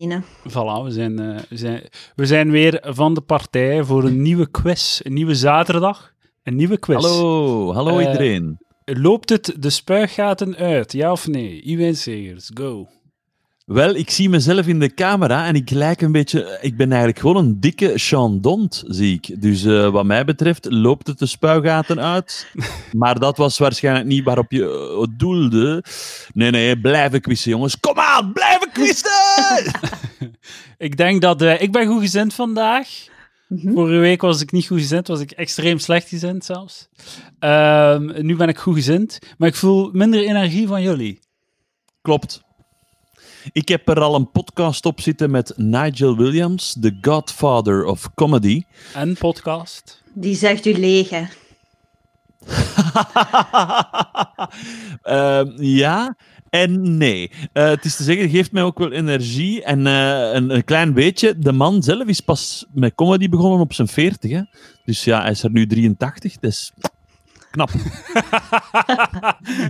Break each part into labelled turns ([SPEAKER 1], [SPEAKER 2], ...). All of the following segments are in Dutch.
[SPEAKER 1] Ine.
[SPEAKER 2] Voilà, we zijn, eh, we, zijn, we zijn weer van de partij voor een nieuwe quiz. Een nieuwe zaterdag. Een nieuwe quiz.
[SPEAKER 3] Hallo, hallo
[SPEAKER 2] Eh,
[SPEAKER 3] iedereen.
[SPEAKER 2] Loopt het de spuigaten uit? Ja of nee? Iwijn Segers, go.
[SPEAKER 3] Wel, ik zie mezelf in de camera en ik lijk een beetje... Ik ben eigenlijk gewoon een dikke chandont, zie ik. Dus eh, wat mij betreft loopt het de spuigaten uit. Maar dat was waarschijnlijk niet waarop je eh, het doelde. Nee, nee, blijven quizzen, jongens. Kom aan, blijven quizzen!
[SPEAKER 2] Ik denk dat... eh, ik ben goed gezind vandaag.
[SPEAKER 1] Mhm.
[SPEAKER 2] Vorige week was ik niet goed gezind, was ik extreem slecht gezind zelfs. Ehm, nu ben ik goed gezind, maar ik voel minder energie van jullie.
[SPEAKER 3] Klopt. Ik heb er al een podcast op zitten met Nigel Williams, The Godfather of Comedy.
[SPEAKER 2] En podcast.
[SPEAKER 1] Die zegt u leeg, hè.
[SPEAKER 3] Ehm, ja en nee. Eh, het is te zeggen, het geeft mij ook wel energie. En eh, een, een klein beetje. De man zelf is pas met comedy begonnen op zijn 40. Hè? Dus ja, hij is er nu 83. Dat is knap.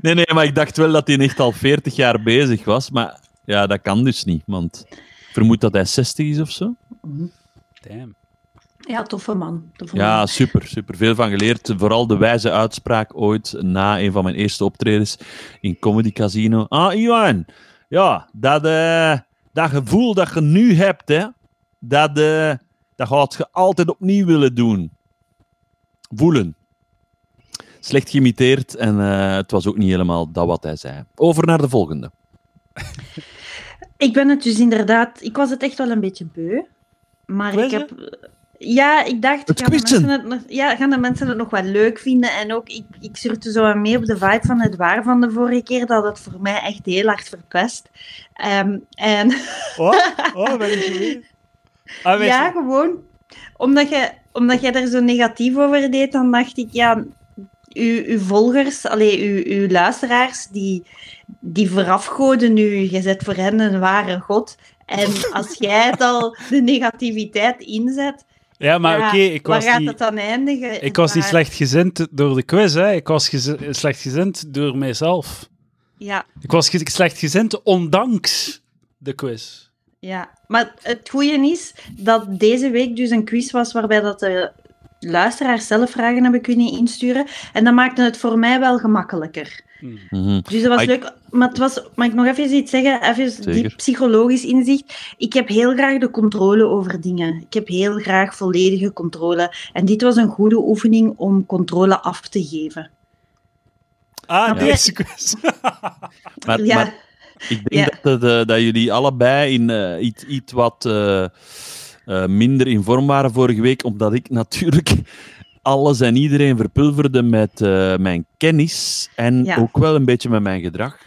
[SPEAKER 3] nee, nee, maar ik dacht wel dat hij echt al 40 jaar bezig was. Maar ja, dat kan dus niet. Want ik vermoed dat hij 60 is of zo.
[SPEAKER 2] Damn.
[SPEAKER 1] Ja, toffe man. Toffe
[SPEAKER 3] Ja,
[SPEAKER 1] man.
[SPEAKER 3] super, super. Veel van geleerd. Vooral de wijze uitspraak ooit na een van mijn eerste optredens in Comedy Casino. Ah, Iwan, ja, dat, eh, dat gevoel dat je nu hebt, hè, dat, eh, dat gaat je altijd opnieuw willen doen. Voelen. Slecht geïmiteerd en eh, het was ook niet helemaal dat wat hij zei. Over naar de volgende.
[SPEAKER 1] Ik ben het dus inderdaad... Ik was het echt wel een beetje beu. Maar ik
[SPEAKER 3] Quizzen?
[SPEAKER 1] heb... Ja, ik dacht...
[SPEAKER 3] Het
[SPEAKER 1] gaan de,
[SPEAKER 3] quizzen.
[SPEAKER 1] mensen het, nog- ja, gaan de mensen het nog wel leuk vinden? En ook, ik, ik surte zo wat mee op de vibe van het waar van de vorige keer, dat het voor mij echt heel hard verpest. Ehm, en
[SPEAKER 2] Oh, oh ben ik ah, weet
[SPEAKER 1] ja,
[SPEAKER 2] je-
[SPEAKER 1] gewoon. Omdat jij, omdat jij er zo negatief over deed, dan dacht ik, ja, uw, uw volgers, allee, uw, uw luisteraars, die, die verafgoden u. Je zet voor hen een ware god. En als jij het al de negativiteit inzet,
[SPEAKER 2] ja, maar
[SPEAKER 1] ja,
[SPEAKER 2] oké, ik
[SPEAKER 1] waar
[SPEAKER 2] was
[SPEAKER 1] gaat
[SPEAKER 2] niet...
[SPEAKER 1] het dan eindigen?
[SPEAKER 2] Ik was niet
[SPEAKER 1] Maar-
[SPEAKER 2] slecht gezind door de quiz, hè. ik was gezi- slecht gezind door mijzelf.
[SPEAKER 1] Ja,
[SPEAKER 2] Ik was ge- slecht gezind ondanks de quiz.
[SPEAKER 1] ja. Maar het goede is dat deze week dus een quiz was waarbij dat de luisteraars zelf vragen hebben kunnen insturen. En dat maakte het voor mij wel gemakkelijker.
[SPEAKER 2] Hm.
[SPEAKER 3] Mhm.
[SPEAKER 1] Dus dat was
[SPEAKER 3] Maar ik-
[SPEAKER 1] leuk. Maar het was, mag ik nog even iets zeggen? Even diep
[SPEAKER 3] Zeker.
[SPEAKER 1] psychologisch inzicht. Ik heb heel graag de controle over dingen. Ik heb heel graag volledige controle. En dit was een goede oefening om controle af te geven.
[SPEAKER 2] Ah,
[SPEAKER 1] Ja.
[SPEAKER 2] deze quiz.
[SPEAKER 3] Maar,
[SPEAKER 1] ja,
[SPEAKER 3] maar Ik denk
[SPEAKER 1] Ja.
[SPEAKER 3] dat, het, eh, dat jullie allebei in eh, iets, iets wat eh, eh, minder in vorm waren vorige week, omdat ik natuurlijk alles en iedereen verpulverde met eh, mijn kennis en
[SPEAKER 1] Ja.
[SPEAKER 3] ook wel een beetje met mijn gedrag.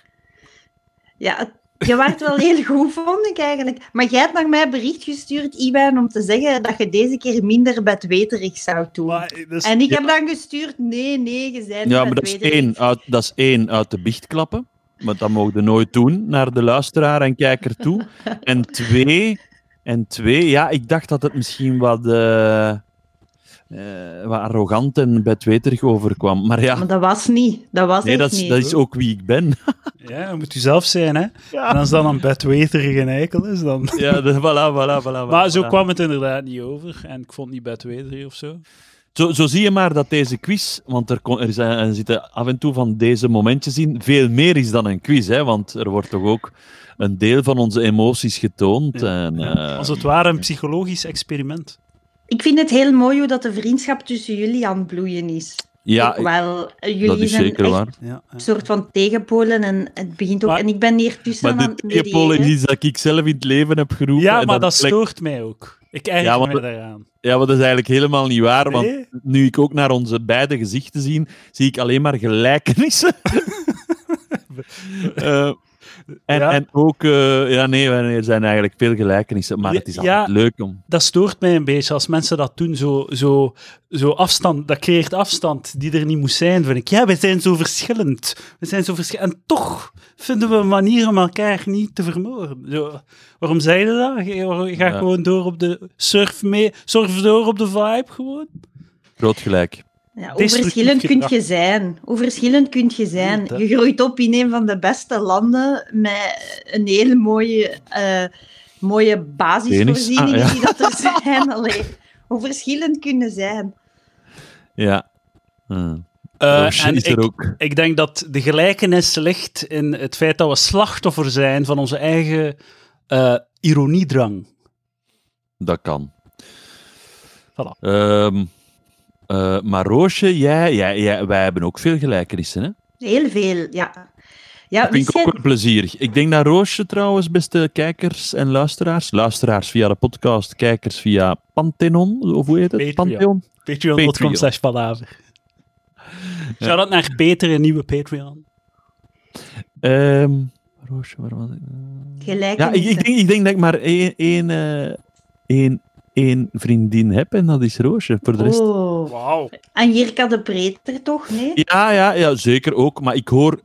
[SPEAKER 1] ja het- je waart wel heel goed, vond ik eigenlijk. Maar jij hebt naar mij bericht gestuurd, Iwan, om te zeggen dat je deze keer minder bedweterig zou doen.
[SPEAKER 2] Maar, eh, dat is-
[SPEAKER 1] en ik
[SPEAKER 3] ja.
[SPEAKER 1] heb dan gestuurd, nee, nee, je bent
[SPEAKER 3] Ja,
[SPEAKER 1] niet
[SPEAKER 3] maar dat is,
[SPEAKER 1] bedweterig.
[SPEAKER 3] één Ah. uit, dat is één uit de biecht klappen. Want dat mogen we nooit doen naar de luisteraar en kijker toe. En twee, en twee ja, ik dacht dat het misschien wat, eh, eh, wat arrogant en bedweterig overkwam. Maar ja,
[SPEAKER 1] Maar dat was niet. Dat was
[SPEAKER 3] nee,
[SPEAKER 1] echt
[SPEAKER 3] dat, is,
[SPEAKER 1] niet.
[SPEAKER 3] dat is ook wie ik ben.
[SPEAKER 2] Ja, dat moet u zelf zijn, hè. En als dan een bedweterige eikel is, dan...
[SPEAKER 3] Ja, de, voilà, voilà, voilà, voilà,
[SPEAKER 2] Maar zo
[SPEAKER 3] voilà.
[SPEAKER 2] kwam het inderdaad niet over. En ik vond het niet bedweterig of zo.
[SPEAKER 3] Zo, zo zie je maar dat deze quiz, want er, kon, er, zijn, er zitten af en toe van deze momentjes in, veel meer is dan een quiz. Hè, want er wordt toch ook een deel van onze emoties getoond. En, eh,
[SPEAKER 2] Als het ware een psychologisch experiment.
[SPEAKER 1] Ik vind het heel mooi hoe dat de vriendschap tussen jullie aan het bloeien is.
[SPEAKER 3] ja,
[SPEAKER 1] Ik wel. Eh, Jullie
[SPEAKER 3] dat is
[SPEAKER 1] zijn
[SPEAKER 3] zeker
[SPEAKER 1] echt
[SPEAKER 3] waar.
[SPEAKER 2] Ja, ja.
[SPEAKER 1] een soort van tegenpolen en het begint ook...
[SPEAKER 2] Maar-
[SPEAKER 1] en ik ben hier tussen
[SPEAKER 3] Maar
[SPEAKER 1] aan
[SPEAKER 3] de
[SPEAKER 1] het mediëren.
[SPEAKER 3] tegenpool is iets dat ik zelf in het leven heb geroepen.
[SPEAKER 2] ja
[SPEAKER 3] en
[SPEAKER 2] maar dat
[SPEAKER 3] dat lijkt-
[SPEAKER 2] stoort mij ook. Ik erg
[SPEAKER 3] Ja, want-
[SPEAKER 2] mij daaraan.
[SPEAKER 3] Ja, maar dat is eigenlijk helemaal niet waar. Want
[SPEAKER 2] Nee?
[SPEAKER 3] nu ik ook naar onze beide gezichten zie, zie ik alleen maar gelijkenissen. Eh, en,
[SPEAKER 2] Ja.
[SPEAKER 3] en ook, eh, ja, nee, er zijn eigenlijk veel gelijkenissen. Maar het is altijd
[SPEAKER 2] Ja.
[SPEAKER 3] leuk om.
[SPEAKER 2] Dat stoort mij een beetje als mensen dat doen. Zo, zo, zo afstand, dat creëert afstand die er niet moest zijn, vind ik. Ja, we zijn zo verschillend. We zijn zo verschillend. En toch vinden we een manier om elkaar niet te vermoorden. Zo, waarom zeiden dat? Je, je gaat
[SPEAKER 3] Ja.
[SPEAKER 2] gewoon door op de surf mee. Surf door op de vibe gewoon.
[SPEAKER 3] Groot gelijk.
[SPEAKER 1] Ja, hoe
[SPEAKER 2] destructief
[SPEAKER 1] verschillend kun
[SPEAKER 2] gedrag.
[SPEAKER 1] je zijn? Hoe verschillend kun je zijn?
[SPEAKER 2] Goed, hè?
[SPEAKER 1] Je groeit op in een van de beste landen met een hele mooie eh, mooie basisvoorzieningen
[SPEAKER 3] Penis. Ah,
[SPEAKER 1] die dat er zijn. Allee, hoe verschillend kunnen zijn.
[SPEAKER 3] Ja. Hm.
[SPEAKER 2] Eh,
[SPEAKER 3] Roosje
[SPEAKER 2] en
[SPEAKER 3] is
[SPEAKER 2] ik,
[SPEAKER 3] er ook.
[SPEAKER 2] ik denk dat de gelijkenis ligt in het feit dat we slachtoffer zijn van onze eigen eh, ironiedrang.
[SPEAKER 3] Dat kan.
[SPEAKER 2] Voilà.
[SPEAKER 3] Ehm, eh, maar Roosje, jij, jij, jij, wij hebben ook veel gelijkenissen. Hè?
[SPEAKER 1] Heel veel, ja.
[SPEAKER 3] Dat
[SPEAKER 1] Ja,
[SPEAKER 3] vind ik
[SPEAKER 1] wist
[SPEAKER 3] ook
[SPEAKER 1] jij-
[SPEAKER 3] wel plezierig. Ik denk dat Roosje trouwens, beste kijkers en luisteraars, luisteraars via de podcast, kijkers via Pantheon, of hoe heet het?
[SPEAKER 2] Patreon.
[SPEAKER 3] Pantheon.
[SPEAKER 2] Patreon.com
[SPEAKER 3] Patreon.
[SPEAKER 2] slash palaver. Zou dat naar Peter, een nieuwe Patreon?
[SPEAKER 3] Ehm, Roosje, waar was ik? Ja, ik,
[SPEAKER 1] gelijkenissen.
[SPEAKER 3] ik, denk, ik denk dat ik maar één, één, eh, één, één vriendin heb en dat is Roosje. Voor de rest
[SPEAKER 1] Oh.
[SPEAKER 2] Wauw.
[SPEAKER 1] En Jirka de Preter toch? Nee?
[SPEAKER 3] Ja, ja, ja, zeker ook. Maar ik hoor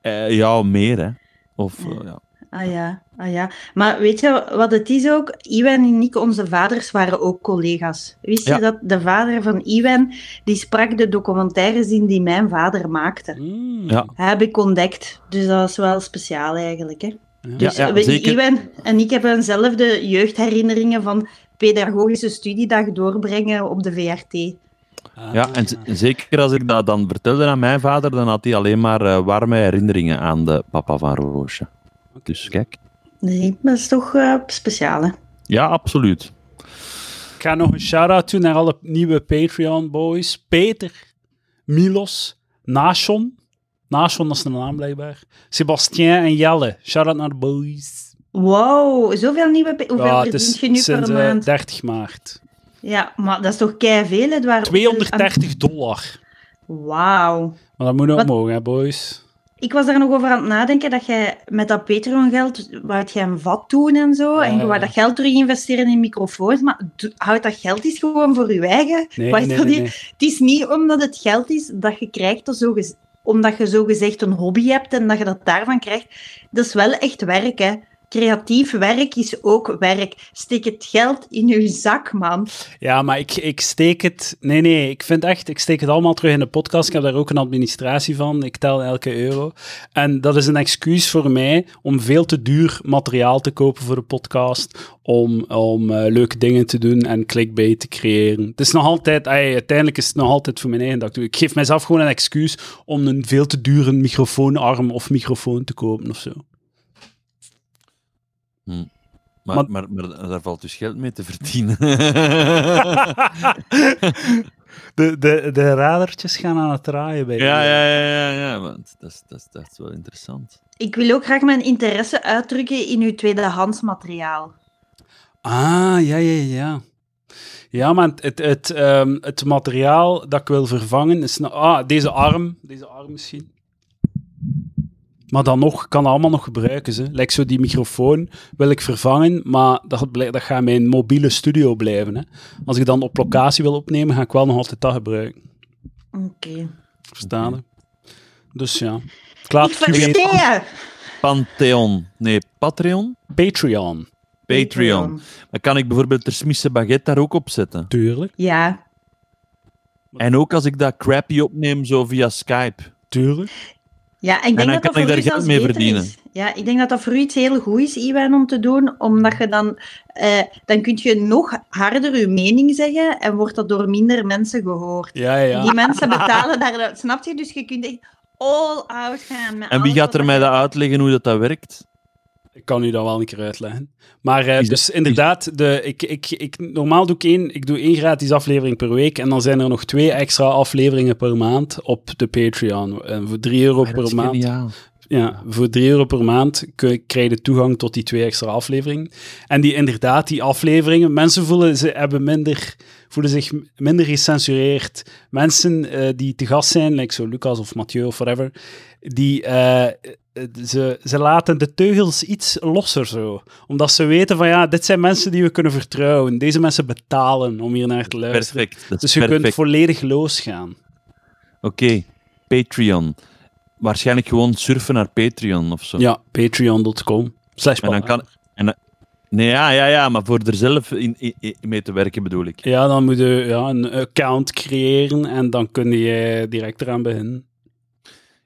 [SPEAKER 3] eh, jou meer, hè. Of, eh, ja.
[SPEAKER 1] Ah ja, ah ja. Maar weet je wat het is ook? Iwan en ik, onze vaders, waren ook collega's. Wist
[SPEAKER 3] Ja.
[SPEAKER 1] je dat de vader van Iwan, die sprak de documentaires in die mijn vader maakte?
[SPEAKER 2] Mm.
[SPEAKER 3] Ja.
[SPEAKER 1] Heb ik ontdekt. Dus dat was wel speciaal eigenlijk. Hè?
[SPEAKER 3] Ja,
[SPEAKER 1] Dus
[SPEAKER 3] ja,
[SPEAKER 1] we-
[SPEAKER 3] zeker.
[SPEAKER 1] Iwan en ik hebben eenzelfde jeugdherinneringen van pedagogische studiedag doorbrengen op de VRT.
[SPEAKER 2] Ah.
[SPEAKER 3] Ja, en z- zeker als ik dat dan vertelde aan mijn vader, dan had hij alleen maar eh, warme herinneringen aan de papa van Roosje. Dus kijk.
[SPEAKER 1] Nee, dat is toch eh, speciaal, hè?
[SPEAKER 3] Ja, absoluut.
[SPEAKER 2] Ik ga nog een shout-out doen naar alle nieuwe Patreon-boys. Peter, Milos, Nashon. Nashon, dat is de naam blijkbaar. Sebastien en Jelle. Shout-out naar de boys.
[SPEAKER 1] Wow, zoveel nieuwe... pe- Hoeveel
[SPEAKER 2] Ja, het
[SPEAKER 1] verdient
[SPEAKER 2] is
[SPEAKER 1] je nu
[SPEAKER 2] sinds
[SPEAKER 1] per
[SPEAKER 2] eh,
[SPEAKER 1] maand?
[SPEAKER 2] 30 maart.
[SPEAKER 1] Ja, maar dat is toch keiveel, hè? Waar...
[SPEAKER 2] 230 dollar.
[SPEAKER 1] Wauw.
[SPEAKER 2] Maar dat moet ook
[SPEAKER 1] Wat?
[SPEAKER 2] mogen, hè, boys.
[SPEAKER 1] Ik was daar nog over aan het nadenken dat jij met dat Patreon-geld, waar jij een vat doen en zo,
[SPEAKER 2] Ja,
[SPEAKER 1] en je wou
[SPEAKER 2] ja.
[SPEAKER 1] dat geld terug investeren in microfoons, maar do- houd dat geld eens gewoon voor je eigen.
[SPEAKER 2] Nee,
[SPEAKER 1] Waar is
[SPEAKER 2] nee,
[SPEAKER 1] dat
[SPEAKER 2] nee,
[SPEAKER 1] hier?
[SPEAKER 2] nee.
[SPEAKER 1] Het is niet omdat het geld is dat je krijgt, dat zo gez- omdat je zogezegd een hobby hebt en dat je dat daarvan krijgt. Dat is wel echt werk, hè. Creatief werk is ook werk. Steek het geld in je zak, man.
[SPEAKER 2] Ja, maar ik, ik steek het... Nee, nee, ik vind echt... Ik steek het allemaal terug in de podcast. Ik heb daar ook een administratie van. Ik tel elke euro. En dat is een excuus voor mij om veel te duur materiaal te kopen voor de podcast. Om, om eh, leuke dingen te doen en clickbait te creëren. Het is nog altijd... ey, uiteindelijk is het nog altijd voor mijn eigen dat ik doe. Ik geef mezelf gewoon een excuus om een veel te dure microfoonarm of microfoon te kopen of zo.
[SPEAKER 3] Maar,
[SPEAKER 2] Maar-
[SPEAKER 3] maar, maar, daar valt dus geld mee te verdienen.
[SPEAKER 2] De, de, de radertjes gaan aan het draaien bij
[SPEAKER 3] ja, ja, ja, ja, ja. Want dat, is, dat, is, dat is wel interessant.
[SPEAKER 1] Ik wil ook graag mijn interesse uitdrukken in uw tweedehands materiaal.
[SPEAKER 2] Ah, ja, ja, ja. Ja, maar het, het, het, ehm, het materiaal dat ik wil vervangen is... nou- Ah, deze arm. Deze arm misschien. Maar dan nog, ik kan dat allemaal nog gebruiken. Ze. Like zo die microfoon wil ik vervangen, maar dat, blij- dat gaat mijn mobiele studio blijven. Hè. Als ik dan op locatie wil opnemen, ga ik wel nog altijd dat gebruiken.
[SPEAKER 1] Oké.
[SPEAKER 2] Verstaan? je? Dus ja. Ik laat
[SPEAKER 1] Ik
[SPEAKER 2] het je weten.
[SPEAKER 1] versteer je.
[SPEAKER 3] Pantheon. Nee, Patreon.
[SPEAKER 2] Patreon.
[SPEAKER 3] Patreon. Dan kan ik bijvoorbeeld de Smisse Baguette daar ook op zetten.
[SPEAKER 2] Tuurlijk.
[SPEAKER 1] Ja.
[SPEAKER 3] En ook als ik dat crappy opneem, zo via Skype.
[SPEAKER 2] Tuurlijk.
[SPEAKER 1] Ja, ik denk
[SPEAKER 3] dan
[SPEAKER 1] dat
[SPEAKER 3] kan
[SPEAKER 1] dat
[SPEAKER 3] ik
[SPEAKER 1] voor
[SPEAKER 3] daar
[SPEAKER 1] u
[SPEAKER 3] geld
[SPEAKER 1] zelfs
[SPEAKER 3] mee
[SPEAKER 1] beter
[SPEAKER 3] verdienen.
[SPEAKER 1] is. Ja, ik denk dat dat voor u iets heel goed is, Iwan, om te doen. Omdat je dan... eh, dan kun je nog harder je mening zeggen en wordt dat door minder mensen gehoord.
[SPEAKER 2] Ja, ja.
[SPEAKER 1] Die mensen betalen daar... Snap je? Dus je kunt echt all out gaan. met
[SPEAKER 3] En wie
[SPEAKER 2] Oh,
[SPEAKER 1] alles
[SPEAKER 3] gaat
[SPEAKER 1] wat
[SPEAKER 3] er mij dat uitleggen hoe dat, dat werkt?
[SPEAKER 2] Ik kan u dat wel een keer uitleggen. Maar eh,
[SPEAKER 3] Is dat-
[SPEAKER 2] dus inderdaad, de, ik, ik, ik, normaal doe ik, één, ik doe één gratis aflevering per week. En dan zijn er nog twee extra afleveringen per maand op de Patreon. En voor 3 euro
[SPEAKER 3] Ah, dat is
[SPEAKER 2] per maand.
[SPEAKER 3] geniaal.
[SPEAKER 2] Ja, dus voor 3 euro per maand kun- krijg je toegang tot die twee extra afleveringen. En die inderdaad, die afleveringen, mensen voelen, ze hebben minder, voelen zich m- minder gecensureerd. Mensen eh, die te gast zijn, like zo Lucas of Mathieu of whatever, die, eh, eh, ze, ze laten de teugels iets losser zo. Omdat ze weten van ja, dit zijn mensen die we kunnen vertrouwen. Deze mensen betalen om hier naar te luisteren.
[SPEAKER 3] Perfect. dat
[SPEAKER 2] Dus
[SPEAKER 3] is
[SPEAKER 2] je kunt
[SPEAKER 3] perfect.
[SPEAKER 2] volledig losgaan.
[SPEAKER 3] Oké, Patreon. Waarschijnlijk gewoon surfen naar Patreon of zo.
[SPEAKER 2] Ja, patreon.com. Slash
[SPEAKER 3] en dan kan. En dan- nee, ja, ja, ja, maar voor er zelf in, in- in- mee te werken bedoel ik.
[SPEAKER 2] Ja, dan moet je ja, een account creëren en dan kun je direct eraan beginnen.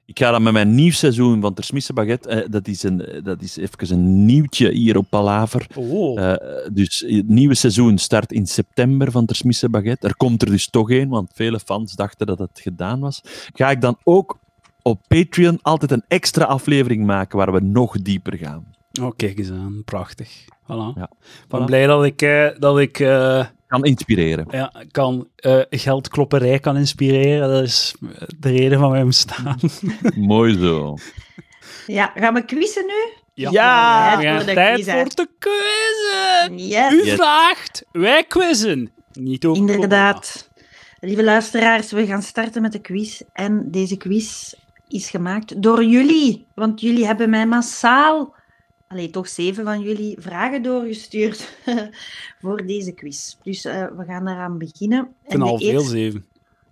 [SPEAKER 3] Ik ga dat met mijn nieuw seizoen van Tersmisse Baguette, eh, dat, is een, eh, dat is even een nieuwtje hier op Palaver.
[SPEAKER 2] Oh,
[SPEAKER 3] Eh, dus het nieuwe seizoen start in september van Tersmisse Baguette. Er komt er dus toch één, want vele fans dachten dat het gedaan was. Ga ik dan ook op Patreon altijd een extra aflevering maken waar we nog dieper gaan.
[SPEAKER 2] oh, kijk eens aan. Prachtig. Voilà.
[SPEAKER 3] Ja.
[SPEAKER 2] Ik ben
[SPEAKER 3] Voilà.
[SPEAKER 2] blij dat ik, eh, dat ik eh,
[SPEAKER 3] Kan inspireren.
[SPEAKER 2] ja, kan, eh, geldklopperij kan inspireren. Dat is eh, de reden van mijn bestaan.
[SPEAKER 3] Mooi zo.
[SPEAKER 1] Ja, gaan we quizzen nu?
[SPEAKER 2] Ja,
[SPEAKER 3] Ja,
[SPEAKER 2] we gaan
[SPEAKER 1] voor de
[SPEAKER 2] tijd
[SPEAKER 1] quiz, hè.
[SPEAKER 2] voor te quizzen.
[SPEAKER 1] Yes,
[SPEAKER 2] U
[SPEAKER 3] Yes.
[SPEAKER 2] vraagt, wij quizzen. Niet ook
[SPEAKER 1] inderdaad. Lieve luisteraars, we gaan starten met de quiz. En deze quiz is gemaakt door jullie. Want jullie hebben mij massaal, alleen toch zeven van jullie, vragen doorgestuurd voor deze quiz. Dus eh, we gaan eraan beginnen.
[SPEAKER 2] Ik vind
[SPEAKER 1] de
[SPEAKER 2] al veel
[SPEAKER 1] eerste-
[SPEAKER 2] zeven.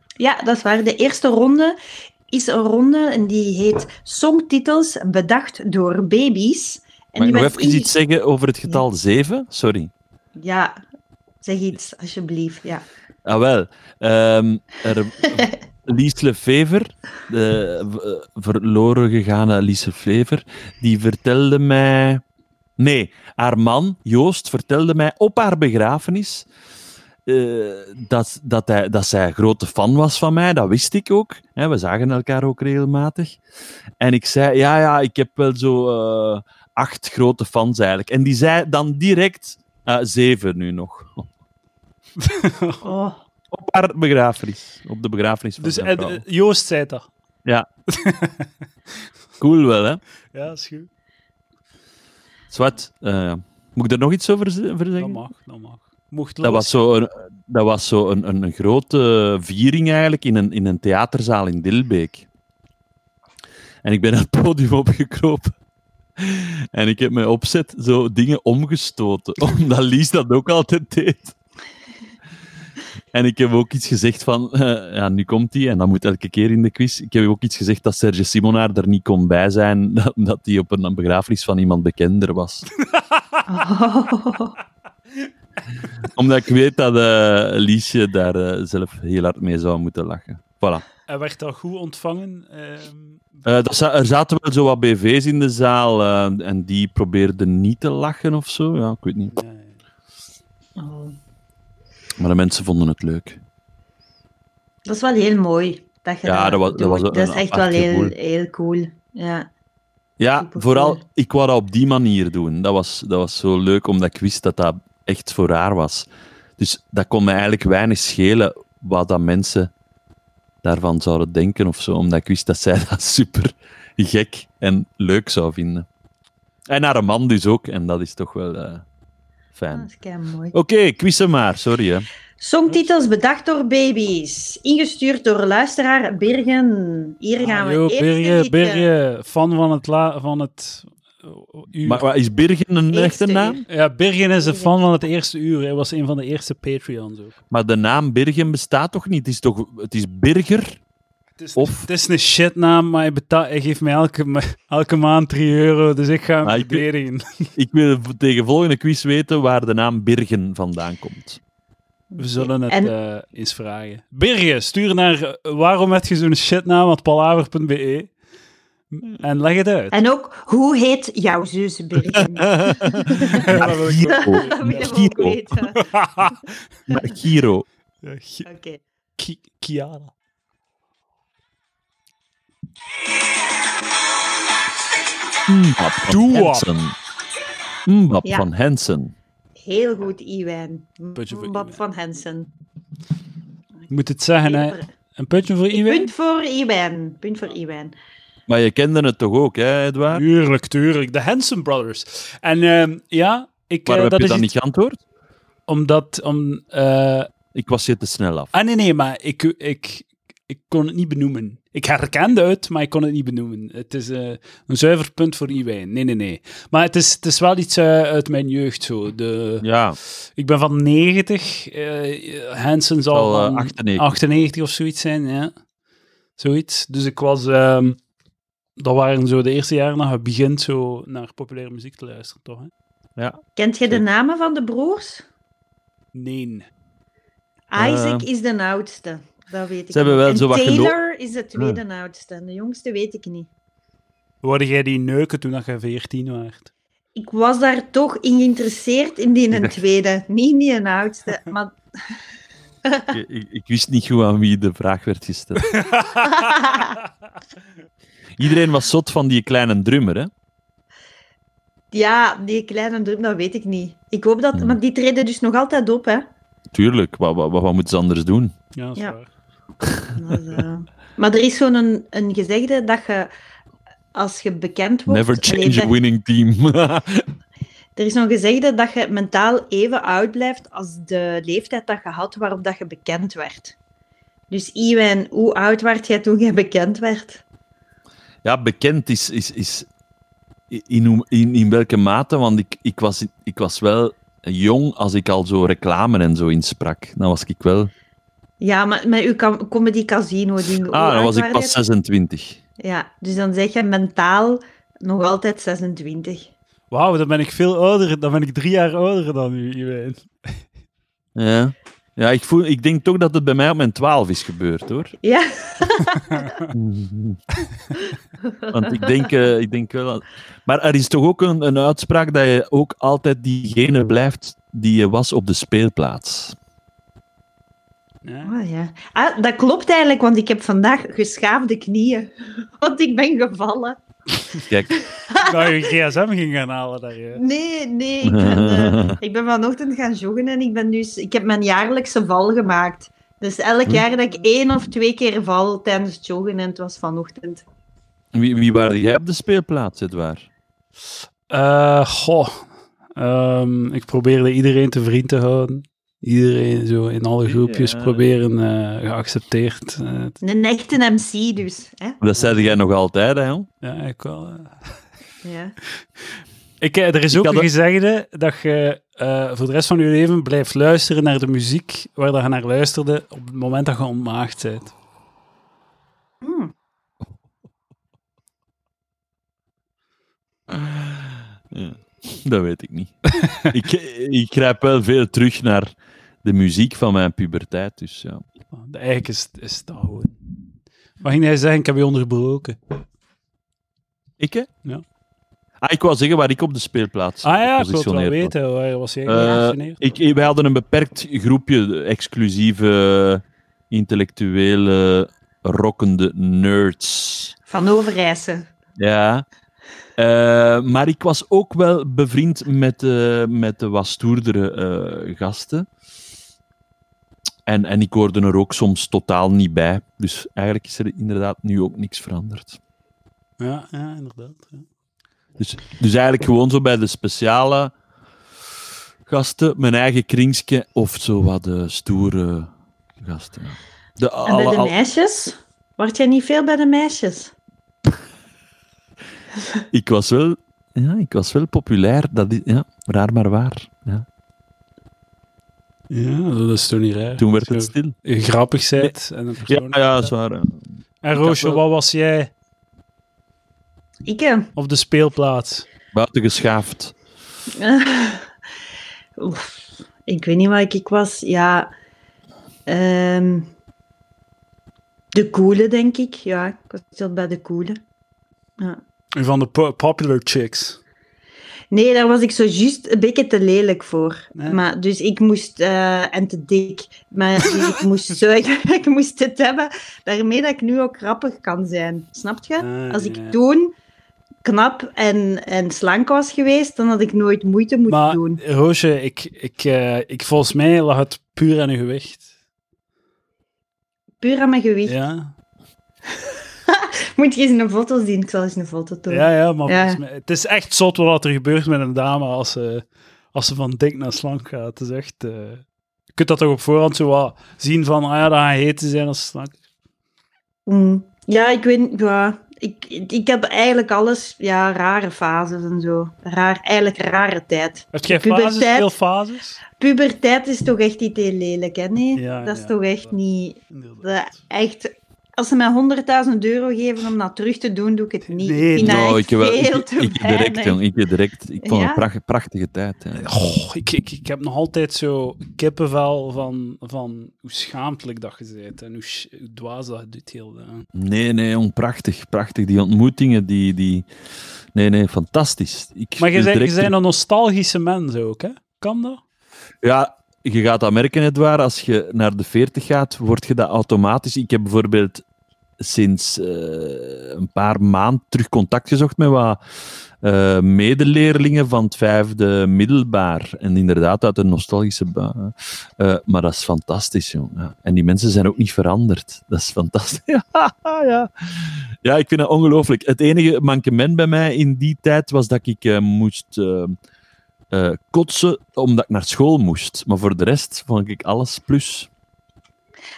[SPEAKER 1] Ja, dat is waar. De eerste ronde is een ronde en die heet Songtitels bedacht door baby's. En
[SPEAKER 3] Mag ik
[SPEAKER 1] die
[SPEAKER 3] nog
[SPEAKER 1] werd
[SPEAKER 3] even
[SPEAKER 1] inge-
[SPEAKER 3] iets zeggen over het getal 7? Sorry.
[SPEAKER 1] Ja, zeg iets, alsjeblieft. Ja.
[SPEAKER 3] Ah, wel. Ehm, er, Lies Lefever, de v- eh, verloren gegane Lies Lefever, die vertelde mij... Nee, haar man, Joost, vertelde mij op haar begrafenis eh, dat, dat, hij, dat zij een grote fan was van mij. Dat wist ik ook. Hè, we zagen elkaar ook regelmatig. En ik zei, ja, ja, ik heb wel zo eh, acht grote fans eigenlijk. En die zei dan direct eh, zeven nu nog.
[SPEAKER 1] Oh.
[SPEAKER 3] Op haar begrafenis. Op de begrafenis van
[SPEAKER 2] Dus
[SPEAKER 3] zijn
[SPEAKER 2] en,
[SPEAKER 3] vrouw.
[SPEAKER 2] eh, Joost zei dat.
[SPEAKER 3] Cool wel, hè?
[SPEAKER 2] Ja, is goed.
[SPEAKER 3] Zwart. eh, moet ik er nog iets over z- over
[SPEAKER 2] Dat
[SPEAKER 3] zeggen?
[SPEAKER 2] mag, dat mag. Mocht
[SPEAKER 3] Dat was zo een, dat was zo een, een, een grote viering eigenlijk in een, in een theaterzaal in Dilbeek. En ik ben naar het podium opgekropen. En ik heb met opzet zo dingen omgestoten, omdat Lies dat ook altijd deed. En ik heb ook iets gezegd van, eh, ja, nu komt hij en dat moet elke keer in de quiz. Ik heb ook iets gezegd dat Serge Simonaar er niet kon bij zijn, dat- omdat hij op een begrafenis van iemand bekender was.
[SPEAKER 1] Oh.
[SPEAKER 3] Omdat ik weet dat eh, Liesje daar eh, zelf heel hard mee zou moeten lachen. Voilà.
[SPEAKER 2] En werd dat goed ontvangen? Ehm,
[SPEAKER 3] Eh, dat za- er zaten wel zo wat BV's in de zaal eh, en die probeerden niet te lachen of zo. Ja, ik weet niet.
[SPEAKER 2] ja, ja.
[SPEAKER 1] Oh.
[SPEAKER 3] Maar de mensen vonden het leuk.
[SPEAKER 1] Dat is wel heel mooi. Dat je
[SPEAKER 3] Ja, dat was- dat
[SPEAKER 1] doet.
[SPEAKER 3] was een-
[SPEAKER 1] dat is
[SPEAKER 3] een
[SPEAKER 1] echt wel
[SPEAKER 3] apart
[SPEAKER 1] heel,
[SPEAKER 3] gevoel.
[SPEAKER 1] heel cool. Ja.
[SPEAKER 3] Ja,
[SPEAKER 1] Supercool.
[SPEAKER 3] vooral, ik wou dat op die manier doen. Dat was, dat was zo leuk, omdat ik wist dat dat echt voor haar was. Dus dat kon me eigenlijk weinig schelen wat dat mensen daarvan zouden denken of zo. Omdat ik wist dat zij dat super gek en leuk zou vinden. En haar man dus ook, en dat is toch wel eh, fijn.
[SPEAKER 1] Dat is kei mooi.
[SPEAKER 3] Oké, quizzen maar, sorry hè.
[SPEAKER 1] Songtitels bedacht door baby's. Ingestuurd door luisteraar Birgen. Hier gaan
[SPEAKER 2] Ah,
[SPEAKER 1] we.
[SPEAKER 2] yo,
[SPEAKER 1] Eerste
[SPEAKER 2] Birje,
[SPEAKER 1] liedje.
[SPEAKER 2] Birje, fan van het... La, van het eh, uur.
[SPEAKER 3] Maar, maar is Birgen een
[SPEAKER 1] Eerste
[SPEAKER 3] echte naam?
[SPEAKER 1] uur.
[SPEAKER 2] ja, Birgen is een fan van het eerste uur. Hij was een van de eerste Patreons ook.
[SPEAKER 3] Maar de naam Birgen bestaat toch niet? Het is toch het is Birger?
[SPEAKER 2] Het is,
[SPEAKER 3] Of-
[SPEAKER 2] het is een shitnaam, maar hij, betaalt, hij geeft mij elke, ma- elke maand 3 euro, dus ik ga hem
[SPEAKER 3] Maar ik-
[SPEAKER 2] verdedigen.
[SPEAKER 3] Ik wil v- tegen de volgende quiz weten waar de naam Birgen vandaan komt.
[SPEAKER 2] We zullen het
[SPEAKER 1] En-
[SPEAKER 2] eh, eens vragen. Birje, stuur naar eh, waarom heb je zo'n shitnaam at palaver.be e. en leg het uit.
[SPEAKER 1] En ook, hoe heet jouw zus Birgen?
[SPEAKER 2] Ja, dat wil ik ook.
[SPEAKER 3] Giro.
[SPEAKER 1] dat willen we ook
[SPEAKER 3] Giro.
[SPEAKER 1] weten. Oké.
[SPEAKER 3] Maar Giro.
[SPEAKER 2] Ja, Ki- Ki- Kiara.
[SPEAKER 3] Mbap van
[SPEAKER 2] Doe op.
[SPEAKER 3] Hansen. Mbap
[SPEAKER 1] Ja.
[SPEAKER 3] van Hansen.
[SPEAKER 1] Heel goed, Iwijn.
[SPEAKER 2] Putje voor
[SPEAKER 1] Bob
[SPEAKER 2] Iwijn. eh,
[SPEAKER 1] van Hensen.
[SPEAKER 2] Ik moet het zeggen, hè. Een putje voor iedereen?
[SPEAKER 1] Punt voor Iwijn. Punt voor Iwijn.
[SPEAKER 3] Maar je kende het toch ook, hè, Edouard?
[SPEAKER 2] Tuurlijk, tuurlijk. De Hanson Brothers. En ehm, ja, ik,
[SPEAKER 3] Maar
[SPEAKER 2] eh,
[SPEAKER 3] heb
[SPEAKER 2] dat
[SPEAKER 3] je
[SPEAKER 2] is
[SPEAKER 3] dan
[SPEAKER 2] iets-
[SPEAKER 3] niet geantwoord?
[SPEAKER 2] omdat... Om, eh,
[SPEAKER 3] Ik was je te snel af.
[SPEAKER 2] Ah, nee, nee, maar ik, ik, ik kon het niet benoemen. Ik herkende het, maar ik kon het niet benoemen. Het is eh, een zuiver punt voor Iwijn. Nee, nee, nee. Maar het is, het is wel iets eh, uit mijn jeugd zo. De,
[SPEAKER 3] Ja,
[SPEAKER 2] Ik ben van 90. eh Hansen zal Ah.
[SPEAKER 3] Zal, eh,
[SPEAKER 2] van
[SPEAKER 3] 98.
[SPEAKER 2] 98 of zoiets zijn, ja. Zoiets. Dus ik was... ehm, dat waren zo de eerste jaren dat je begint zo naar populaire muziek te luisteren, toch? Hè?
[SPEAKER 1] Kent je de
[SPEAKER 3] Zeker.
[SPEAKER 1] namen van de broers?
[SPEAKER 2] Nee.
[SPEAKER 1] Isaac is de oudste. dat weet ik
[SPEAKER 3] Eh, Ze hebben wel
[SPEAKER 1] niet.
[SPEAKER 3] zo
[SPEAKER 1] En
[SPEAKER 3] wat gelo-
[SPEAKER 1] Taylor is de tweede oudste. En de jongste weet ik niet.
[SPEAKER 2] Hoorde jij die neuken toen dat je 14 waart?
[SPEAKER 1] Ik was daar toch in geïnteresseerd in die een tweede. Niet in die een oudste. Maar
[SPEAKER 3] Ik, ik, ik wist niet goed aan wie de vraag werd gesteld. Iedereen was zot van die kleine drummer, hè?
[SPEAKER 1] ja, die kleine drum, dat weet ik niet. Ik hoop dat...
[SPEAKER 3] Hmm.
[SPEAKER 1] Maar die treden dus nog altijd op, hè.
[SPEAKER 3] Tuurlijk, wat, wat, wat, wat moeten ze anders doen?
[SPEAKER 2] Ja, dat is
[SPEAKER 1] Ja.
[SPEAKER 2] waar.
[SPEAKER 1] Dat is, eh, Maar er is zo'n een, een gezegde dat je... Als je bekend wordt...
[SPEAKER 3] Never
[SPEAKER 1] Allee,
[SPEAKER 3] change a
[SPEAKER 1] dat-
[SPEAKER 3] winning team.
[SPEAKER 1] Er is nog gezegde dat je mentaal even oud blijft als de leeftijd dat je had waarop dat je bekend werd. Dus Iwan, hoe oud werd jij toen jij bekend werd?
[SPEAKER 3] ja, bekend is, is, is in, hoe- in, in welke mate, want ik, ik, was, ik was wel jong als ik al zo reclame en zo insprak. Dan was ik wel...
[SPEAKER 1] Ja, maar met uw cam- comedy casino ding. hoe
[SPEAKER 3] Ah, dan
[SPEAKER 1] oud
[SPEAKER 3] was ik
[SPEAKER 1] werd je
[SPEAKER 3] pas 26.
[SPEAKER 1] toen? Ja, dus dan zeg je mentaal nog altijd 26.
[SPEAKER 2] Wauw, dan ben ik veel ouder. Dan ben ik drie jaar ouder dan u, Iwijn.
[SPEAKER 3] Ja. Ja, ik, voel, ik denk toch dat het bij mij op mijn 12 is gebeurd, hoor.
[SPEAKER 1] Ja,
[SPEAKER 3] Want ik denk, eh, ik denk wel... aan- Maar er is toch ook een, een uitspraak dat je ook altijd diegene blijft die je was op de speelplaats.
[SPEAKER 2] Ja.
[SPEAKER 1] oh, ja. Ah, dat klopt eigenlijk, want ik heb vandaag geschaafde knieën. Want ik ben gevallen.
[SPEAKER 3] Kijk,
[SPEAKER 2] Nou, je gsm ging gaan halen daar. hè.
[SPEAKER 1] Nee, nee, ik ben, eh, ik ben vanochtend gaan joggen en ik, ben dus, ik heb mijn jaarlijkse val gemaakt. Dus
[SPEAKER 3] Hm.
[SPEAKER 1] elk jaar dat ik één of twee keer val tijdens het joggen en het was vanochtend.
[SPEAKER 3] wie, wie waren jij op de speelplaats, Edouard?
[SPEAKER 2] Eh, goh. Ehm, ik probeerde iedereen te vriend te houden. Iedereen zo in alle groepjes
[SPEAKER 3] Ja.
[SPEAKER 2] proberen eh, geaccepteerd. eh, te-
[SPEAKER 1] Een echte MC dus. Hè?
[SPEAKER 3] Dat zei jij nog altijd, hè? jong?
[SPEAKER 2] ja, ik wel. eh.
[SPEAKER 1] Ja.
[SPEAKER 2] Ik, eh, er is ook
[SPEAKER 3] had
[SPEAKER 2] een
[SPEAKER 3] dat-
[SPEAKER 2] gezegde dat je eh, voor de rest van je leven blijft luisteren naar de muziek waar dat je naar luisterde op het moment dat je ontmaagd bent.
[SPEAKER 1] Hmm.
[SPEAKER 2] Ah,
[SPEAKER 3] Ja, dat weet ik niet. ik, ik grijp wel veel terug naar de muziek van mijn puberteit, dus ja.
[SPEAKER 2] Eigenlijk is, is dat gewoon. Wat ging hij zeggen? Ik heb je onderbroken.
[SPEAKER 3] Ik, hè?
[SPEAKER 2] Ja.
[SPEAKER 3] Ah, ik wou zeggen waar ik op de speelplaats
[SPEAKER 2] Ah ja, ik wil het wel
[SPEAKER 3] gepositioneerd was.
[SPEAKER 2] weten. Waar was jij
[SPEAKER 3] Eh,
[SPEAKER 2] geactioneerd?
[SPEAKER 3] ik, wij hadden een beperkt groepje exclusieve, intellectuele, rockende nerds.
[SPEAKER 1] Van Overijse.
[SPEAKER 3] Ja. Eh, maar ik was ook wel bevriend met, de met de wat stoerdere eh, gasten. En, en ik hoorde er ook soms totaal niet bij. Dus eigenlijk is er inderdaad nu ook niks veranderd.
[SPEAKER 2] Ja, ja, inderdaad. ja.
[SPEAKER 3] Dus, dus eigenlijk gewoon zo bij de speciale gasten, mijn eigen kringske of zo wat de stoere gasten. De,
[SPEAKER 1] En bij
[SPEAKER 3] alle-
[SPEAKER 1] de
[SPEAKER 3] al-
[SPEAKER 1] meisjes? Word jij niet veel bij de meisjes?
[SPEAKER 3] ik, was wel, ja, ik was wel populair, dat is, ja, raar maar waar. Ja.
[SPEAKER 2] Ja, dat is toch niet raar.
[SPEAKER 3] Toen werd
[SPEAKER 2] Zo
[SPEAKER 3] het stil.
[SPEAKER 2] grappig bent en een
[SPEAKER 3] Ja,
[SPEAKER 2] persoon.
[SPEAKER 3] ja, is waar. hè.
[SPEAKER 2] En
[SPEAKER 3] Ik
[SPEAKER 2] Roosje,
[SPEAKER 3] heb wel-
[SPEAKER 2] wat was jij
[SPEAKER 1] Ik, eh,
[SPEAKER 2] op de speelplaats?
[SPEAKER 3] Buiten geschaafd.
[SPEAKER 1] Oef, ik weet niet waar ik, ik was. Ja, ehm, de coole, denk ik. Ja, ik was altijd bij de coole. Ja.
[SPEAKER 2] Van de po- popular chicks.
[SPEAKER 1] Nee, daar was ik zo juist een beetje te lelijk voor.
[SPEAKER 2] Nee.
[SPEAKER 1] Maar, dus ik moest, eh, en te dik, maar dus ik moest zuigen, ik moest het hebben. Daarmee dat ik nu ook grappig kan zijn. Snap je?
[SPEAKER 2] Ah,
[SPEAKER 1] Als ik
[SPEAKER 2] ja.
[SPEAKER 1] toen knap en, en slank was geweest, dan had ik nooit moeite moeten
[SPEAKER 2] Maar
[SPEAKER 1] doen.
[SPEAKER 2] Roosje, ik, ik, eh, ik, volgens mij lag het puur aan je gewicht.
[SPEAKER 1] Puur aan mijn gewicht.
[SPEAKER 2] Ja,
[SPEAKER 1] Moet je eens een foto zien? Ik zal eens een foto doen.
[SPEAKER 2] ja, ja maar
[SPEAKER 1] Ja.
[SPEAKER 2] volgens mij, het is echt zot wat er gebeurt met een dame als ze, als ze van dik naar slank gaat. Het is echt... eh, je kunt dat toch op voorhand zo wat zien van, ah ja, dat gaat heet te zijn als ze slank.
[SPEAKER 1] Mm. Ja, ik weet ja, ik, ik heb eigenlijk alles, ja, rare fases en zo. Raar, eigenlijk rare tijd.
[SPEAKER 2] Heb jij
[SPEAKER 1] Puberteit.
[SPEAKER 2] fases, veel fases?
[SPEAKER 1] Puberteit is toch echt niet heel lelijk, hè? Nee,
[SPEAKER 2] Ja,
[SPEAKER 1] dat is
[SPEAKER 2] ja.
[SPEAKER 1] toch echt niet...
[SPEAKER 2] Inderdaad.
[SPEAKER 1] dat- echt als ze mij 100.000 euro geven om dat terug te doen, doe ik het niet.
[SPEAKER 2] Nee,
[SPEAKER 1] ik vind dat
[SPEAKER 3] Nou,
[SPEAKER 1] echt
[SPEAKER 3] ik, heb wel- ik,
[SPEAKER 1] veel
[SPEAKER 3] ik,
[SPEAKER 1] te
[SPEAKER 3] ik direct,
[SPEAKER 1] weinig.
[SPEAKER 3] jong. Ik direct. Ik vond
[SPEAKER 1] Ja?
[SPEAKER 3] een pracht- prachtige tijd. Ja.
[SPEAKER 2] Goh, ik, ik, ik heb nog altijd zo kippenvel van, van hoe schaamtelijk dat je bent en hoe, sch- hoe dwaas dat je doet heel. eh.
[SPEAKER 3] Nee, nee, jong, prachtig. Prachtig. Die ontmoetingen, die... die... Nee, nee, fantastisch. Ik
[SPEAKER 2] Maar je
[SPEAKER 3] dus
[SPEAKER 2] bent je
[SPEAKER 3] direct-
[SPEAKER 2] bent een nostalgische mens ook, hè? Kan dat?
[SPEAKER 3] Ja, je gaat dat merken, Edouard. Als je naar de 40 gaat, word je dat automatisch. Ik heb bijvoorbeeld sinds eh, een paar maanden terug contact gezocht met wat eh, medeleerlingen van het vijfde middelbaar. En inderdaad, uit een nostalgische baan. Eh, maar dat is fantastisch, jong. Ja. En die mensen zijn ook niet veranderd. Dat is fantastisch. ja, ja. ja, ik vind dat ongelooflijk. Het enige mankement bij mij in die tijd was dat ik eh, moest... eh, eh, kotsen omdat ik naar school moest. Maar voor de rest vond ik alles plus.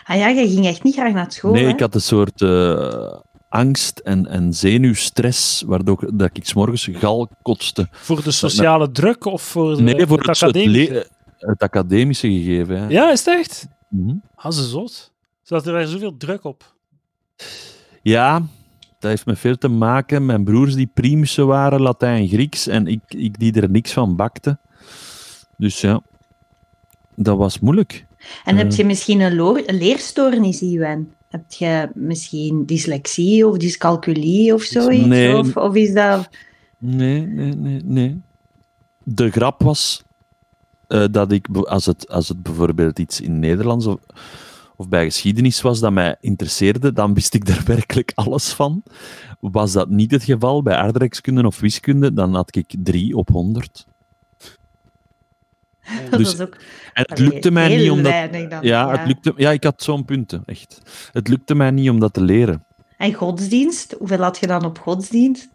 [SPEAKER 1] Ah ja, je ging echt niet graag naar school.
[SPEAKER 3] nee,
[SPEAKER 1] hè?
[SPEAKER 3] ik had een soort eh, angst en, en zenuwstress, waardoor dat ik s'morgens gal kotste.
[SPEAKER 2] Voor de sociale druk of voor, de,
[SPEAKER 3] nou, Nee, voor het,
[SPEAKER 2] het
[SPEAKER 3] soort le-
[SPEAKER 2] academische?
[SPEAKER 3] het academische gegeven. Ja.
[SPEAKER 2] Ja, is het echt?
[SPEAKER 3] Mhm.
[SPEAKER 2] Ah, ze zot. Zat er daar zoveel druk op?
[SPEAKER 3] Ja, dat heeft met veel te maken. Mijn broers die primussen waren, Latijn-Grieks, en ik, ik die er niks van bakte. Dus ja, dat was moeilijk.
[SPEAKER 1] En heb
[SPEAKER 3] Ja.
[SPEAKER 1] je misschien een, loor- een leerstoornis, Iwan? Heb je misschien dyslexie of dyscalculie of zoiets?
[SPEAKER 3] Dus Nee. Dus
[SPEAKER 1] Of, of is dat...
[SPEAKER 3] Nee, nee, nee, nee. De grap was eh, dat ik, be- als het, als het bijvoorbeeld iets in Nederlands of, of bij geschiedenis was dat mij interesseerde, dan wist ik daar werkelijk alles van. Was dat niet het geval bij aardrijkskunde of wiskunde, dan had ik drie op honderd.
[SPEAKER 1] Dat
[SPEAKER 3] Dus-
[SPEAKER 1] is ook
[SPEAKER 3] En het
[SPEAKER 1] allee,
[SPEAKER 3] lukte mij
[SPEAKER 1] heel
[SPEAKER 3] niet omdat...
[SPEAKER 1] weinig dan.
[SPEAKER 3] Ja, het lukte, ja, ik had zo'n punten, echt. Het lukte mij niet om dat te leren.
[SPEAKER 1] En godsdienst? Hoeveel had je dan op godsdienst?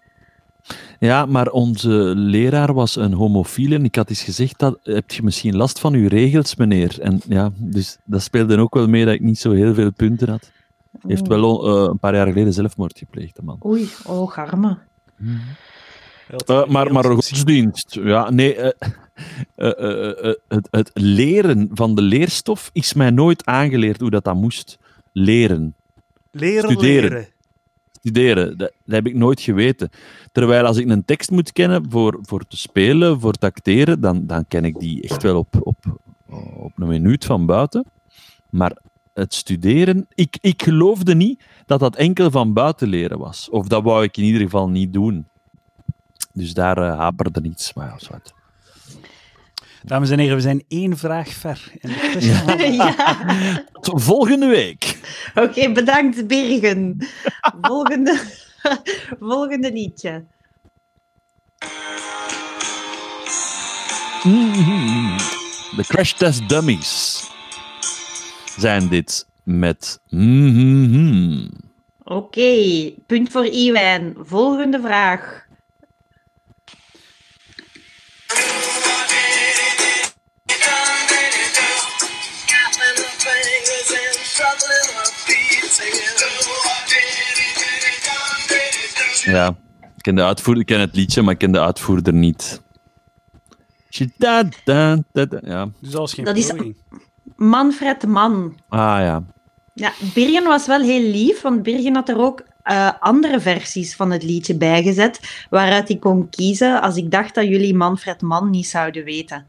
[SPEAKER 3] Ja, maar onze leraar was een homofiel en ik had eens gezegd dat heb je misschien last van uw regels, meneer. En ja, dus dat speelde ook wel mee dat ik niet zo heel veel punten had. Hij
[SPEAKER 1] Mm.
[SPEAKER 3] heeft wel eh, een paar jaar geleden zelfmoord gepleegd, de man.
[SPEAKER 1] Oei, oh, arme.
[SPEAKER 3] Eh, maar, maar godsdienst, ja, nee. eh, eh, eh, eh, het, het leren van de leerstof is mij nooit aangeleerd hoe dat, dat moest leren.
[SPEAKER 2] Leren,
[SPEAKER 3] studeren.
[SPEAKER 2] leren.
[SPEAKER 3] studeren. Dat, dat heb ik nooit geweten. Terwijl als ik een tekst moet kennen voor, voor te spelen, voor te acteren, dan, dan ken ik die echt wel op, op, op een minuut van buiten. Maar het studeren, ik, ik geloofde niet dat dat enkel van buiten leren was. Of dat wou ik in ieder geval niet doen. Dus daar eh, haperde niets. Maar ja, zwart.
[SPEAKER 2] Dames en heren, we zijn één vraag ver. In de quiz.
[SPEAKER 1] ja,
[SPEAKER 3] Tot volgende week.
[SPEAKER 1] oké, bedankt Bergen. Volgende, volgende liedje.
[SPEAKER 3] Mhm. De Crash Test Dummies zijn dit met. mhm.
[SPEAKER 1] Oké, punt voor Iwan. Volgende vraag.
[SPEAKER 3] Ja, ik ken, de uitvoerder, ik ken het liedje, maar ik ken de uitvoerder niet. Da, da, da, da. Ja,
[SPEAKER 2] Dus dat is geen
[SPEAKER 1] Dat is-
[SPEAKER 2] poging.
[SPEAKER 1] Manfred Mann.
[SPEAKER 3] ah ja.
[SPEAKER 1] Ja, Birgen was wel heel lief, want Birgen had er ook eh, andere versies van het liedje bijgezet, waaruit ik kon kiezen als ik dacht dat jullie Manfred Mann niet zouden weten.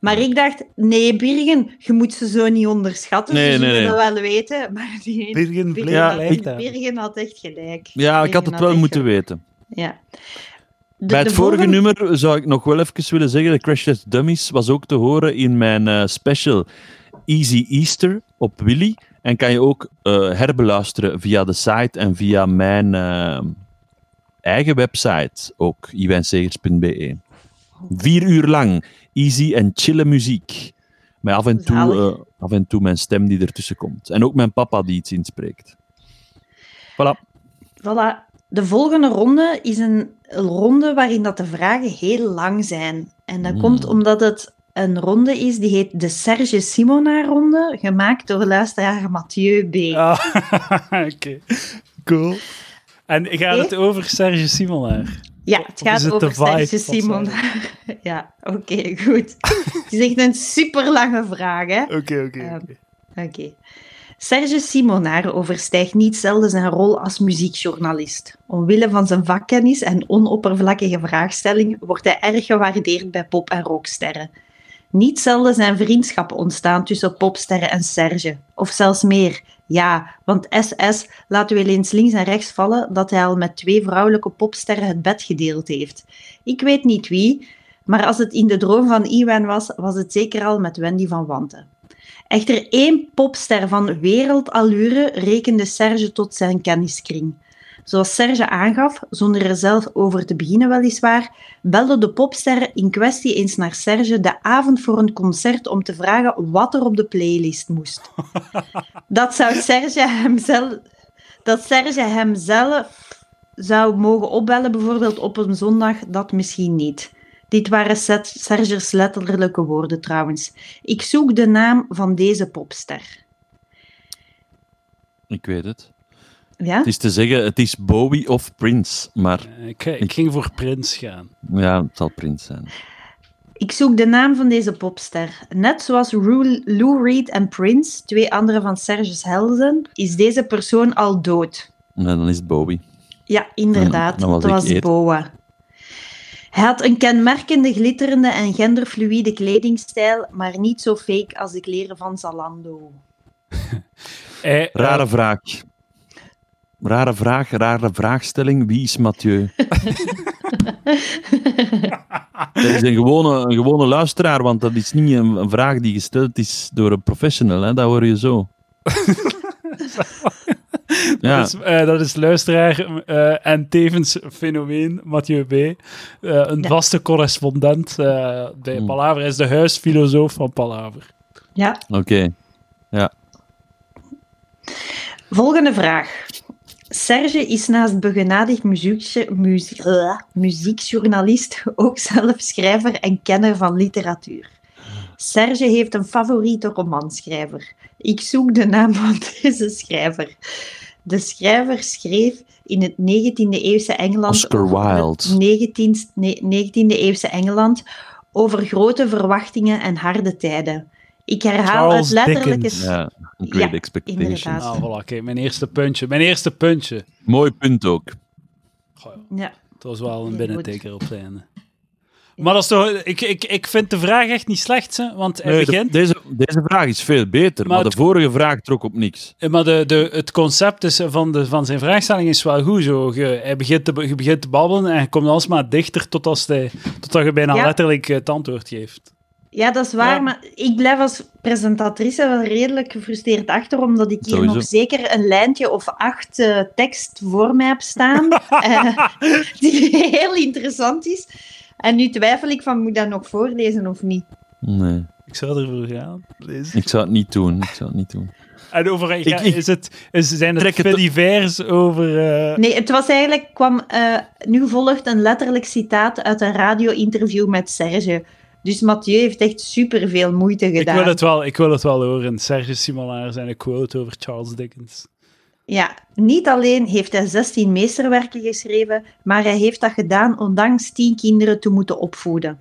[SPEAKER 1] Maar ik dacht, nee Birgen, je moet ze zo niet onderschatten,
[SPEAKER 3] Nee,
[SPEAKER 1] ze
[SPEAKER 3] nee,
[SPEAKER 1] zullen
[SPEAKER 3] nee.
[SPEAKER 1] dat wel weten. Maar nee,
[SPEAKER 2] Birgen
[SPEAKER 1] Birgen,
[SPEAKER 2] bleef
[SPEAKER 3] Ja,
[SPEAKER 1] had,
[SPEAKER 2] gelijk hebben.
[SPEAKER 1] Birgen had echt gelijk.
[SPEAKER 3] Ja, ik
[SPEAKER 1] Birgen
[SPEAKER 3] had het wel
[SPEAKER 1] echt
[SPEAKER 3] moeten
[SPEAKER 1] gelijk.
[SPEAKER 3] weten.
[SPEAKER 1] Ja. De-
[SPEAKER 3] Bij
[SPEAKER 1] de
[SPEAKER 3] het vorige
[SPEAKER 1] volgende-
[SPEAKER 3] nummer zou ik nog wel even willen zeggen: de Crash Test Dummies was ook te horen in mijn eh, special Easy Easter op Willy. En kan je ook eh, herbeluisteren via de site en via mijn eh, eigen website, ook iwijnsegers.be. Vier uur lang easy en chille muziek. Met af en, toe,
[SPEAKER 1] Zalig.
[SPEAKER 3] eh, af en toe mijn stem die ertussen komt. En ook mijn papa die iets inspreekt. Voilà.
[SPEAKER 1] Voilà. De volgende ronde is een ronde waarin dat de vragen heel lang zijn. En dat
[SPEAKER 3] Mm.
[SPEAKER 1] komt omdat het een ronde is die heet de Serge Simona-ronde, gemaakt door luisteraar Mathieu B.
[SPEAKER 2] Ah, Oké, cool. En gaat het over Serge Simonaar?
[SPEAKER 1] ja, het
[SPEAKER 2] of
[SPEAKER 1] gaat
[SPEAKER 2] is het
[SPEAKER 1] over
[SPEAKER 2] de vibe
[SPEAKER 1] Serge
[SPEAKER 2] of zo?
[SPEAKER 1] Simona. ja, oké, goed. het is echt een super lange vraag, hè?
[SPEAKER 2] Oké, oké.
[SPEAKER 1] Ehm,
[SPEAKER 2] oké.
[SPEAKER 1] Oké. Serge Simonaar overstijgt niet zelden zijn rol als muziekjournalist. Omwille van zijn vakkennis en onoppervlakkige vraagstelling wordt hij erg gewaardeerd bij pop- en rocksterren. Niet zelden zijn vriendschappen ontstaan tussen popsterren en Serge. Of zelfs meer. Ja, want SS laat wel eens links en rechts vallen dat hij al met twee vrouwelijke popsterren het bed gedeeld heeft. Ik weet niet wie, maar als het in de droom van Iwan was, was het zeker al met Wendy van Wanten. Echter één popster van wereldallure rekende Serge tot zijn kenniskring. Zoals Serge aangaf, zonder er zelf over te beginnen weliswaar, belde de popster in kwestie eens naar Serge de avond voor een concert om te vragen wat er op de playlist moest. Dat zou Serge hem zelf, dat Serge hem zelf zou mogen opbellen, bijvoorbeeld op een zondag, dat misschien niet. Dit waren Set- Serge's letterlijke woorden trouwens. Ik zoek de naam van deze popster.
[SPEAKER 3] Ik weet het.
[SPEAKER 1] Ja?
[SPEAKER 3] Het is te zeggen, het is Bowie of Prince. Maar
[SPEAKER 2] Ik, ik ging voor Prins gaan.
[SPEAKER 3] ja, het zal Prince zijn.
[SPEAKER 1] Ik zoek de naam van deze popster. Net zoals Ru- Lou Reed en Prince, twee andere van Serge's helden, is deze persoon al dood.
[SPEAKER 3] Nou, dan is het Bowie.
[SPEAKER 1] Ja, inderdaad.
[SPEAKER 3] Dan was
[SPEAKER 1] dat
[SPEAKER 3] ik
[SPEAKER 1] was
[SPEAKER 3] eerder.
[SPEAKER 1] Boa. Hij had een kenmerkende, glitterende en genderfluïde kledingstijl, maar niet zo fake als de kleren van Zalando.
[SPEAKER 2] Eh,
[SPEAKER 3] Rare vraag. Rare vraag, rare vraagstelling. Wie is Mathieu? dat is een gewone, een gewone luisteraar, want dat is niet een, een vraag die gesteld is door een professional. Hè? Dat hoor je zo.
[SPEAKER 2] eh,
[SPEAKER 3] ja,
[SPEAKER 2] dat, is, eh, dat is luisteraar eh, en tevens fenomeen, Mathieu B. Eh, een
[SPEAKER 1] Ja.
[SPEAKER 2] vaste correspondent eh, bij
[SPEAKER 3] Hmm.
[SPEAKER 2] Palaver. Hij is de huisfilosoof van Palaver.
[SPEAKER 1] Ja.
[SPEAKER 3] oké.
[SPEAKER 1] Volgende vraag. Serge is naast begenadigd muziekje- muzie- eh, muziekjournalist ook zelf schrijver en kenner van literatuur. Serge heeft een favoriete romanschrijver. Ik zoek de naam van deze schrijver. De schrijver schreef in het 19e-eeuwse Engeland.
[SPEAKER 3] Oscar Wilde.
[SPEAKER 1] 19, nee, 19e-eeuwse Engeland over grote verwachtingen en harde tijden. Ik herhaal
[SPEAKER 2] Charles
[SPEAKER 1] het letterlijke.
[SPEAKER 2] Dickens.
[SPEAKER 3] Ja, great
[SPEAKER 1] Ja,
[SPEAKER 3] expectations.
[SPEAKER 1] inderdaad.
[SPEAKER 2] Ah, voilà, kijk, mijn eerste puntje. Mijn eerste puntje.
[SPEAKER 3] Mooi punt ook.
[SPEAKER 2] Goh, ja,
[SPEAKER 1] Ja.
[SPEAKER 2] het was wel een
[SPEAKER 1] Heel
[SPEAKER 2] binnenteker op het einde. Maar dat is toch, ik, ik, ik vind de vraag echt niet slecht, hè, want hij
[SPEAKER 3] Nee, de-
[SPEAKER 2] begint...
[SPEAKER 3] deze, deze vraag is veel beter,
[SPEAKER 2] Maar
[SPEAKER 3] maar,
[SPEAKER 2] het-
[SPEAKER 3] de vorige vraag trok op niks.
[SPEAKER 2] Eh, Maar de, de, het concept is eh, van, de, van zijn vraagstelling is wel goed. Zo. Je, hij begint te, je begint te babbelen en je komt alsmaar dichter tot als hij, totdat je bijna
[SPEAKER 1] Ja.
[SPEAKER 2] letterlijk eh, het antwoord geeft.
[SPEAKER 1] Ja, dat is waar,
[SPEAKER 2] Ja.
[SPEAKER 1] maar ik blijf als presentatrice wel redelijk gefrustreerd achter, omdat ik hier
[SPEAKER 3] Sowieso.
[SPEAKER 1] nog zeker een lijntje of acht eh, tekst voor mij heb staan, eh, die heel interessant is. En nu twijfel ik van, moet ik dat nog voorlezen of niet?
[SPEAKER 3] Nee,
[SPEAKER 2] Ik zou ervoor gaan.
[SPEAKER 3] ik zou het niet doen. Ik zou het niet doen.
[SPEAKER 2] En over, ja,
[SPEAKER 3] ik-
[SPEAKER 2] is het, is, zijn het
[SPEAKER 3] Trek het-
[SPEAKER 2] divers over... eh,
[SPEAKER 1] Nee, het was eigenlijk, kwam, eh, nu volgt een letterlijk citaat uit een radio-interview met Serge. Dus Mathieu heeft echt superveel moeite
[SPEAKER 2] ik,
[SPEAKER 1] gedaan.
[SPEAKER 2] wil het wel, ik wil het wel horen. Serge Simolaar zijn een quote over Charles Dickens.
[SPEAKER 1] Ja, niet alleen heeft hij 16 meesterwerken geschreven, maar hij heeft dat gedaan ondanks 10 kinderen te moeten opvoeden.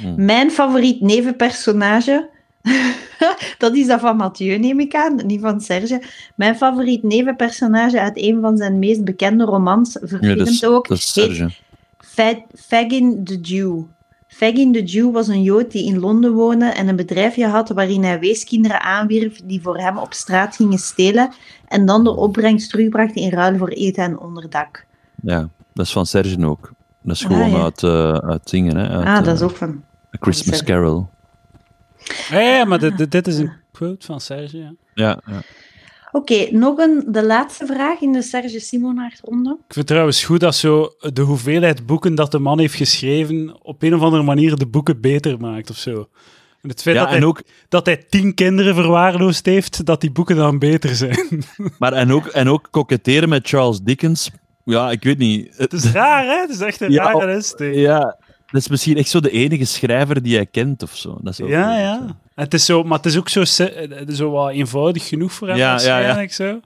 [SPEAKER 3] Hmm.
[SPEAKER 1] Mijn favoriet nevenpersonage, dat is dat van Mathieu, neem ik aan, niet van Serge. Mijn favoriet nevenpersonage uit een van zijn meest bekende romans,
[SPEAKER 3] Nee,
[SPEAKER 1] verfilmd
[SPEAKER 3] dat is,
[SPEAKER 1] ook,
[SPEAKER 3] dat is
[SPEAKER 1] heet
[SPEAKER 3] Serge.
[SPEAKER 1] Fa- Fagin the Jew. Fagin the Jew was een Jood die in Londen woonde en een bedrijfje had waarin hij weeskinderen aanwierf die voor hem op straat gingen stelen en dan de opbrengst terugbracht in ruil voor eten en onderdak.
[SPEAKER 3] Ja, dat is van Serge ook. Dat is
[SPEAKER 1] Ah,
[SPEAKER 3] gewoon
[SPEAKER 1] ja.
[SPEAKER 3] uit, eh uit dingen, hè? Uit,
[SPEAKER 1] ah, dat is
[SPEAKER 3] eh,
[SPEAKER 1] ook van...
[SPEAKER 3] A Christmas
[SPEAKER 1] Serge.
[SPEAKER 3] Carol.
[SPEAKER 2] Ja, ja, maar dit, dit- dit is een quote van Serge, ja.
[SPEAKER 3] Ja, ja.
[SPEAKER 1] Oké, nog een, de laatste vraag in de Serge Simonaert ronde.
[SPEAKER 2] Ik vind het trouwens goed dat zo de hoeveelheid boeken dat de man heeft geschreven op een of andere manier de boeken beter maakt of zo. En het feit
[SPEAKER 3] Ja,
[SPEAKER 2] dat,
[SPEAKER 3] en
[SPEAKER 2] hij,
[SPEAKER 3] ook,
[SPEAKER 2] dat hij tien kinderen verwaarloosd heeft, dat die boeken dan beter zijn.
[SPEAKER 3] maar en ook, en ook koketteren met Charles Dickens. Ja, ik weet niet.
[SPEAKER 2] Het
[SPEAKER 3] Het-
[SPEAKER 2] is raar, hè? Het is echt een
[SPEAKER 3] Ja,
[SPEAKER 2] rare insteek.
[SPEAKER 3] ja, dat is misschien echt zo de enige schrijver die hij kent of zo. Dat is ook
[SPEAKER 2] Ja,
[SPEAKER 3] leuk,
[SPEAKER 2] ja.
[SPEAKER 3] zo.
[SPEAKER 2] En Het is zo, maar het is ook zo, se- eh, zo wat eenvoudig genoeg voor hem
[SPEAKER 3] Ja, ja, ja.
[SPEAKER 2] waarschijnlijk zo.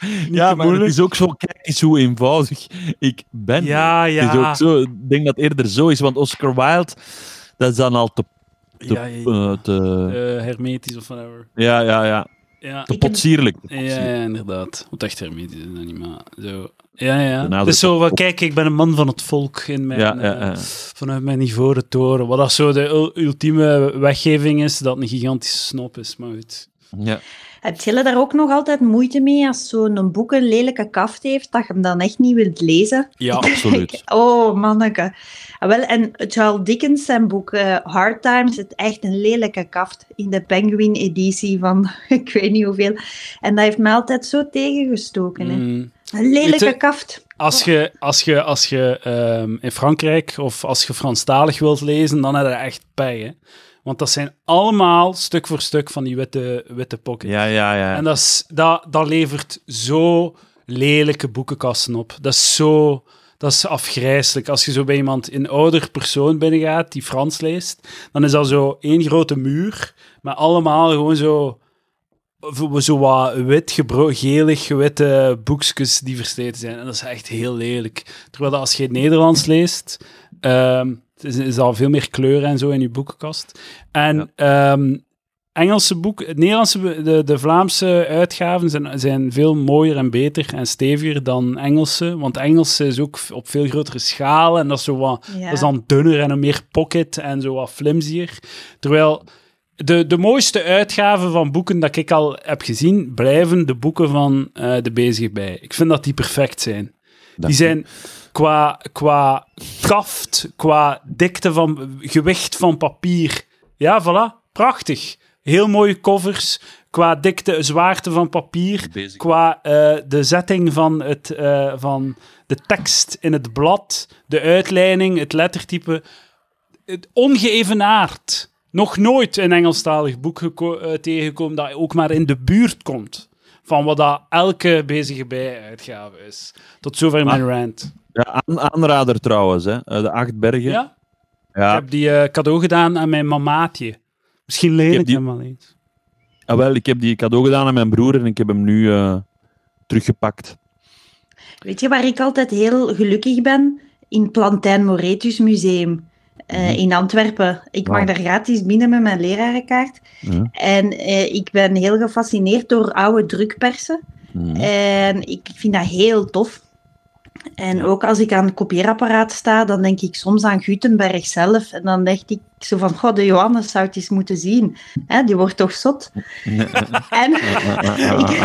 [SPEAKER 2] Niet
[SPEAKER 3] Ja,
[SPEAKER 2] te
[SPEAKER 3] maar het
[SPEAKER 2] moeilijk.
[SPEAKER 3] is ook zo, kijk eens hoe eenvoudig ik ben.
[SPEAKER 2] Ja, ja.
[SPEAKER 3] Het is ook zo, ik denk dat het eerder zo is, want Oscar Wilde, dat is dan al te... te,
[SPEAKER 2] Ja, ja, ja.
[SPEAKER 3] eh, te-
[SPEAKER 2] Eh, hermetisch of whatever.
[SPEAKER 3] ja, ja, ja.
[SPEAKER 2] Ja,
[SPEAKER 3] Te
[SPEAKER 1] Ik heb-
[SPEAKER 3] potsierlijk. te
[SPEAKER 2] ja,
[SPEAKER 3] potsierlijk.
[SPEAKER 2] ja, inderdaad. Wat echt hermetisch is dat niet, maar zo. Ja, ja.
[SPEAKER 3] Daarna
[SPEAKER 2] Het is
[SPEAKER 3] zit
[SPEAKER 2] zo,
[SPEAKER 3] dat
[SPEAKER 2] wat,
[SPEAKER 3] op-
[SPEAKER 2] kijk, ik ben een man van het volk in mijn,
[SPEAKER 3] Ja, ja,
[SPEAKER 2] eh,
[SPEAKER 3] ja.
[SPEAKER 2] vanuit mijn ivoren toren. Wat dat zo de ul- ultieme weggeving is, dat een gigantische snop is. Maar goed.
[SPEAKER 3] Ja.
[SPEAKER 1] Heb jullie daar ook nog altijd moeite mee als zo'n boek een lelijke kaft heeft, dat je hem dan echt niet wilt lezen?
[SPEAKER 2] Ja,
[SPEAKER 3] Absoluut.
[SPEAKER 1] Oh, manneke. Ah, Wel, en Charles Dickens zijn boek eh, Hard Times, het echt een lelijke kaft in de Penguin-editie van ik weet niet hoeveel. En dat heeft mij altijd zo tegengestoken. hè.
[SPEAKER 2] Mm.
[SPEAKER 1] Een lelijke
[SPEAKER 2] Weet je-
[SPEAKER 1] kaft.
[SPEAKER 2] Als je, als je, als je ehm, in Frankrijk of als je Franstalig wilt lezen, dan heb je echt pij. Hè? Want dat zijn allemaal stuk voor stuk van die witte, witte pockets.
[SPEAKER 3] Ja, ja, ja.
[SPEAKER 2] En dat, is, dat, dat levert zo lelijke boekenkasten op. Dat is zo... Dat is afgrijselijk. Als je zo bij iemand, een ouder persoon binnengaat die Frans leest, dan is dat zo één grote muur, maar allemaal gewoon zo, v- zo wat wit, gebro- gelig witte boekjes die versleten zijn. En dat is echt heel lelijk. Terwijl dat als je het Nederlands leest, ehm, het is, is al veel meer kleur en zo in je boekenkast. En ehm, Engelse boek, het Nederlandse, be- de, de Vlaamse uitgaven zijn, zijn veel mooier en beter en steviger dan Engelse. Want Engelse is ook v- op veel grotere schaal en dat is, zo wat,
[SPEAKER 1] Ja.
[SPEAKER 2] dat is dan dunner en een meer pocket en zo wat flimsier. Terwijl de, de mooiste uitgaven van boeken dat ik al heb gezien, blijven de boeken van eh, De Bezige Bij. Ik vind dat die perfect zijn.
[SPEAKER 3] Dat-
[SPEAKER 2] Die zijn qua, qua kracht, qua dikte van gewicht van papier. Ja, voilà. Prachtig. Heel mooie covers. Qua dikte, zwaarte van papier.
[SPEAKER 3] Bezig.
[SPEAKER 2] Qua eh, de zetting van, het, eh, van de tekst in het blad. De uitleiding, het lettertype. Het ongeëvenaard. Nog nooit een Engelstalig boek geko- eh, tegengekomen dat ook maar in de buurt komt. Van wat dat elke bezige bij-uitgave is. Tot zover mijn rant.
[SPEAKER 3] Ja, aan- aanrader trouwens, hè. Eh, De Acht Bergen.
[SPEAKER 2] Ja?
[SPEAKER 3] Ja.
[SPEAKER 2] Ik heb die eh, cadeau gedaan aan mijn mamaatje. Misschien leen
[SPEAKER 3] Ik
[SPEAKER 2] ik,
[SPEAKER 3] heb die-
[SPEAKER 2] hem wel eens.
[SPEAKER 3] Ah, wel, ik heb die cadeau gedaan aan mijn broer en ik heb hem nu eh, teruggepakt.
[SPEAKER 1] Weet je waar ik altijd heel gelukkig ben? In Plantijn Moretus Museum eh,
[SPEAKER 3] Mhm.
[SPEAKER 1] in Antwerpen. Ik mag
[SPEAKER 3] Wauw.
[SPEAKER 1] daar gratis binnen met mijn lerarenkaart.
[SPEAKER 3] Ja.
[SPEAKER 1] En eh, ik ben heel gefascineerd door oude drukpersen.
[SPEAKER 3] Mhm.
[SPEAKER 1] En ik vind dat heel tof. En ook als ik aan het kopieerapparaat sta, dan denk ik soms aan Gutenberg zelf. En dan denk ik zo van, god, de Johannes zou het eens moeten zien. Hè, die wordt toch zot? en ik,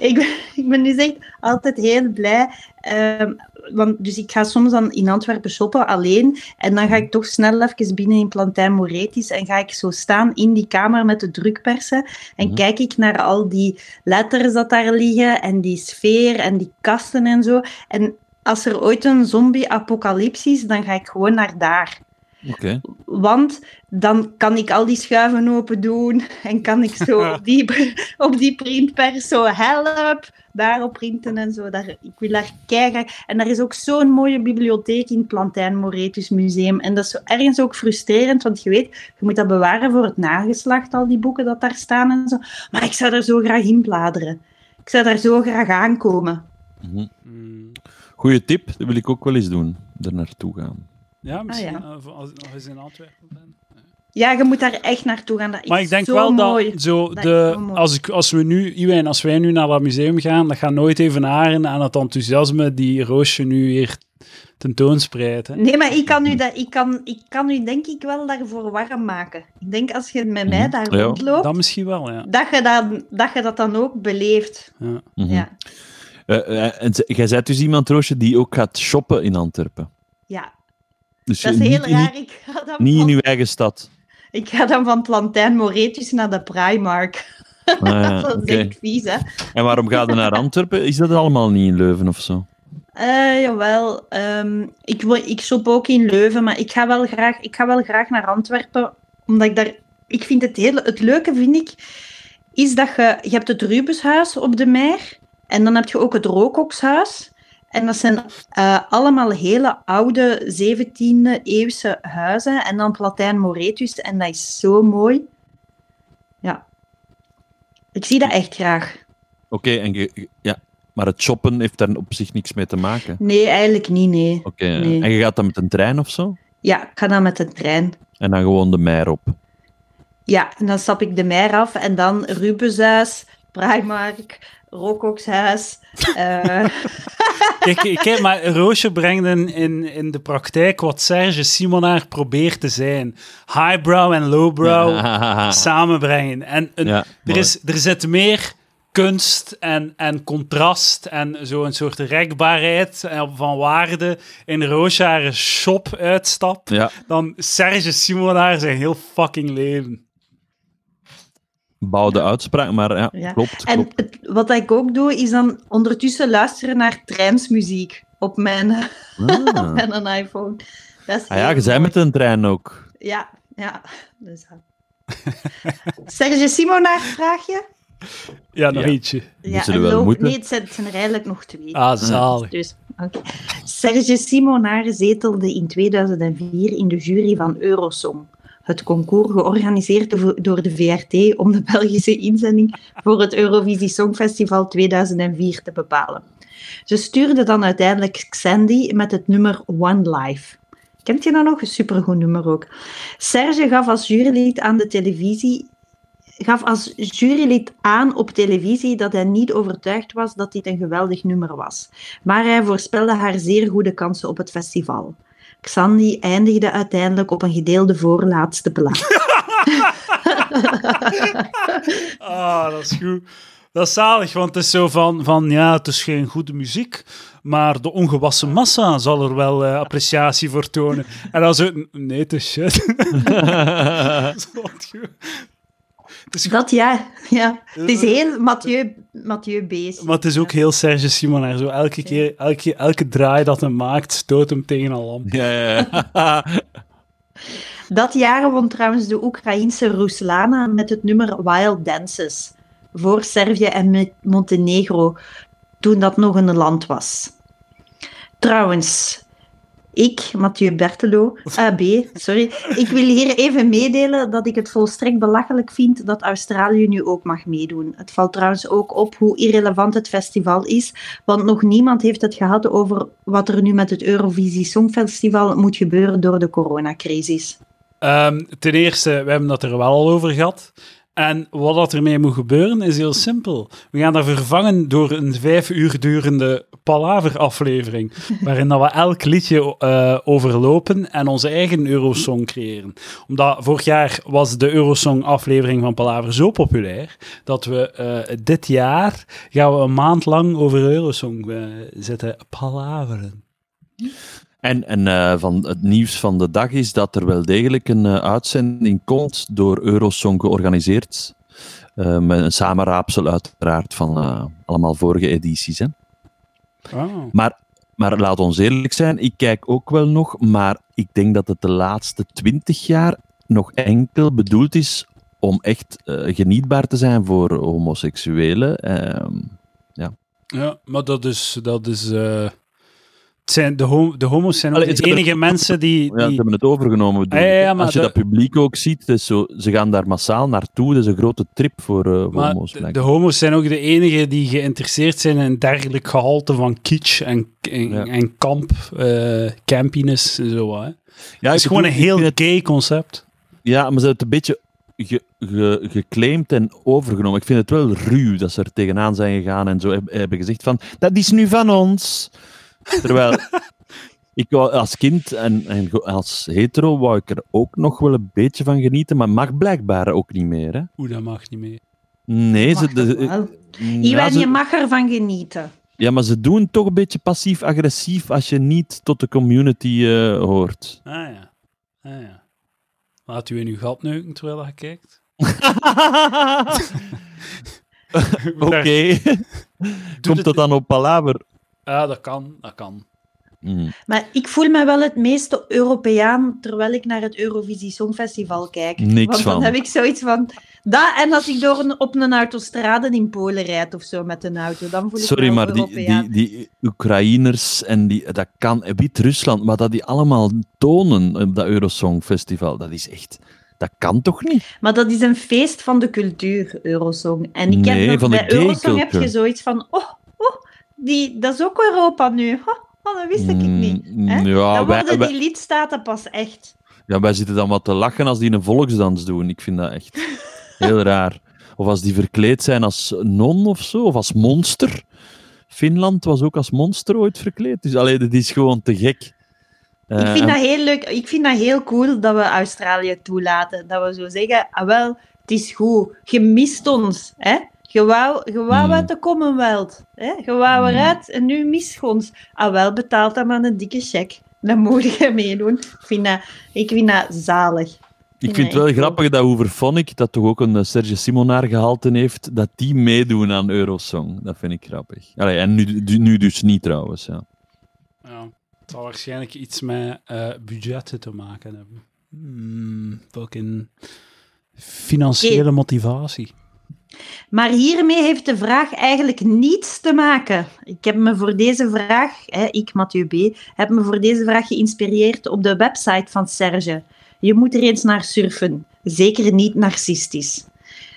[SPEAKER 1] ik, ben- ik ben dus echt altijd heel blij. ehm, want, dus ik ga soms dan in Antwerpen shoppen alleen. En dan ga ik toch snel even binnen in Plantijn Moretis. En ga ik zo staan in die kamer met de drukpersen. En
[SPEAKER 3] Mhm.
[SPEAKER 1] kijk ik naar al die letters dat daar liggen. En die sfeer en die kasten en zo. En als er ooit een zombie-apocalyps is, dan ga ik gewoon naar daar.
[SPEAKER 3] Oké.
[SPEAKER 1] Want dan kan ik al die schuiven open doen en kan ik zo op die, pr- op die printpers zo help daarop printen en zo. Daar, ik wil daar kijken. En daar is ook zo'n mooie bibliotheek in het Plantijn Moretus Museum. En dat is zo ergens ook frustrerend, want je weet, je moet dat bewaren voor het nageslacht, al die boeken dat daar staan en zo. Maar ik zou daar zo graag in bladeren. Ik zou daar zo graag aankomen.
[SPEAKER 3] Mhm.
[SPEAKER 2] Mm.
[SPEAKER 3] Goeie tip, dat wil ik ook wel eens doen. Er naartoe gaan.
[SPEAKER 2] Ja, misschien
[SPEAKER 1] Ah, ja.
[SPEAKER 2] eh, voor als als je in Antwerpen bent.
[SPEAKER 1] Ja, je moet daar echt naartoe gaan. Dat
[SPEAKER 2] Maar
[SPEAKER 1] is
[SPEAKER 2] ik denk
[SPEAKER 1] zo
[SPEAKER 2] wel
[SPEAKER 1] mooi.
[SPEAKER 2] dat, zo
[SPEAKER 1] Dat
[SPEAKER 2] de,
[SPEAKER 1] is zo mooi.
[SPEAKER 2] als, ik, als we nu, Iwijn, als wij nu naar dat museum gaan, dat gaat nooit even haren aan het enthousiasme die Roosje nu hier tentoonspreidt. Hè.
[SPEAKER 1] Nee, maar ik kan, u dat, ik, kan, ik kan u denk ik wel daarvoor warm maken. Ik denk als je met mij
[SPEAKER 3] Mhm.
[SPEAKER 1] daar
[SPEAKER 3] Ja.
[SPEAKER 1] rondloopt,
[SPEAKER 2] Dat misschien wel, ja.
[SPEAKER 1] dat, je dan, dat je dat dan ook beleeft.
[SPEAKER 2] ja.
[SPEAKER 3] Mhm.
[SPEAKER 1] Ja.
[SPEAKER 3] Eh, eh, en z- jij bent dus iemand, Roosje, die ook gaat shoppen in Antwerpen.
[SPEAKER 1] ja,
[SPEAKER 3] Dus
[SPEAKER 1] dat
[SPEAKER 3] je-
[SPEAKER 1] is heel
[SPEAKER 3] niet,
[SPEAKER 1] raar. Ik ga, dan
[SPEAKER 3] Niet, niet in
[SPEAKER 1] van,
[SPEAKER 3] uw eigen stad.
[SPEAKER 1] ik ga dan van Plantijn Moretus naar de Primark.
[SPEAKER 3] Ah, ja,
[SPEAKER 1] dat is
[SPEAKER 3] oké.
[SPEAKER 1] echt vies, hè?
[SPEAKER 3] En waarom gaat je naar Antwerpen? Is dat allemaal niet in Leuven of zo?
[SPEAKER 1] Eh, jawel, ehm, ik, wo- ik shop ook in Leuven, maar ik ga wel graag, ik ga wel graag naar Antwerpen, omdat ik daar... Ik vind het hele... Het leuke, vind ik, is dat je... Je hebt het Rubenshuis op de Meer, en dan heb je ook het Rookokshuis. En dat zijn eh, allemaal hele oude 17e-eeuwse huizen. En dan Platijn Moretus, en dat is zo mooi. Ja. Ik zie dat echt graag.
[SPEAKER 3] Oké, en je- je- ja. maar het shoppen heeft daar op zich niks mee te maken.
[SPEAKER 1] Nee, eigenlijk niet, nee.
[SPEAKER 3] Oké,
[SPEAKER 1] Nee.
[SPEAKER 3] en je gaat dan met een trein of zo?
[SPEAKER 1] Ja, ik ga dan met de trein.
[SPEAKER 3] En dan gewoon de meier op.
[SPEAKER 1] Ja, en dan stap ik de Meer af en dan Rubenshuis, Primark, Rokokshuis. eh,
[SPEAKER 2] Kijk, kijk, maar Roosje brengt in, in, in de praktijk wat Serge Simonaar probeert te zijn. Highbrow en lowbrow samenbrengen. En een,
[SPEAKER 3] Ja,
[SPEAKER 2] er,
[SPEAKER 3] mooi.
[SPEAKER 2] is, er zit meer kunst en, en contrast en zo'n soort rekbaarheid eh, van waarde in Roosje haar shop-uitstap
[SPEAKER 3] Ja,
[SPEAKER 2] dan Serge Simonaar zijn heel fucking leven.
[SPEAKER 3] bouwde uitspraak, maar ja,
[SPEAKER 1] Ja.
[SPEAKER 3] klopt.
[SPEAKER 1] en
[SPEAKER 3] klopt.
[SPEAKER 1] het- wat ik ook doe, is dan ondertussen luisteren naar tramsmuziek op mijn,
[SPEAKER 3] Ah.
[SPEAKER 1] met een iPhone. Dat is
[SPEAKER 3] Ah ja, je
[SPEAKER 1] heel
[SPEAKER 3] bent
[SPEAKER 1] mooi.
[SPEAKER 3] met een trein ook.
[SPEAKER 1] Ja, ja. Dus, ja. Serge Simonaar, vraag je?
[SPEAKER 2] Ja, nog
[SPEAKER 3] Ja.
[SPEAKER 2] ietsje.
[SPEAKER 1] Ja,
[SPEAKER 3] Moeten we
[SPEAKER 1] en
[SPEAKER 3] wel
[SPEAKER 1] Lo-
[SPEAKER 3] moeten?
[SPEAKER 1] Nee, het zijn, het zijn er eigenlijk nog twee.
[SPEAKER 2] Ah, zalig.
[SPEAKER 1] Dus, oké. Serge Simonaar zetelde in 2004 in de jury van Eurosong. Het concours georganiseerd dovo- door de VRT om de Belgische inzending voor het Eurovisie Songfestival 2004 te bepalen. Ze stuurde dan uiteindelijk Xandy met het nummer One Life. Kent je dat nog? Een supergoed nummer ook. Serge gaf als jurylid aan de televisie gaf als jurylid aan op televisie dat hij niet overtuigd was dat dit een geweldig nummer was. Maar hij voorspelde haar zeer goede kansen op het festival. Xandi eindigde uiteindelijk op een gedeelde voorlaatste plaats.
[SPEAKER 2] Ah, dat is goed. Dat is zalig, want het is zo van, van, ja, het is geen goede muziek, maar de ongewassen massa zal er wel eh, appreciatie voor tonen. En dan zo, nee, het is shit. Dat is wat goed. Het is goed,
[SPEAKER 1] Dat ja, ja. Het is heel Mathieu, Mathieu Bees.
[SPEAKER 2] maar het is ook heel Serge Simonaar. Zo elke keer, elke, elke draai dat hij maakt, stoot hem tegen een lamp.
[SPEAKER 3] Ja, ja, ja.
[SPEAKER 1] Dat jaar won trouwens de Oekraïense Ruslana met het nummer Wild Dances voor Servië en Me- Montenegro toen dat nog een land was. Trouwens, ik, Mathieu Bertelo, AB, sorry, ik wil hier even meedelen dat ik het volstrekt belachelijk vind dat Australië nu ook mag meedoen. Het valt trouwens ook op hoe irrelevant het festival is, want nog niemand heeft het gehad over wat er nu met het Eurovisie Songfestival moet gebeuren door de coronacrisis.
[SPEAKER 2] Ehm, ten eerste, we hebben dat er wel al over gehad. En wat dat ermee moet gebeuren is heel simpel. We gaan dat vervangen door een vijf uur durende palaveraflevering. Waarin dat we elk liedje eh, overlopen en onze eigen Eurosong creëren. Omdat vorig jaar was de Eurosong-aflevering van Palaver zo populair. dat we eh, dit jaar gaan we een maand lang over Eurosong eh, zitten palaveren.
[SPEAKER 3] En, en eh, van het nieuws van de dag is dat er wel degelijk een eh, uitzending komt door Eurosong georganiseerd. Eh, met een samenraapsel uiteraard van eh, allemaal vorige edities. Hè. Maar, maar laat ons eerlijk zijn, ik kijk ook wel nog, maar ik denk dat het de laatste twintig jaar nog enkel bedoeld is om echt eh, genietbaar te zijn voor homoseksuelen. Ehm,
[SPEAKER 2] Ja, maar dat is. Dat is eh, het zijn de, hom- de homo's zijn ook
[SPEAKER 3] Allee,
[SPEAKER 2] de
[SPEAKER 3] het-
[SPEAKER 2] enige mensen die.
[SPEAKER 3] Ja, ze
[SPEAKER 2] die
[SPEAKER 3] hebben het overgenomen. bedoel
[SPEAKER 2] Ah, ja,
[SPEAKER 3] ik, hè.
[SPEAKER 2] ja, maar
[SPEAKER 3] Als je
[SPEAKER 2] de-
[SPEAKER 3] dat publiek ook ziet, het is zo, ze gaan daar massaal naartoe. Dat is een grote trip voor, eh voor
[SPEAKER 2] maar
[SPEAKER 3] homo's.
[SPEAKER 2] de, de
[SPEAKER 3] blijkbaar.
[SPEAKER 2] homo's zijn ook de enige die geïnteresseerd zijn in dergelijk gehalte van kitsch en, en,
[SPEAKER 3] Ja.
[SPEAKER 2] en kamp, eh campiness en zo. Hè.
[SPEAKER 3] ja,
[SPEAKER 2] Het
[SPEAKER 3] ik
[SPEAKER 2] is gewoon een
[SPEAKER 3] bedoel, ik
[SPEAKER 2] heel
[SPEAKER 3] vind het-
[SPEAKER 2] gay concept.
[SPEAKER 3] ja, maar ze hebben het een beetje ge, ge- geclaimd en overgenomen. Ik vind het wel ruw dat ze er tegenaan zijn gegaan en zo heb- hebben gezegd van, dat is nu van ons. Terwijl... Ik wou als kind en, en go- als hetero wou ik er ook nog wel een beetje van genieten, maar mag blijkbaar ook niet meer. Hè?
[SPEAKER 2] Oeh, dat mag niet meer.
[SPEAKER 3] Nee,
[SPEAKER 1] Mag
[SPEAKER 3] ze, de,
[SPEAKER 1] toch wel?
[SPEAKER 3] ja,
[SPEAKER 1] Iwan,
[SPEAKER 3] ze-
[SPEAKER 1] je mag ervan genieten.
[SPEAKER 3] Ja, maar ze doen toch een beetje passief-agressief als je niet tot de community eh, hoort.
[SPEAKER 2] Ah ja. Ah, ja. Laat u in uw gat neuken terwijl je kijkt.
[SPEAKER 3] Oké. Komt dat dan op palaver?
[SPEAKER 2] Ja, Ah, dat kan. Dat kan.
[SPEAKER 3] Hmm.
[SPEAKER 1] Maar ik voel me wel het meeste Europeaan terwijl ik naar het Eurovisie Songfestival kijk.
[SPEAKER 3] Niks
[SPEAKER 1] Want
[SPEAKER 3] van.
[SPEAKER 1] dan heb ik zoiets van... Dat, en als ik door een, op een autostrade in Polen rijd of zo met een auto, dan voel ik
[SPEAKER 3] Sorry,
[SPEAKER 1] me wel
[SPEAKER 3] maar die,
[SPEAKER 1] Europeaan.
[SPEAKER 3] die, die Oekraïners en die, dat kan, eh, Wit-Rusland, maar dat die allemaal tonen op dat Eurosong Festival, dat is echt, dat kan toch niet?
[SPEAKER 1] Maar dat is een feest van de cultuur, Eurosong. En ik heb
[SPEAKER 3] Nee,
[SPEAKER 1] nog-
[SPEAKER 3] van de
[SPEAKER 1] bij Eurosong heb
[SPEAKER 3] gayculture.
[SPEAKER 1] je zoiets van... Oh, oh die, dat is ook Europa nu. Oh, oh, dat wist ik niet.
[SPEAKER 3] Hmm,
[SPEAKER 1] hè?
[SPEAKER 3] Ja
[SPEAKER 1] dan
[SPEAKER 3] wij,
[SPEAKER 1] worden
[SPEAKER 3] wij-
[SPEAKER 1] die lidstaten pas echt.
[SPEAKER 3] ja, wij zitten dan wat te lachen als die een volksdans doen. Ik vind dat echt heel raar. Of als die verkleed zijn als non of zo, of als monster. Finland was ook als monster ooit verkleed. Dus alleen dat is gewoon te gek.
[SPEAKER 1] Ik
[SPEAKER 3] Eh,
[SPEAKER 1] vind
[SPEAKER 3] en-
[SPEAKER 1] dat heel leuk. Ik vind dat heel cool dat we Australië toelaten. Dat we zo zeggen, ah wel, het is goed. Je mist ons, hè. Je wou, je wou
[SPEAKER 3] Hmm.
[SPEAKER 1] uit de Commonwealth. Hè? Je wou
[SPEAKER 3] Hmm.
[SPEAKER 1] eruit en nu mis je ons. Ah wel, betaalt dat maar een dikke cheque. Dan moet je meedoen. Ik vind dat, ik vind dat zalig.
[SPEAKER 3] Ik vind het
[SPEAKER 1] Nee,
[SPEAKER 3] wel
[SPEAKER 1] ik ook.
[SPEAKER 3] grappig dat Hooverphonic, dat toch ook een eh, Serge Simonaar gehalte heeft, dat die meedoen aan Eurosong. Dat vind ik grappig. Allee, en nu, du- nu dus niet trouwens. Ja.
[SPEAKER 2] Ja, het zal waarschijnlijk iets met eh, budgetten te maken hebben. Hmm, fucking financiële motivatie.
[SPEAKER 1] Maar hiermee heeft de vraag eigenlijk niets te maken. Ik heb me voor deze vraag, hè, ik Mathieu B, heb me voor deze vraag geïnspireerd op de website van Serge. Je moet er eens naar surfen, zeker niet narcistisch.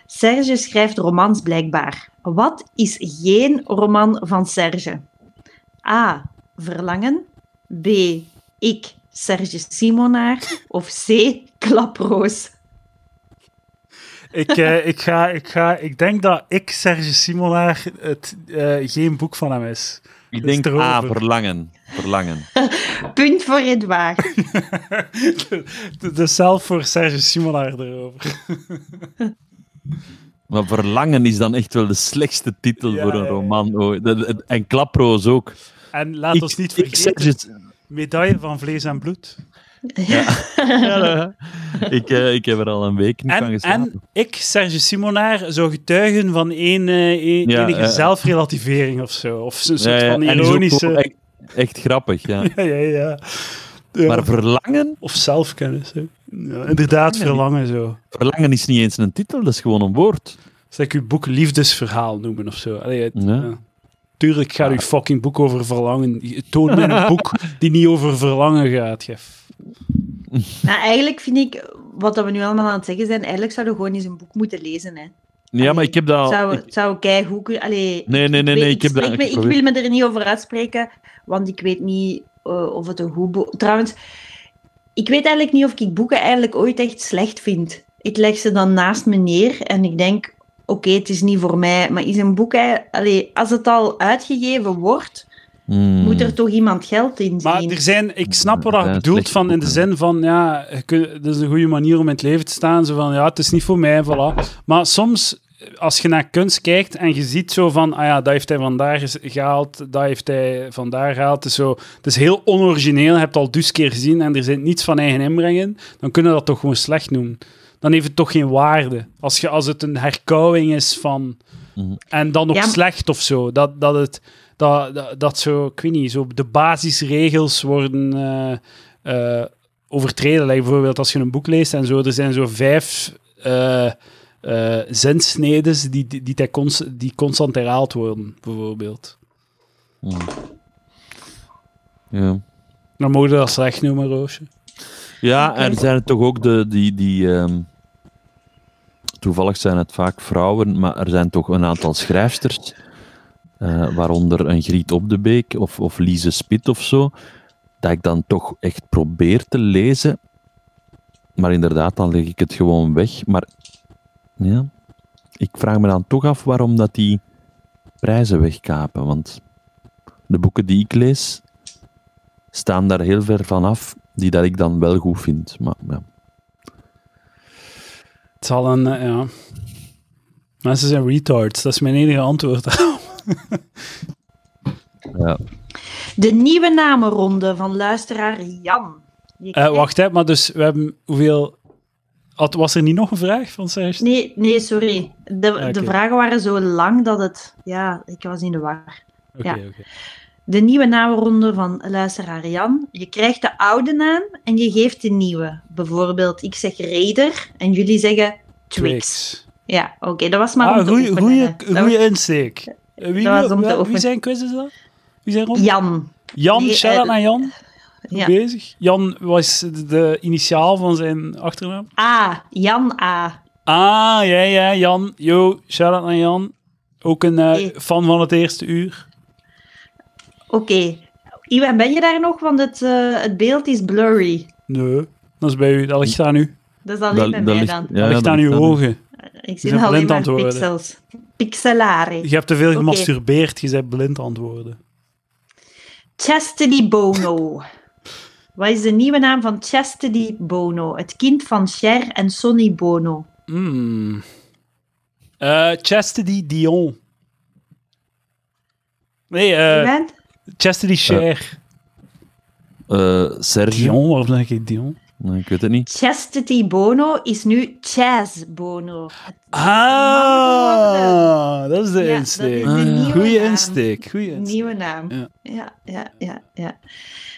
[SPEAKER 1] Serge schrijft romans blijkbaar. Wat is geen roman van Serge? A. Verlangen. B. Ik, Serge Simonaar. Of C. Klaproos.
[SPEAKER 2] Ik, eh, ik, ga, ik, ga, ik denk dat ik, Serge Simolaar, het eh, geen boek van hem is.
[SPEAKER 3] Ik
[SPEAKER 2] Dat is
[SPEAKER 3] denk,
[SPEAKER 2] erover.
[SPEAKER 3] ah, verlangen. Verlangen.
[SPEAKER 1] Punt voor Edouard.
[SPEAKER 2] Dus zelf voor Serge Simolaar erover.
[SPEAKER 3] Maar verlangen is dan echt wel de slechtste titel
[SPEAKER 2] Ja,
[SPEAKER 3] voor
[SPEAKER 2] ja,
[SPEAKER 3] een
[SPEAKER 2] ja.
[SPEAKER 3] roman. ooit. Dat- dat- En klaproos ook.
[SPEAKER 2] En laat ons niet
[SPEAKER 3] ik,
[SPEAKER 2] vergeten,
[SPEAKER 3] Serge,
[SPEAKER 2] medaille van vlees en bloed.
[SPEAKER 3] Ja, hè. ik, eh, ik heb er al een week niet van
[SPEAKER 2] En,
[SPEAKER 3] geslapen.
[SPEAKER 2] en ik, Serge Simonaar, zou getuigen van een, eh, een-
[SPEAKER 3] Ja,
[SPEAKER 2] enige
[SPEAKER 3] ja.
[SPEAKER 2] zelfrelativering of zo. Of zo'n
[SPEAKER 3] Ja,
[SPEAKER 2] soort
[SPEAKER 3] ja,
[SPEAKER 2] van
[SPEAKER 3] en is ook gewoon
[SPEAKER 2] ironische...
[SPEAKER 3] Echt, echt grappig, ja.
[SPEAKER 2] Ja, ja, ja. Ja.
[SPEAKER 3] Maar verlangen?
[SPEAKER 2] Of zelfkennis. Hè. Ja, inderdaad, verlangen zo.
[SPEAKER 3] Verlangen is niet eens een titel, dat is gewoon een woord.
[SPEAKER 2] Zou ik uw boek liefdesverhaal noemen of zo? Allee, het-
[SPEAKER 3] Ja.
[SPEAKER 2] Mm. ja. Tuurlijk gaat uw fucking boek over verlangen. Toon me een boek die niet over verlangen gaat, Jeff.
[SPEAKER 1] Nou, eigenlijk vind ik, wat dat we nu allemaal aan het zeggen zijn, eigenlijk zouden we gewoon eens een boek moeten lezen. Hè.
[SPEAKER 3] Ja, maar
[SPEAKER 1] Allee,
[SPEAKER 3] ik heb dat... al-
[SPEAKER 1] zou,
[SPEAKER 3] Oh, ik-
[SPEAKER 1] zou keigoed kunnen... Allee,
[SPEAKER 3] Nee, nee, nee,
[SPEAKER 1] ik,
[SPEAKER 3] nee,
[SPEAKER 1] weet-
[SPEAKER 3] ik heb
[SPEAKER 1] spreek
[SPEAKER 3] dat...
[SPEAKER 1] me- ik
[SPEAKER 3] geprobeerd.
[SPEAKER 1] wil me er niet over uitspreken, want ik weet niet eh, of het een goed boek... Trouwens, ik weet eigenlijk niet of ik boeken eigenlijk ooit echt slecht vind. Ik leg ze dan naast me neer en ik denk, oké, het is niet voor mij, maar is een boek... ei- Allee, als het al uitgegeven wordt,
[SPEAKER 3] Hmm.
[SPEAKER 1] moet er toch iemand geld in zien.
[SPEAKER 2] Maar er zijn, ik snap wat
[SPEAKER 3] Ja,
[SPEAKER 2] je
[SPEAKER 3] het
[SPEAKER 2] bedoelt
[SPEAKER 3] ligt
[SPEAKER 2] van in de
[SPEAKER 3] ook,
[SPEAKER 2] zin van ja, je kunt- dat is een goede manier om in het leven te staan. Zo van ja, het is niet voor mij, voilà. Maar soms als je naar kunst kijkt en je ziet zo van ah ja, dat heeft hij vandaag eens gehaald, dat heeft hij vandaag gehaald. Het is, zo, het is heel onorigineel, je hebt het al dus keer gezien en er zit niets van eigen inbreng in, dan kunnen we dat toch gewoon slecht noemen. Dan heeft het toch geen waarde. Als, je, als het een herkauwing is van.
[SPEAKER 3] Mhm.
[SPEAKER 2] En dan nog
[SPEAKER 1] Ja, maar-
[SPEAKER 2] slecht of zo. Dat, dat het dat, dat, dat zo, ik weet niet, zo de basisregels worden eh, eh, overtreden. Like bijvoorbeeld als je een boek leest en zo, er zijn zo vijf eh eh, zinsnedes die, die, die, const- die constant herhaald worden, bijvoorbeeld.
[SPEAKER 3] Hmm. Ja.
[SPEAKER 2] Dan mogen we dat slecht noemen, Roosje.
[SPEAKER 3] Ja,
[SPEAKER 1] Oké.
[SPEAKER 3] er zijn toch ook de, die... die ehm, Toevallig zijn het vaak vrouwen, maar er zijn toch een aantal schrijfsters, eh, waaronder een Griet Op de Beek of, of Lise Spit of zo, dat ik dan toch echt probeer te lezen. Maar inderdaad, dan leg ik het gewoon weg. Maar ja, ik vraag me dan toch af waarom dat die prijzen wegkapen. Want de boeken die ik lees, staan daar heel ver van af, die dat ik dan wel goed vind. Maar ja.
[SPEAKER 2] Het zal een, eh, ja. Mensen zijn retards, dat is mijn enige antwoord.
[SPEAKER 3] ja.
[SPEAKER 1] De nieuwe namenronde van luisteraar Jan. Je
[SPEAKER 2] Eh,
[SPEAKER 1] krijgt-
[SPEAKER 2] wacht, hè, maar dus we hebben hoeveel... Had, was er niet nog een vraag van Serge?
[SPEAKER 1] Nee, nee, sorry. De,
[SPEAKER 2] Ah, oké.
[SPEAKER 1] de vragen waren zo lang dat het... Ja, ik was in de war.
[SPEAKER 2] Oké,
[SPEAKER 1] Ja.
[SPEAKER 2] oké.
[SPEAKER 1] De nieuwe namenronde van luisteraar Jan. Je krijgt de oude naam en je geeft de nieuwe. Bijvoorbeeld, ik zeg Raider en jullie zeggen Twix.
[SPEAKER 2] Twix.
[SPEAKER 1] Ja, oké, dat was maar
[SPEAKER 2] ah,
[SPEAKER 1] om te
[SPEAKER 2] goeie,
[SPEAKER 1] oefenen,
[SPEAKER 2] goeie,
[SPEAKER 1] hè. Dat
[SPEAKER 2] goeie insteek. Eh, Wie,
[SPEAKER 1] dat was om te
[SPEAKER 2] wie, wie
[SPEAKER 1] oefenen.
[SPEAKER 2] zijn quizzes dan? Wie zijn
[SPEAKER 1] was-
[SPEAKER 2] rond?
[SPEAKER 1] Jan.
[SPEAKER 2] Jan,
[SPEAKER 1] Nee,
[SPEAKER 2] shout-out
[SPEAKER 1] eh,
[SPEAKER 2] naar Jan. Goed
[SPEAKER 1] Ja.
[SPEAKER 2] bezig. Jan was de, de initiaal van zijn achternaam.
[SPEAKER 1] A, Jan A.
[SPEAKER 2] Ah, ja, ja, Jan. Yo, shout-out naar Jan. Ook een eh,
[SPEAKER 1] Nee.
[SPEAKER 2] fan van het eerste uur.
[SPEAKER 1] Oké. Iwan, ben je daar nog? Want het, eh, het beeld is blurry.
[SPEAKER 2] Nee, dat is bij u. Dat ligt aan u.
[SPEAKER 1] Dat is alleen bij mij
[SPEAKER 3] ligt-
[SPEAKER 1] dan.
[SPEAKER 2] Dat
[SPEAKER 3] ja,
[SPEAKER 2] ligt aan uw
[SPEAKER 3] ligt
[SPEAKER 2] ogen. zijn
[SPEAKER 1] Ik zie alleen
[SPEAKER 2] blind
[SPEAKER 1] maar
[SPEAKER 2] antwoorden.
[SPEAKER 1] pixels. Pixelari.
[SPEAKER 2] Je hebt te veel
[SPEAKER 1] Oké.
[SPEAKER 2] gemasturbeerd, je bent blind antwoorden.
[SPEAKER 1] Chastity Bono. Wat is de nieuwe naam van Chastity Bono? Het kind van Cher en Sonny Bono.
[SPEAKER 2] Mm. Eh, Chastity Dion. Nee, eh,
[SPEAKER 1] Iwan?
[SPEAKER 2] Chastity Cher.
[SPEAKER 3] Eh, Sergio?
[SPEAKER 2] Dion, waarom zeg ik Dion?
[SPEAKER 3] Nee, ik weet het niet.
[SPEAKER 1] Chastity Bono is nu Chaz Bono.
[SPEAKER 2] Ah, dat is de
[SPEAKER 1] Ja,
[SPEAKER 2] insteek.
[SPEAKER 1] dat is de
[SPEAKER 3] Ah.
[SPEAKER 1] nieuwe
[SPEAKER 2] Goeie
[SPEAKER 1] naam.
[SPEAKER 2] insteek. Goeie insteek.
[SPEAKER 1] Nieuwe naam.
[SPEAKER 2] Ja.
[SPEAKER 1] Ja, ja, ja, ja.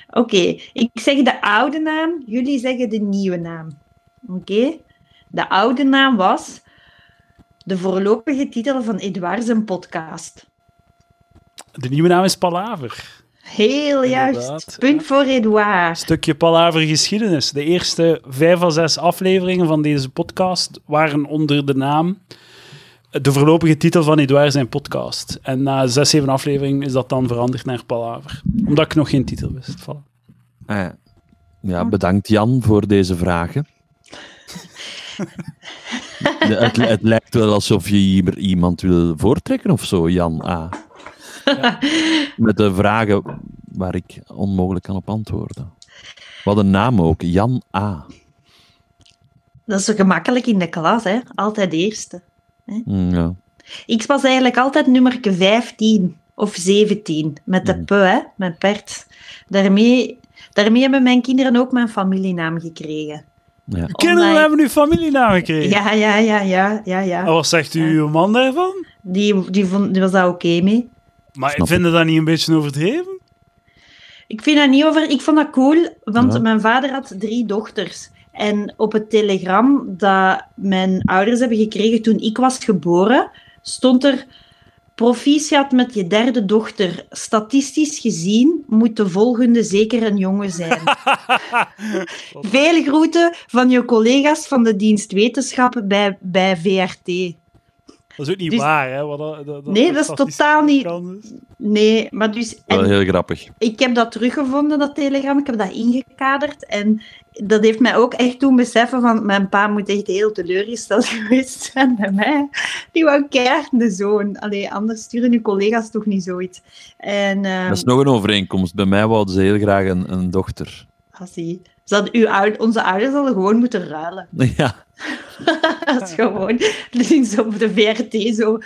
[SPEAKER 1] Oké, ik zeg de oude naam, jullie zeggen de nieuwe naam. Oké? De oude naam was de voorlopige titel van Edouard zijn podcast.
[SPEAKER 2] De nieuwe naam is Palaver.
[SPEAKER 1] Heel
[SPEAKER 2] Inderdaad,
[SPEAKER 1] juist. Punt voor Edouard.
[SPEAKER 2] Stukje Palaver geschiedenis. De eerste vijf à zes afleveringen van deze podcast waren onder de naam de voorlopige titel van Edouard zijn podcast. En na zes, zeven afleveringen is dat dan veranderd naar Palaver. Omdat ik nog geen titel wist. Voilà.
[SPEAKER 3] Ah, ja.
[SPEAKER 1] Hm.
[SPEAKER 3] ja, bedankt Jan voor deze vragen. De- het, het lijkt wel alsof je hier iemand wil voortrekken of zo, Jan A. Met de vragen waar ik onmogelijk kan op antwoorden. Wat een naam ook, Jan A.
[SPEAKER 1] Dat is zo gemakkelijk in de klas, hè? Altijd eerste.
[SPEAKER 3] Mm, Ja.
[SPEAKER 1] Ik was eigenlijk altijd nummer 15 of 17 met de
[SPEAKER 2] Hmm.
[SPEAKER 3] Mhm.
[SPEAKER 1] P, hè, mijn pert. Daarmee, daarmee hebben mijn kinderen ook mijn familienaam gekregen.
[SPEAKER 3] Ja.
[SPEAKER 2] Kinderen
[SPEAKER 1] Omdat ik-
[SPEAKER 2] hebben Oh. nu familienaam gekregen.
[SPEAKER 1] Ja, ja, ja, ja, ja.
[SPEAKER 2] En
[SPEAKER 1] ja.
[SPEAKER 2] wat zegt uw man daarvan?
[SPEAKER 1] Die, die, vond, die was daar oké mee.
[SPEAKER 2] Maar
[SPEAKER 3] Snap
[SPEAKER 2] ik vind dat niet een beetje overdreven?
[SPEAKER 1] Ik vind dat niet over. Ik vond dat cool, want
[SPEAKER 3] Ja.
[SPEAKER 1] mijn vader had drie dochters. En op het telegram dat mijn ouders hebben gekregen toen ik was geboren, stond er. Proficiat met je derde dochter. Statistisch gezien moet de volgende zeker een jongen zijn. Veel groeten van je collega's van de dienst wetenschappen bij, bij VRT.
[SPEAKER 2] Dat is ook niet
[SPEAKER 1] Dus-
[SPEAKER 2] waar, hè? wat dat- dat-
[SPEAKER 1] Nee, dat is
[SPEAKER 2] statistisch
[SPEAKER 1] totaal niet-
[SPEAKER 2] kan is.
[SPEAKER 1] Nee, maar dus.
[SPEAKER 3] Wel
[SPEAKER 1] en-
[SPEAKER 3] heel grappig.
[SPEAKER 1] ik heb dat teruggevonden, dat telegram. Ik heb dat ingekaderd. En dat heeft mij ook echt doen beseffen van... Mijn pa moet echt heel teleurgesteld geweest zijn bij mij. Die wou keihard de zoon. Allee, anders sturen uw collega's toch niet zoiets. En... ehm,
[SPEAKER 3] Dat is nog een overeenkomst. Bij mij wouden ze heel graag een, een dochter.
[SPEAKER 1] hassie. Ze hadden uw oud- onze ouders hadden gewoon moeten ruilen.
[SPEAKER 3] Ja.
[SPEAKER 1] Dat is gewoon... Dus op de VRT zo,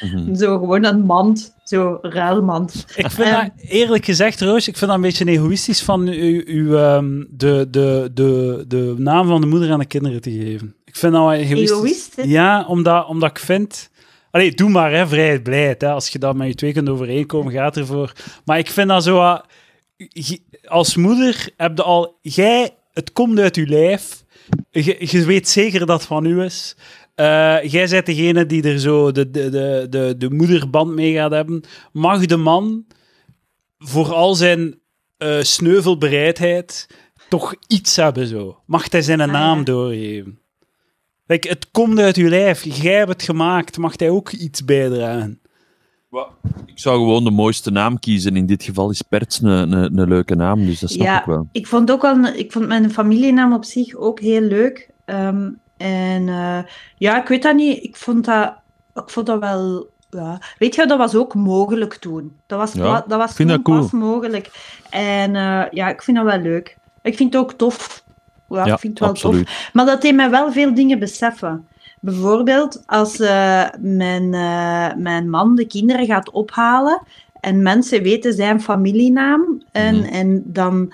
[SPEAKER 3] Mhm.
[SPEAKER 1] zo gewoon een mand. Zo ruilmand.
[SPEAKER 2] Ik vind
[SPEAKER 1] Ehm.
[SPEAKER 2] dat, eerlijk gezegd, Roos, ik vind dat een beetje egoïstisch van u, u ehm, de, de, de, de naam van de moeder aan de kinderen te geven. Ik vind dat wel egoïstisch.
[SPEAKER 1] Egoïst, hè?
[SPEAKER 2] Ja, omdat, omdat ik vind... Allee, doe maar, hè, vrijheid, blijheid. Hè. Als je dat met je twee kunt overeenkomen, gaat ervoor. Maar ik vind dat zo... wat- je- als moeder heb je al... Jij, het komt uit je lijf. Je, je weet zeker dat het van u is. Eh, jij bent degene die er zo de, de, de, de, de moederband mee gaat hebben. Mag de man voor al zijn eh, sneuvelbereidheid toch iets hebben zo? Mag hij zijn naam
[SPEAKER 1] Ah, ja.
[SPEAKER 2] doorgeven? Like, het komt uit uw lijf. Jij hebt het gemaakt. Mag hij ook iets bijdragen?
[SPEAKER 3] Ik zou gewoon de mooiste naam kiezen. In dit geval is Perts een, een, een leuke naam, dus dat snap
[SPEAKER 1] Ja.
[SPEAKER 3] ik wel.
[SPEAKER 1] Ik vond ook al, ik vond mijn familienaam op zich ook heel leuk. Ehm, en eh, ja, ik weet dat niet. Ik vond dat, ik vond dat wel. Ja. Weet je, dat was ook mogelijk toen. Dat was,
[SPEAKER 3] Ja,
[SPEAKER 1] pla- dat was
[SPEAKER 3] ik vind
[SPEAKER 1] toen
[SPEAKER 3] dat cool.
[SPEAKER 1] pas mogelijk. En eh, ja, ik vind dat wel leuk. Ik vind het ook tof. Ja, ik vind het wel tof.
[SPEAKER 3] absoluut.
[SPEAKER 1] Maar dat deed mij wel veel dingen beseffen. Bijvoorbeeld als eh, mijn, eh, mijn man de kinderen gaat ophalen en mensen weten zijn familienaam en,
[SPEAKER 3] Mhm.
[SPEAKER 1] en dan,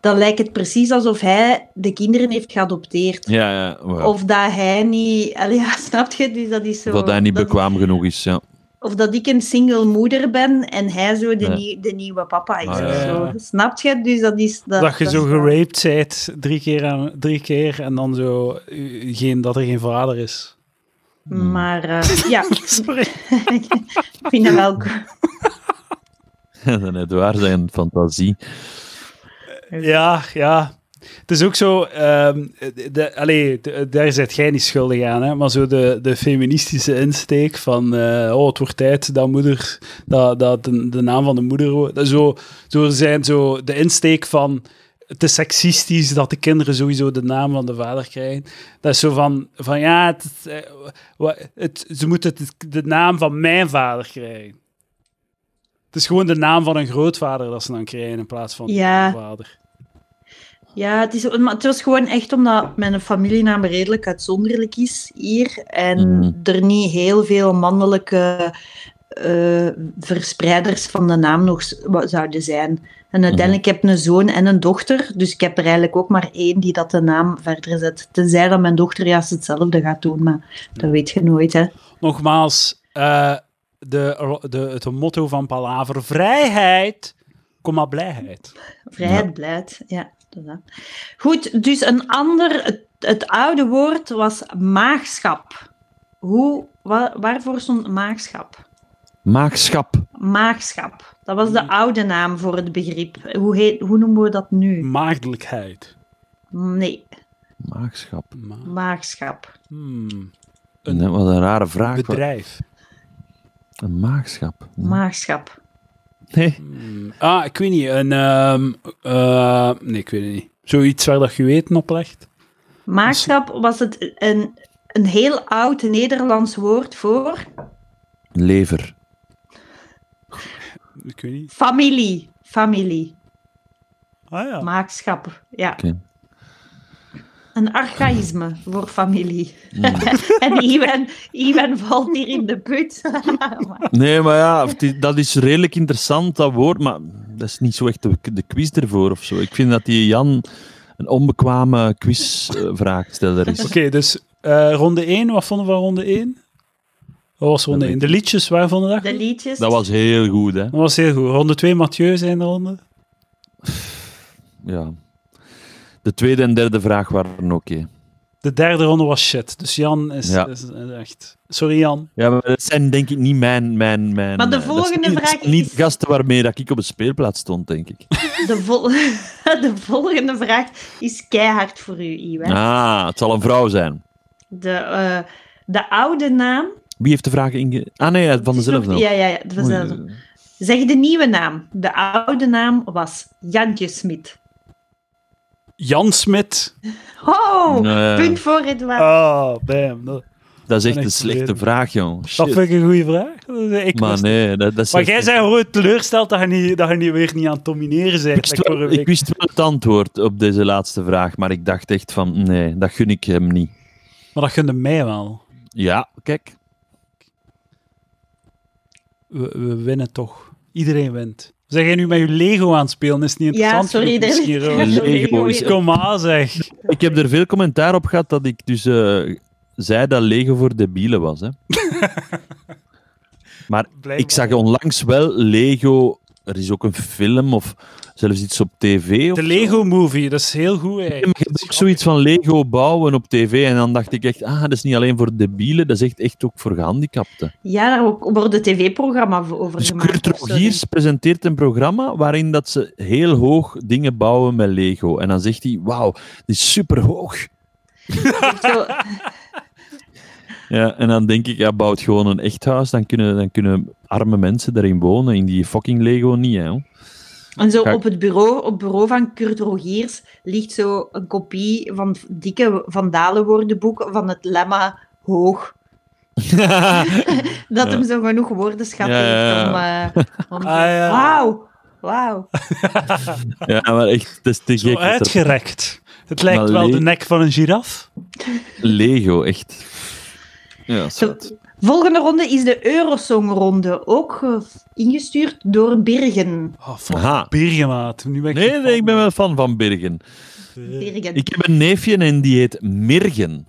[SPEAKER 1] dan lijkt het precies alsof hij de kinderen heeft geadopteerd.
[SPEAKER 3] Ja, ja. wel.
[SPEAKER 1] Of dat hij niet... Allee, ja, snap je? Dus dat is zo...
[SPEAKER 3] dat hij niet bekwaam genoeg is, ja.
[SPEAKER 1] Of dat ik een single moeder ben en hij zo de,
[SPEAKER 3] Ja.
[SPEAKER 1] nie- de nieuwe papa is.
[SPEAKER 3] Ah,
[SPEAKER 2] ja,
[SPEAKER 1] of
[SPEAKER 2] ja.
[SPEAKER 1] zo. Snap je? Dus dat is... Dat,
[SPEAKER 2] dat je
[SPEAKER 1] dat
[SPEAKER 2] zo
[SPEAKER 1] is wel-
[SPEAKER 2] geraped bent drie keer, aan, drie keer en dan zo eh, geen, dat er geen vader is.
[SPEAKER 3] Hmm.
[SPEAKER 1] Maar eh, ja,
[SPEAKER 2] Sorry.
[SPEAKER 1] ik vind dat wel...
[SPEAKER 3] En het waar zijn fantasie.
[SPEAKER 2] Ja, ja. Het is ook zo, ehm, de, allee, de- daar zit jij niet schuldig aan, hè? maar zo de, de feministische insteek van eh, oh, het wordt tijd dat moeder, dat, dat de, de naam van de moeder, wo- dat zo, zo zijn zo de insteek van het is seksistisch dat de kinderen sowieso de naam van de vader krijgen. Dat is zo van, van ja, het, is, eh, wa- het- ze moeten het- de naam van mijn vader krijgen. Het is gewoon de naam van hun grootvader dat ze dan krijgen in plaats van
[SPEAKER 1] Ja.
[SPEAKER 2] hun vader.
[SPEAKER 1] Ja, het, is, maar het was gewoon echt omdat mijn familienaam redelijk uitzonderlijk is hier en
[SPEAKER 3] Mhm.
[SPEAKER 1] er niet heel veel mannelijke eh, verspreiders van de naam nog s- wa- zouden zijn. En uiteindelijk heb ik een zoon en een dochter, dus ik heb er eigenlijk ook maar één die dat de naam verder zet. Tenzij dat mijn dochter juist hetzelfde gaat doen, maar dat weet je nooit, hè.
[SPEAKER 2] Nogmaals, eh, de, de, het motto van Palaver, vrijheid, kom maar blijheid.
[SPEAKER 1] Vrijheid,
[SPEAKER 3] Ja.
[SPEAKER 1] blijheid. Ja, dat is dat. Goed, dus een ander, het, het oude woord was maagschap. Hoe, wa- waarvoor stond maagschap?
[SPEAKER 3] Maagschap.
[SPEAKER 1] Maagschap. Dat was de oude naam voor het begrip. Hoe, heet, hoe noemen we dat nu?
[SPEAKER 2] Maagdelijkheid.
[SPEAKER 1] Nee,
[SPEAKER 3] Maagschap.
[SPEAKER 2] Ma-
[SPEAKER 1] maagschap.
[SPEAKER 2] hmm, Een-
[SPEAKER 3] Een, wat een rare vraag. Wat-
[SPEAKER 2] bedrijf.
[SPEAKER 3] Een maagschap.
[SPEAKER 1] Maagschap.
[SPEAKER 3] Nee.
[SPEAKER 2] Hmm, Ah, ik weet niet. Een, ehm, eh, nee, ik weet het niet. Zoiets waar dat geweten op legt.
[SPEAKER 1] Maagschap was het een, een heel oud Nederlands woord voor
[SPEAKER 3] Lever.
[SPEAKER 2] Ik weet niet.
[SPEAKER 1] familie. Familie.
[SPEAKER 2] Ah ja.
[SPEAKER 1] Maagschap, ja.
[SPEAKER 3] Oké.
[SPEAKER 1] Een archaïsme voor familie. en Iwan, Iwan valt hier in de put. Maar
[SPEAKER 3] Nee, maar ja, het is- dat is redelijk interessant, dat woord. Maar dat is niet zo echt de, de quiz ervoor of zo. Ik vind dat die Jan een onbekwame quizvraagsteller
[SPEAKER 2] Oké,
[SPEAKER 3] is.
[SPEAKER 2] dus eh, ronde 1. Wat vonden we van ronde 1? Wat was ronde
[SPEAKER 3] Dat
[SPEAKER 2] 1?
[SPEAKER 3] weet
[SPEAKER 2] De liedjes, waar vonden we dat?
[SPEAKER 1] de
[SPEAKER 2] goed?
[SPEAKER 1] liedjes.
[SPEAKER 3] Dat was heel goed, hè?
[SPEAKER 2] Dat was heel goed. Ronde 2, Mathieu zijn de ronde.
[SPEAKER 3] Ja. De tweede en derde vraag waren oké.
[SPEAKER 2] De derde ronde was shit. Dus Jan is,
[SPEAKER 3] Ja.
[SPEAKER 2] is echt... Sorry Jan.
[SPEAKER 3] Ja, maar dat zijn denk ik niet mijn... mijn, mijn
[SPEAKER 1] Maar de
[SPEAKER 3] eh, dat zijn
[SPEAKER 1] volgende
[SPEAKER 3] niet, dat
[SPEAKER 1] vraag
[SPEAKER 3] zijn niet
[SPEAKER 1] is-
[SPEAKER 3] gasten waarmee dat ik op de speelplaats stond, denk ik.
[SPEAKER 1] De, vol- de volgende vraag is keihard voor u, Iwan.
[SPEAKER 3] Ah, het zal een vrouw zijn.
[SPEAKER 1] De, eh, de oude naam.
[SPEAKER 3] Wie heeft de vraag inge... Ah nee, van dezelfde.
[SPEAKER 1] Ja, ja, ja. van dezelfde.
[SPEAKER 3] Oei, eh,
[SPEAKER 1] Zeg de nieuwe naam. De oude naam was Jantje Smit.
[SPEAKER 2] Jan Smit.
[SPEAKER 1] Oh,
[SPEAKER 3] Nee.
[SPEAKER 1] punt voor Edouard.
[SPEAKER 2] Oh, bam. Dat,
[SPEAKER 3] Dat is
[SPEAKER 2] Ben
[SPEAKER 3] echt
[SPEAKER 2] ik
[SPEAKER 3] een slechte
[SPEAKER 2] verleden.
[SPEAKER 3] vraag, jong. Shit.
[SPEAKER 2] dat vind ik een goede vraag. Dat is- Ik
[SPEAKER 3] maar
[SPEAKER 2] wist-
[SPEAKER 3] nee, dat, dat is
[SPEAKER 2] maar
[SPEAKER 3] echt
[SPEAKER 2] jij
[SPEAKER 3] niet-
[SPEAKER 2] bent gewoon teleurgesteld dat je, niet, dat je niet weer niet aan het domineren
[SPEAKER 3] Ik
[SPEAKER 2] bent.
[SPEAKER 3] wist,
[SPEAKER 2] like
[SPEAKER 3] wel,
[SPEAKER 2] vorige
[SPEAKER 3] ik
[SPEAKER 2] week.
[SPEAKER 3] wist wel het antwoord op deze laatste vraag, maar ik dacht echt van, nee, dat gun ik hem niet.
[SPEAKER 2] Maar dat gunde mij wel.
[SPEAKER 3] Ja, kijk.
[SPEAKER 2] We, we winnen toch. Iedereen wint. Zeg jij nu met je Lego aan het spelen? Is het niet interessant?
[SPEAKER 1] sorry,
[SPEAKER 2] genoeg
[SPEAKER 1] dat is-
[SPEAKER 2] misschien, Roos?
[SPEAKER 1] Lego
[SPEAKER 3] Lego is...
[SPEAKER 2] Kom maar, zeg.
[SPEAKER 3] Ik heb er veel commentaar op gehad dat ik dus eh, zei dat Lego voor debielen was, hè. maar
[SPEAKER 2] Blijkbaar.
[SPEAKER 3] ik zag onlangs wel Lego... Er is ook een film of zelfs iets op tv. Of
[SPEAKER 2] De
[SPEAKER 3] zo.
[SPEAKER 2] Lego-movie, dat is heel goed eigenlijk.
[SPEAKER 3] Maar je hebt ook zoiets van Lego bouwen op tv. En dan dacht ik echt, ah, dat is niet alleen voor debielen, dat is echt, echt ook voor gehandicapten.
[SPEAKER 1] Ja, daar wordt een tv-programma over
[SPEAKER 3] Dus
[SPEAKER 1] gemaakt.
[SPEAKER 3] Kurt
[SPEAKER 1] of zo.
[SPEAKER 3] Rogiers presenteert een programma waarin dat ze heel hoog dingen bouwen met Lego. En dan zegt hij, wauw, dit is superhoog.
[SPEAKER 1] Zo,
[SPEAKER 3] Ja, en dan denk ik, ja, bouwt gewoon een echt huis, dan kunnen, dan kunnen arme mensen daarin wonen, in die fucking Lego niet, hè. hoor.
[SPEAKER 1] En zo
[SPEAKER 3] Ga ik-
[SPEAKER 1] op het bureau, op het bureau van Kurt Rogiers ligt zo een kopie van het dikke vandalenwoordenboek van het lemma hoog. Dat
[SPEAKER 3] Ja.
[SPEAKER 1] hem zo genoeg woordenschat
[SPEAKER 3] Ja, ja,
[SPEAKER 1] heeft
[SPEAKER 3] ja.
[SPEAKER 1] om... eh, om
[SPEAKER 2] Ah, ja.
[SPEAKER 1] Wauw, wauw.
[SPEAKER 3] ja, maar echt, het is te
[SPEAKER 2] Zo
[SPEAKER 3] gek. dat er-
[SPEAKER 2] uitgerekt. Het lijkt
[SPEAKER 3] Maar
[SPEAKER 2] wel
[SPEAKER 3] Le-
[SPEAKER 2] de nek van een giraf.
[SPEAKER 3] Lego, echt. Ja,
[SPEAKER 1] Zo,
[SPEAKER 3] zot.
[SPEAKER 1] Volgende ronde is de Eurosong-ronde, ook eh, ingestuurd door Birgen.
[SPEAKER 2] Oh, fuck.
[SPEAKER 3] Aha.
[SPEAKER 2] Birgemaat. Nu ben ik
[SPEAKER 3] Nee, nee, ik ben wel fan van Birgen.
[SPEAKER 1] Birgen.
[SPEAKER 3] Eh, Ik heb een neefje en die heet Mirgen.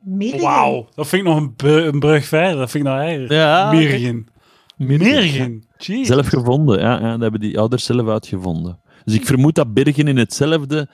[SPEAKER 1] Mirgen.
[SPEAKER 2] Wauw. Dat vind ik nog een, br- een brug verder. Dat vind ik nou nog erger.
[SPEAKER 3] Ja,
[SPEAKER 2] Mirgen. Mirgen. Jeez.
[SPEAKER 3] Zelf gevonden, ja, ja. Dat hebben die ouders zelf uitgevonden. Dus ik vermoed dat Birgen in hetzelfde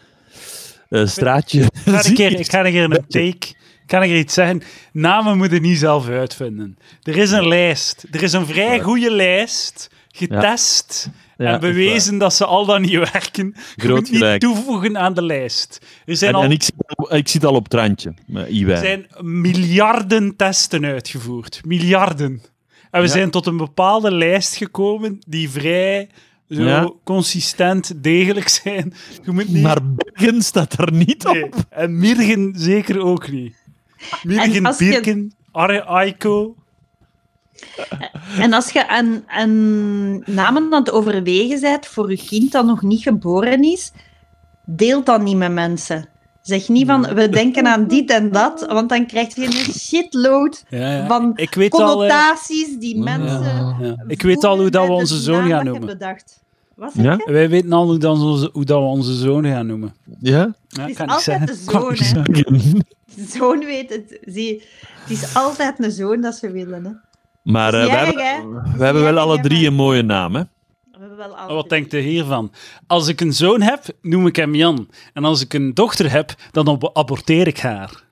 [SPEAKER 3] eh, straatje
[SPEAKER 2] Ik ga, een
[SPEAKER 3] zit.
[SPEAKER 2] keer, ik ga een keer een take. Ik ga een keer iets zeggen. Namen moeten niet zelf uitvinden. Er is een lijst. Er is een vrij goede lijst. Getest
[SPEAKER 3] Ja,
[SPEAKER 2] en
[SPEAKER 3] dat is
[SPEAKER 2] bewezen dat ze al dan niet werken. Je
[SPEAKER 3] Groot
[SPEAKER 2] moet niet
[SPEAKER 3] gelijk.
[SPEAKER 2] toevoegen aan de lijst. Er zijn
[SPEAKER 3] En,
[SPEAKER 2] al
[SPEAKER 3] en ik, zit, al- ik zit al op het randje, met
[SPEAKER 2] Er
[SPEAKER 3] Iwijn.
[SPEAKER 2] zijn miljarden testen uitgevoerd. Miljarden. En we
[SPEAKER 3] Ja.
[SPEAKER 2] zijn tot een bepaalde lijst gekomen die vrij zo
[SPEAKER 3] Ja.
[SPEAKER 2] consistent, degelijk zijn. Je moet niet...
[SPEAKER 3] Maar Birken staat er niet op.
[SPEAKER 2] Nee. En Mirgen zeker ook niet. Mirgen,
[SPEAKER 1] En als je-
[SPEAKER 2] Birken, Arre, Aiko.
[SPEAKER 1] En als je aan, aan namen aan het overwegen bent voor je kind dat nog niet geboren is, deel dat niet met mensen. Zeg niet van, we denken aan dit en dat, want dan krijg je een shitload
[SPEAKER 2] Ja, ja.
[SPEAKER 1] Van
[SPEAKER 2] ik weet al, eh,
[SPEAKER 1] connotaties die mensen...
[SPEAKER 2] ja. ik weet al hoe dat we
[SPEAKER 1] voelen
[SPEAKER 2] onze
[SPEAKER 1] met de
[SPEAKER 2] zoon
[SPEAKER 1] naam
[SPEAKER 2] gaan
[SPEAKER 1] dat je
[SPEAKER 2] noemen.
[SPEAKER 1] Bedacht. Wat zeg
[SPEAKER 3] Ja?
[SPEAKER 1] je?
[SPEAKER 2] Wij weten al hoe, dan onze, hoe dat we onze zoon gaan noemen.
[SPEAKER 3] Ja?
[SPEAKER 2] Ja,
[SPEAKER 1] Het is
[SPEAKER 2] kan ik
[SPEAKER 1] altijd
[SPEAKER 2] zeggen.
[SPEAKER 1] de zoon,
[SPEAKER 2] Kan ik
[SPEAKER 1] hè.
[SPEAKER 3] Birken.
[SPEAKER 1] De zoon weet het. Zie, het is altijd een zoon dat ze willen, hè.
[SPEAKER 3] Maar eh,
[SPEAKER 1] Dat is
[SPEAKER 3] we,
[SPEAKER 1] niet
[SPEAKER 3] hebben,
[SPEAKER 1] erg, hè? Dat is
[SPEAKER 3] we hebben
[SPEAKER 1] niet
[SPEAKER 3] wel
[SPEAKER 1] erg,
[SPEAKER 3] alle
[SPEAKER 1] hè,
[SPEAKER 3] drie
[SPEAKER 1] maar
[SPEAKER 3] een mooie naam, hè?
[SPEAKER 1] we hebben wel alle
[SPEAKER 2] Oh, Wat
[SPEAKER 1] drie.
[SPEAKER 2] denkt u hiervan? Als ik een zoon heb, noem ik hem Jan. En als ik een dochter heb, dan ab- aborteer ik haar.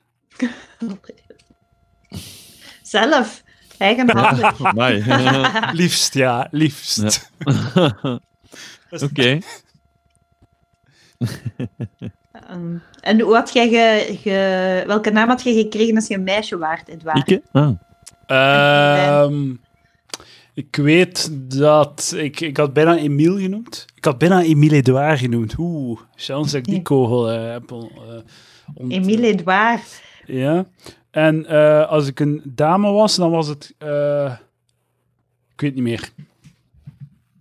[SPEAKER 1] Zelf. Eigenhandig.
[SPEAKER 3] Amai.
[SPEAKER 2] Liefst, ja, liefst.
[SPEAKER 3] Ja. Oké.
[SPEAKER 1] Ehm, en hoe had jij ge, ge- welke naam had jij gekregen als je een meisje waard, Edouard?
[SPEAKER 3] Ikke? Ah.
[SPEAKER 2] Ehm, ik weet dat... Ik, ik had bijna Emile genoemd. Ik had bijna Emile Edouard genoemd. Oeh, chance dat ik die kogel eh, heb on- eh, ont-
[SPEAKER 1] Emile Edouard.
[SPEAKER 2] Ja. En eh, als ik een dame was, dan was het... eh, ik weet niet meer.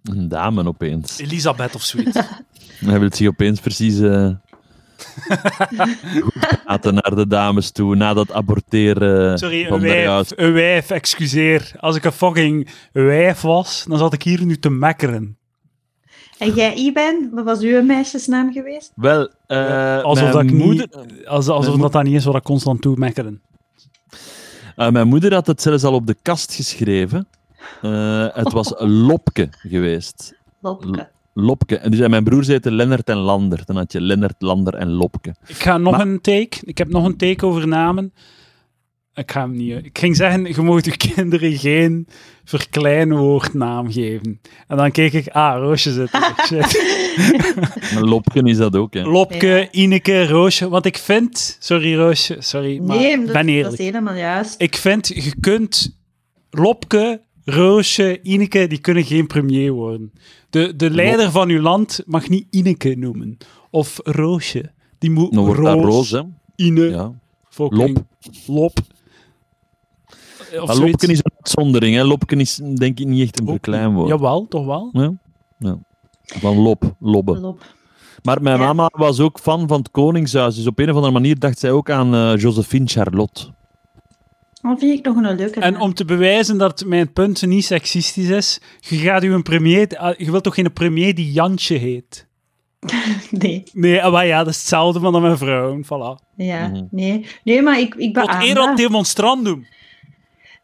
[SPEAKER 3] Een dame opeens.
[SPEAKER 2] Elisabeth of zoiets.
[SPEAKER 3] Dan hebben het zich opeens precies eh goed praten naar de dames toe, na dat aborteren eh,
[SPEAKER 2] Sorry, een
[SPEAKER 3] van
[SPEAKER 2] wijf,
[SPEAKER 3] daaruit.
[SPEAKER 2] een wijf, excuseer. Als ik een fucking wijf was, dan zat ik hier nu te mekkeren.
[SPEAKER 1] En jij, Iben, wat was uw meisjesnaam geweest?
[SPEAKER 3] Wel, eh
[SPEAKER 2] Alsof,
[SPEAKER 3] mijn,
[SPEAKER 2] dat, ik
[SPEAKER 3] moeder,
[SPEAKER 2] niet, als, alsof
[SPEAKER 3] Mijn
[SPEAKER 2] dat, dat niet is wat ik constant doe, mekkeren.
[SPEAKER 3] eh, mijn moeder had het zelfs al op de kast geschreven. Eh, het was Lopke geweest.
[SPEAKER 1] Lopke.
[SPEAKER 3] Lopke. En, dus, en mijn broers heten Lennart en Lander. Dan had je Lennart, Lander en Lopke.
[SPEAKER 2] Ik ga nog
[SPEAKER 3] Maar-
[SPEAKER 2] een take. Ik heb nog een take over namen. Ik ga hem niet... Ik ging zeggen, je moogt je kinderen geen verkleinwoordnaam geven. En dan keek ik, ah, Roosje zit er. Shit.
[SPEAKER 3] Maar Lopke is dat ook, hè.
[SPEAKER 2] Lopke, Ineke, Roosje. Want ik vind... Sorry, Roosje. Sorry, Mm. maar
[SPEAKER 1] Nee,
[SPEAKER 2] ik
[SPEAKER 1] dat,
[SPEAKER 2] ben
[SPEAKER 1] dat
[SPEAKER 2] eerlijk.
[SPEAKER 1] is helemaal juist.
[SPEAKER 2] Ik vind, je kunt Lopke, Roosje, Ineke, die kunnen geen premier worden. De, de leider van uw land mag niet Ineke noemen. Of Roosje. Die moet
[SPEAKER 3] Dan wordt
[SPEAKER 2] Roos, eh,
[SPEAKER 3] dat roos, hè.
[SPEAKER 2] Ine,
[SPEAKER 3] Ja.
[SPEAKER 2] fucking Lop. Eh, Of
[SPEAKER 3] Maar
[SPEAKER 2] zoiets.
[SPEAKER 3] Lopke is een uitzondering, hè. Lopke is denk ik niet echt een verkleinwoord.
[SPEAKER 2] Jawel, toch wel?
[SPEAKER 3] Ja? Ja. Van lop, lobben.
[SPEAKER 1] Lop.
[SPEAKER 3] Maar mijn
[SPEAKER 1] Ja.
[SPEAKER 3] mama was ook fan van het Koningshuis. Dus op een of andere manier dacht zij ook aan eh, Josephine Charlotte.
[SPEAKER 1] Dat Oh, vind ik nog een leuke
[SPEAKER 2] En
[SPEAKER 1] naam.
[SPEAKER 2] om te bewijzen dat mijn punt niet seksistisch is, je gaat uw premier... eh, Je wilt toch geen premier die Jantje heet?
[SPEAKER 1] Nee,
[SPEAKER 2] Nee, eh, maar ja, dat is hetzelfde van dan mijn vrouw. Voilà.
[SPEAKER 1] ja,
[SPEAKER 3] Mhm.
[SPEAKER 1] nee. Nee, maar ik, ik
[SPEAKER 2] Tot eer dat
[SPEAKER 1] beaam dat.
[SPEAKER 2] demonstrandum.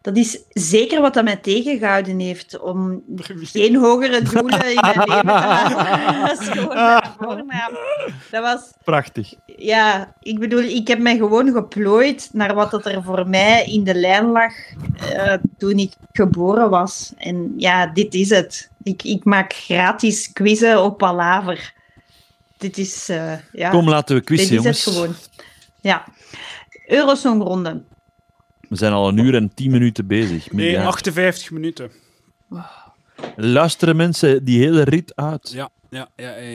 [SPEAKER 1] Dat is zeker wat dat mij tegengehouden heeft om geen hogere doelen in mijn leven te halen. Dat is gewoon mijn voornaam. Dat was...
[SPEAKER 3] Prachtig.
[SPEAKER 1] Ja, ik bedoel, ik heb mij gewoon geplooid naar wat dat er voor mij in de lijn lag eh, toen ik geboren was. En ja, dit is het. Ik, ik maak gratis quizzen op Palaver. Dit is, eh, ja,
[SPEAKER 3] Kom, laten we
[SPEAKER 1] dit
[SPEAKER 3] quizzen,
[SPEAKER 1] is
[SPEAKER 3] jongens.
[SPEAKER 1] het gewoon. Ja. Eurosongronde.
[SPEAKER 3] We zijn al een uur en tien minuten bezig.
[SPEAKER 2] Nee,
[SPEAKER 3] Ja.
[SPEAKER 2] 58 minuten.
[SPEAKER 3] Luisteren mensen die hele rit uit.
[SPEAKER 2] Ja, ja, ja, ja.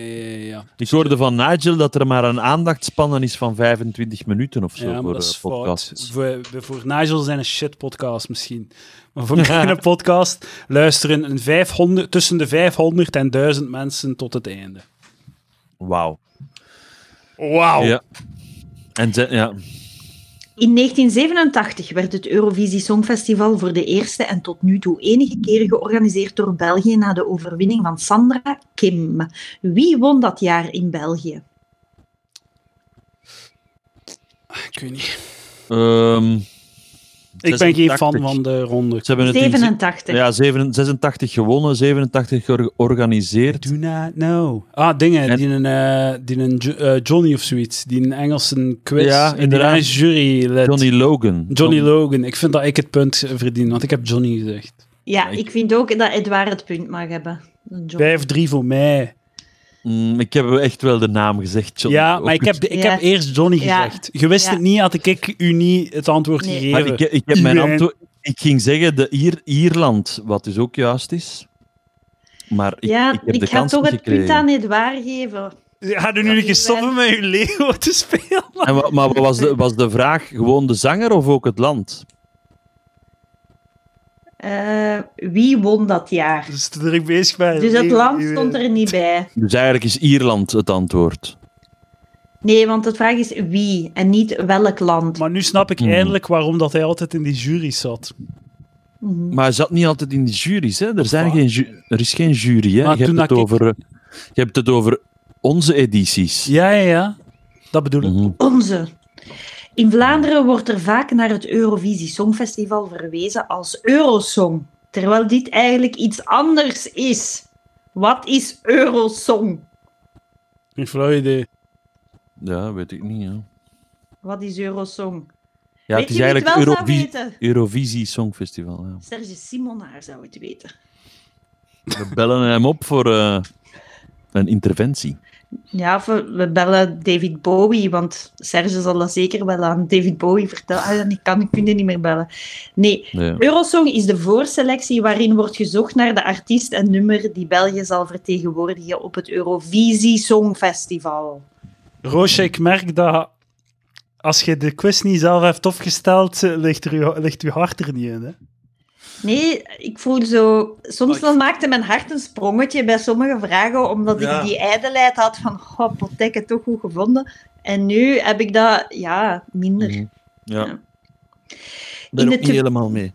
[SPEAKER 2] ja,
[SPEAKER 3] Ik hoorde van Nigel dat er maar een aandachtspannen is van 25 minuten of zo voor
[SPEAKER 2] maar dat is
[SPEAKER 3] eh, podcasts.
[SPEAKER 2] fout. Voor, voor Nigel zijn een shit podcast misschien. Maar voor mijn podcast luisteren een 500, tussen de 500 en 1000 mensen tot het einde.
[SPEAKER 3] Wauw.
[SPEAKER 2] Wauw.
[SPEAKER 3] Ja. En ze- ja.
[SPEAKER 1] In 1987 werd het Eurovisie Songfestival voor de eerste en tot nu toe enige keer georganiseerd door België na de overwinning van Sandra Kim. Wie won dat jaar in België?
[SPEAKER 2] Ik weet niet.
[SPEAKER 3] Ehm,
[SPEAKER 2] Ik ben geen
[SPEAKER 3] 86.
[SPEAKER 2] fan van de ronde.
[SPEAKER 3] Ze hebben het in-
[SPEAKER 1] 87.
[SPEAKER 3] ja, 87 86 gewonnen, 87 georganiseerd.
[SPEAKER 2] Do not know. Ah, dingen.
[SPEAKER 3] En-
[SPEAKER 2] Die een, eh, die een Jo- eh, Johnny of zoiets. Die een Engelse quiz.
[SPEAKER 3] Ja,
[SPEAKER 2] en die
[SPEAKER 3] inderdaad.
[SPEAKER 2] een jury led.
[SPEAKER 3] Johnny Logan.
[SPEAKER 2] Johnny Logan. Ik vind dat ik het punt verdien, want ik heb Johnny gezegd.
[SPEAKER 1] Ja,
[SPEAKER 3] ik-
[SPEAKER 1] ik vind ook dat Edouard het punt mag hebben. Een job.
[SPEAKER 2] 5-3 voor mij.
[SPEAKER 3] Mm, ik heb echt wel de naam gezegd, John.
[SPEAKER 2] ja, maar
[SPEAKER 3] Ook
[SPEAKER 2] ik heb, de- ik
[SPEAKER 1] Ja.
[SPEAKER 2] heb eerst Johnny
[SPEAKER 1] Ja.
[SPEAKER 2] gezegd. Je wist
[SPEAKER 1] Ja.
[SPEAKER 2] het niet, had ik- ik u niet het antwoord
[SPEAKER 1] Nee.
[SPEAKER 3] Maar
[SPEAKER 2] gegeven.
[SPEAKER 3] ik, ik heb mijn
[SPEAKER 2] Iedereen.
[SPEAKER 3] antwoord... Ik ging zeggen de Ier- Ierland, wat dus ook juist is. Maar ik,
[SPEAKER 1] ja,
[SPEAKER 3] ik
[SPEAKER 1] ik,
[SPEAKER 3] heb de
[SPEAKER 1] ga
[SPEAKER 3] kans
[SPEAKER 1] toch
[SPEAKER 3] niet
[SPEAKER 1] het punt
[SPEAKER 3] gekregen.
[SPEAKER 1] aan Edouard geven.
[SPEAKER 2] Ga er nu een keer stoppen met je Lego te spelen?
[SPEAKER 3] En wa- maar wat was de, was de vraag gewoon de zanger of ook het land?
[SPEAKER 1] Eh, wie won dat jaar?
[SPEAKER 2] Dus te druk bezig bij.
[SPEAKER 1] Dus het land
[SPEAKER 2] eh.
[SPEAKER 1] stond er niet bij.
[SPEAKER 3] Dus eigenlijk is Ierland het antwoord.
[SPEAKER 1] Nee, want de vraag is wie en niet welk land.
[SPEAKER 2] Maar nu snap ik
[SPEAKER 3] Hmm.
[SPEAKER 2] eindelijk waarom dat hij altijd in die jury zat.
[SPEAKER 1] Mhm.
[SPEAKER 3] Maar hij zat niet altijd in de jury's. Hè? Er, zijn
[SPEAKER 2] Wat?
[SPEAKER 3] geen ju- er is geen jury. Hè?
[SPEAKER 2] Maar
[SPEAKER 3] Je,
[SPEAKER 2] toen
[SPEAKER 3] hebt het
[SPEAKER 2] dat ik-
[SPEAKER 3] over, eh, je hebt het over onze edities.
[SPEAKER 2] Ja, ja, ja. Dat bedoel ik.
[SPEAKER 3] Mhm.
[SPEAKER 1] Onze. In Vlaanderen wordt er vaak naar het Eurovisie Songfestival verwezen als Eurosong, terwijl dit eigenlijk iets anders is. Wat is Eurosong?
[SPEAKER 2] Geen flauw idee.
[SPEAKER 3] Ja, weet ik niet. Ja,
[SPEAKER 1] Wat is Eurosong?
[SPEAKER 3] ja het
[SPEAKER 1] Weet
[SPEAKER 3] is
[SPEAKER 1] je wie
[SPEAKER 3] eigenlijk
[SPEAKER 1] het wel zou
[SPEAKER 3] Eurovi-
[SPEAKER 1] weten?
[SPEAKER 3] Eurovisie Songfestival. Ja.
[SPEAKER 1] Serge Simonaar zou het weten.
[SPEAKER 3] We bellen hem op voor eh, een interventie.
[SPEAKER 1] Ja, of we, we bellen David Bowie, want Serge zal dat zeker wel aan David Bowie vertellen. Ah, ja, ik kan, ik kun je niet meer bellen. Nee,
[SPEAKER 3] Ja.
[SPEAKER 1] Eurosong is de voorselectie waarin wordt gezocht naar de artiest en nummer die België zal vertegenwoordigen op het Eurovisie Songfestival.
[SPEAKER 2] Roosje, ik merk dat als je de quiz niet zelf hebt opgesteld, eh, ligt, er je, ligt je hart er niet in. Hè?
[SPEAKER 1] Nee, ik voel zo... Soms
[SPEAKER 2] Oh, ik-
[SPEAKER 1] dan maakte mijn hart een sprongetje bij sommige vragen, omdat
[SPEAKER 2] Ja.
[SPEAKER 1] ik die ijdelheid had van, oh, potekke, toch goed gevonden. En nu heb ik dat, ja, minder.
[SPEAKER 3] Mhm. Ja.
[SPEAKER 1] Ja.
[SPEAKER 3] Ik ben
[SPEAKER 1] In
[SPEAKER 3] ook
[SPEAKER 1] het
[SPEAKER 3] niet
[SPEAKER 1] te-
[SPEAKER 3] helemaal mee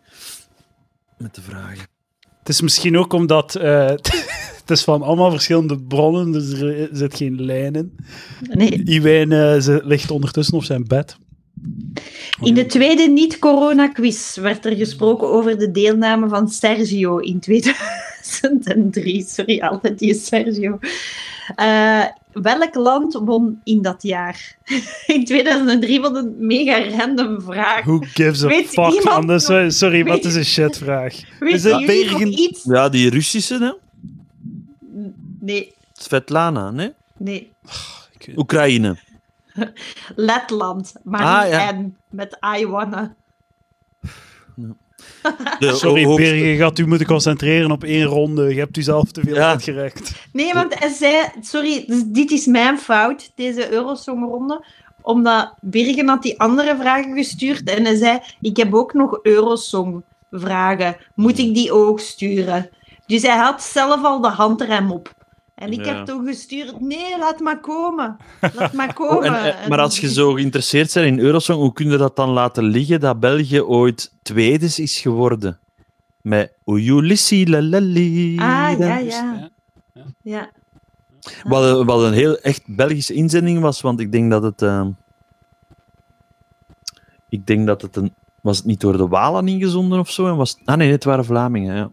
[SPEAKER 3] met de vragen.
[SPEAKER 2] Het is misschien ook omdat eh, het is van allemaal verschillende bronnen, dus er eh, zit geen lijn in.
[SPEAKER 1] Nee.
[SPEAKER 2] Iwijn eh, ze- ligt ondertussen op zijn bed.
[SPEAKER 1] In de tweede niet-corona-quiz werd er gesproken over de deelname van Sergio in 2003. Sorry, altijd die Sergio. Eh, welk land won in dat jaar? In 2003 was een mega random vraag.
[SPEAKER 2] Who gives a
[SPEAKER 1] Weet
[SPEAKER 2] fuck?
[SPEAKER 1] iemand
[SPEAKER 2] Anders,
[SPEAKER 1] nog-
[SPEAKER 2] eh, sorry, maar het is
[SPEAKER 1] Weet-
[SPEAKER 2] een shitvraag.
[SPEAKER 1] Weet
[SPEAKER 2] Is het
[SPEAKER 1] jullie nog
[SPEAKER 2] Bergen-
[SPEAKER 1] iets?
[SPEAKER 3] Ja, die Russische, hè?
[SPEAKER 1] Nee,
[SPEAKER 3] Svetlana, nee?
[SPEAKER 1] nee.
[SPEAKER 3] Oekraïne.
[SPEAKER 1] Letland. Maar
[SPEAKER 3] Ah,
[SPEAKER 1] niet
[SPEAKER 3] ja.
[SPEAKER 1] en, met I wanna.
[SPEAKER 3] De
[SPEAKER 2] Sorry,
[SPEAKER 3] hoogste-
[SPEAKER 2] Bergen, je gaat u moeten concentreren op één ronde. Je hebt u zelf te veel
[SPEAKER 3] Ja.
[SPEAKER 2] uitgerekt.
[SPEAKER 1] Nee, want hij zei... Sorry, dus dit is mijn fout, deze Eurosongronde. Omdat Birgen had die andere vragen gestuurd. En hij zei, ik heb ook nog Eurosong-vragen. Moet ik die ook sturen? Dus hij had zelf al de handrem op. En ik
[SPEAKER 3] Ja.
[SPEAKER 1] heb toen gestuurd, nee, laat maar komen. Laat maar komen.
[SPEAKER 3] Oh, en, eh, maar als je zo geïnteresseerd bent in Eurosong, hoe kun je dat dan laten liggen dat België ooit tweedes is geworden? Met Oejulissi lalali.
[SPEAKER 1] Ah, ja, ja. Ja.
[SPEAKER 3] Wat, een- wat een heel echt Belgische inzending was, want ik denk dat het. eh, ik denk dat het een. Was het niet door de Walen ingezonden of zo? En was, ah nee, het waren Vlamingen. Ja.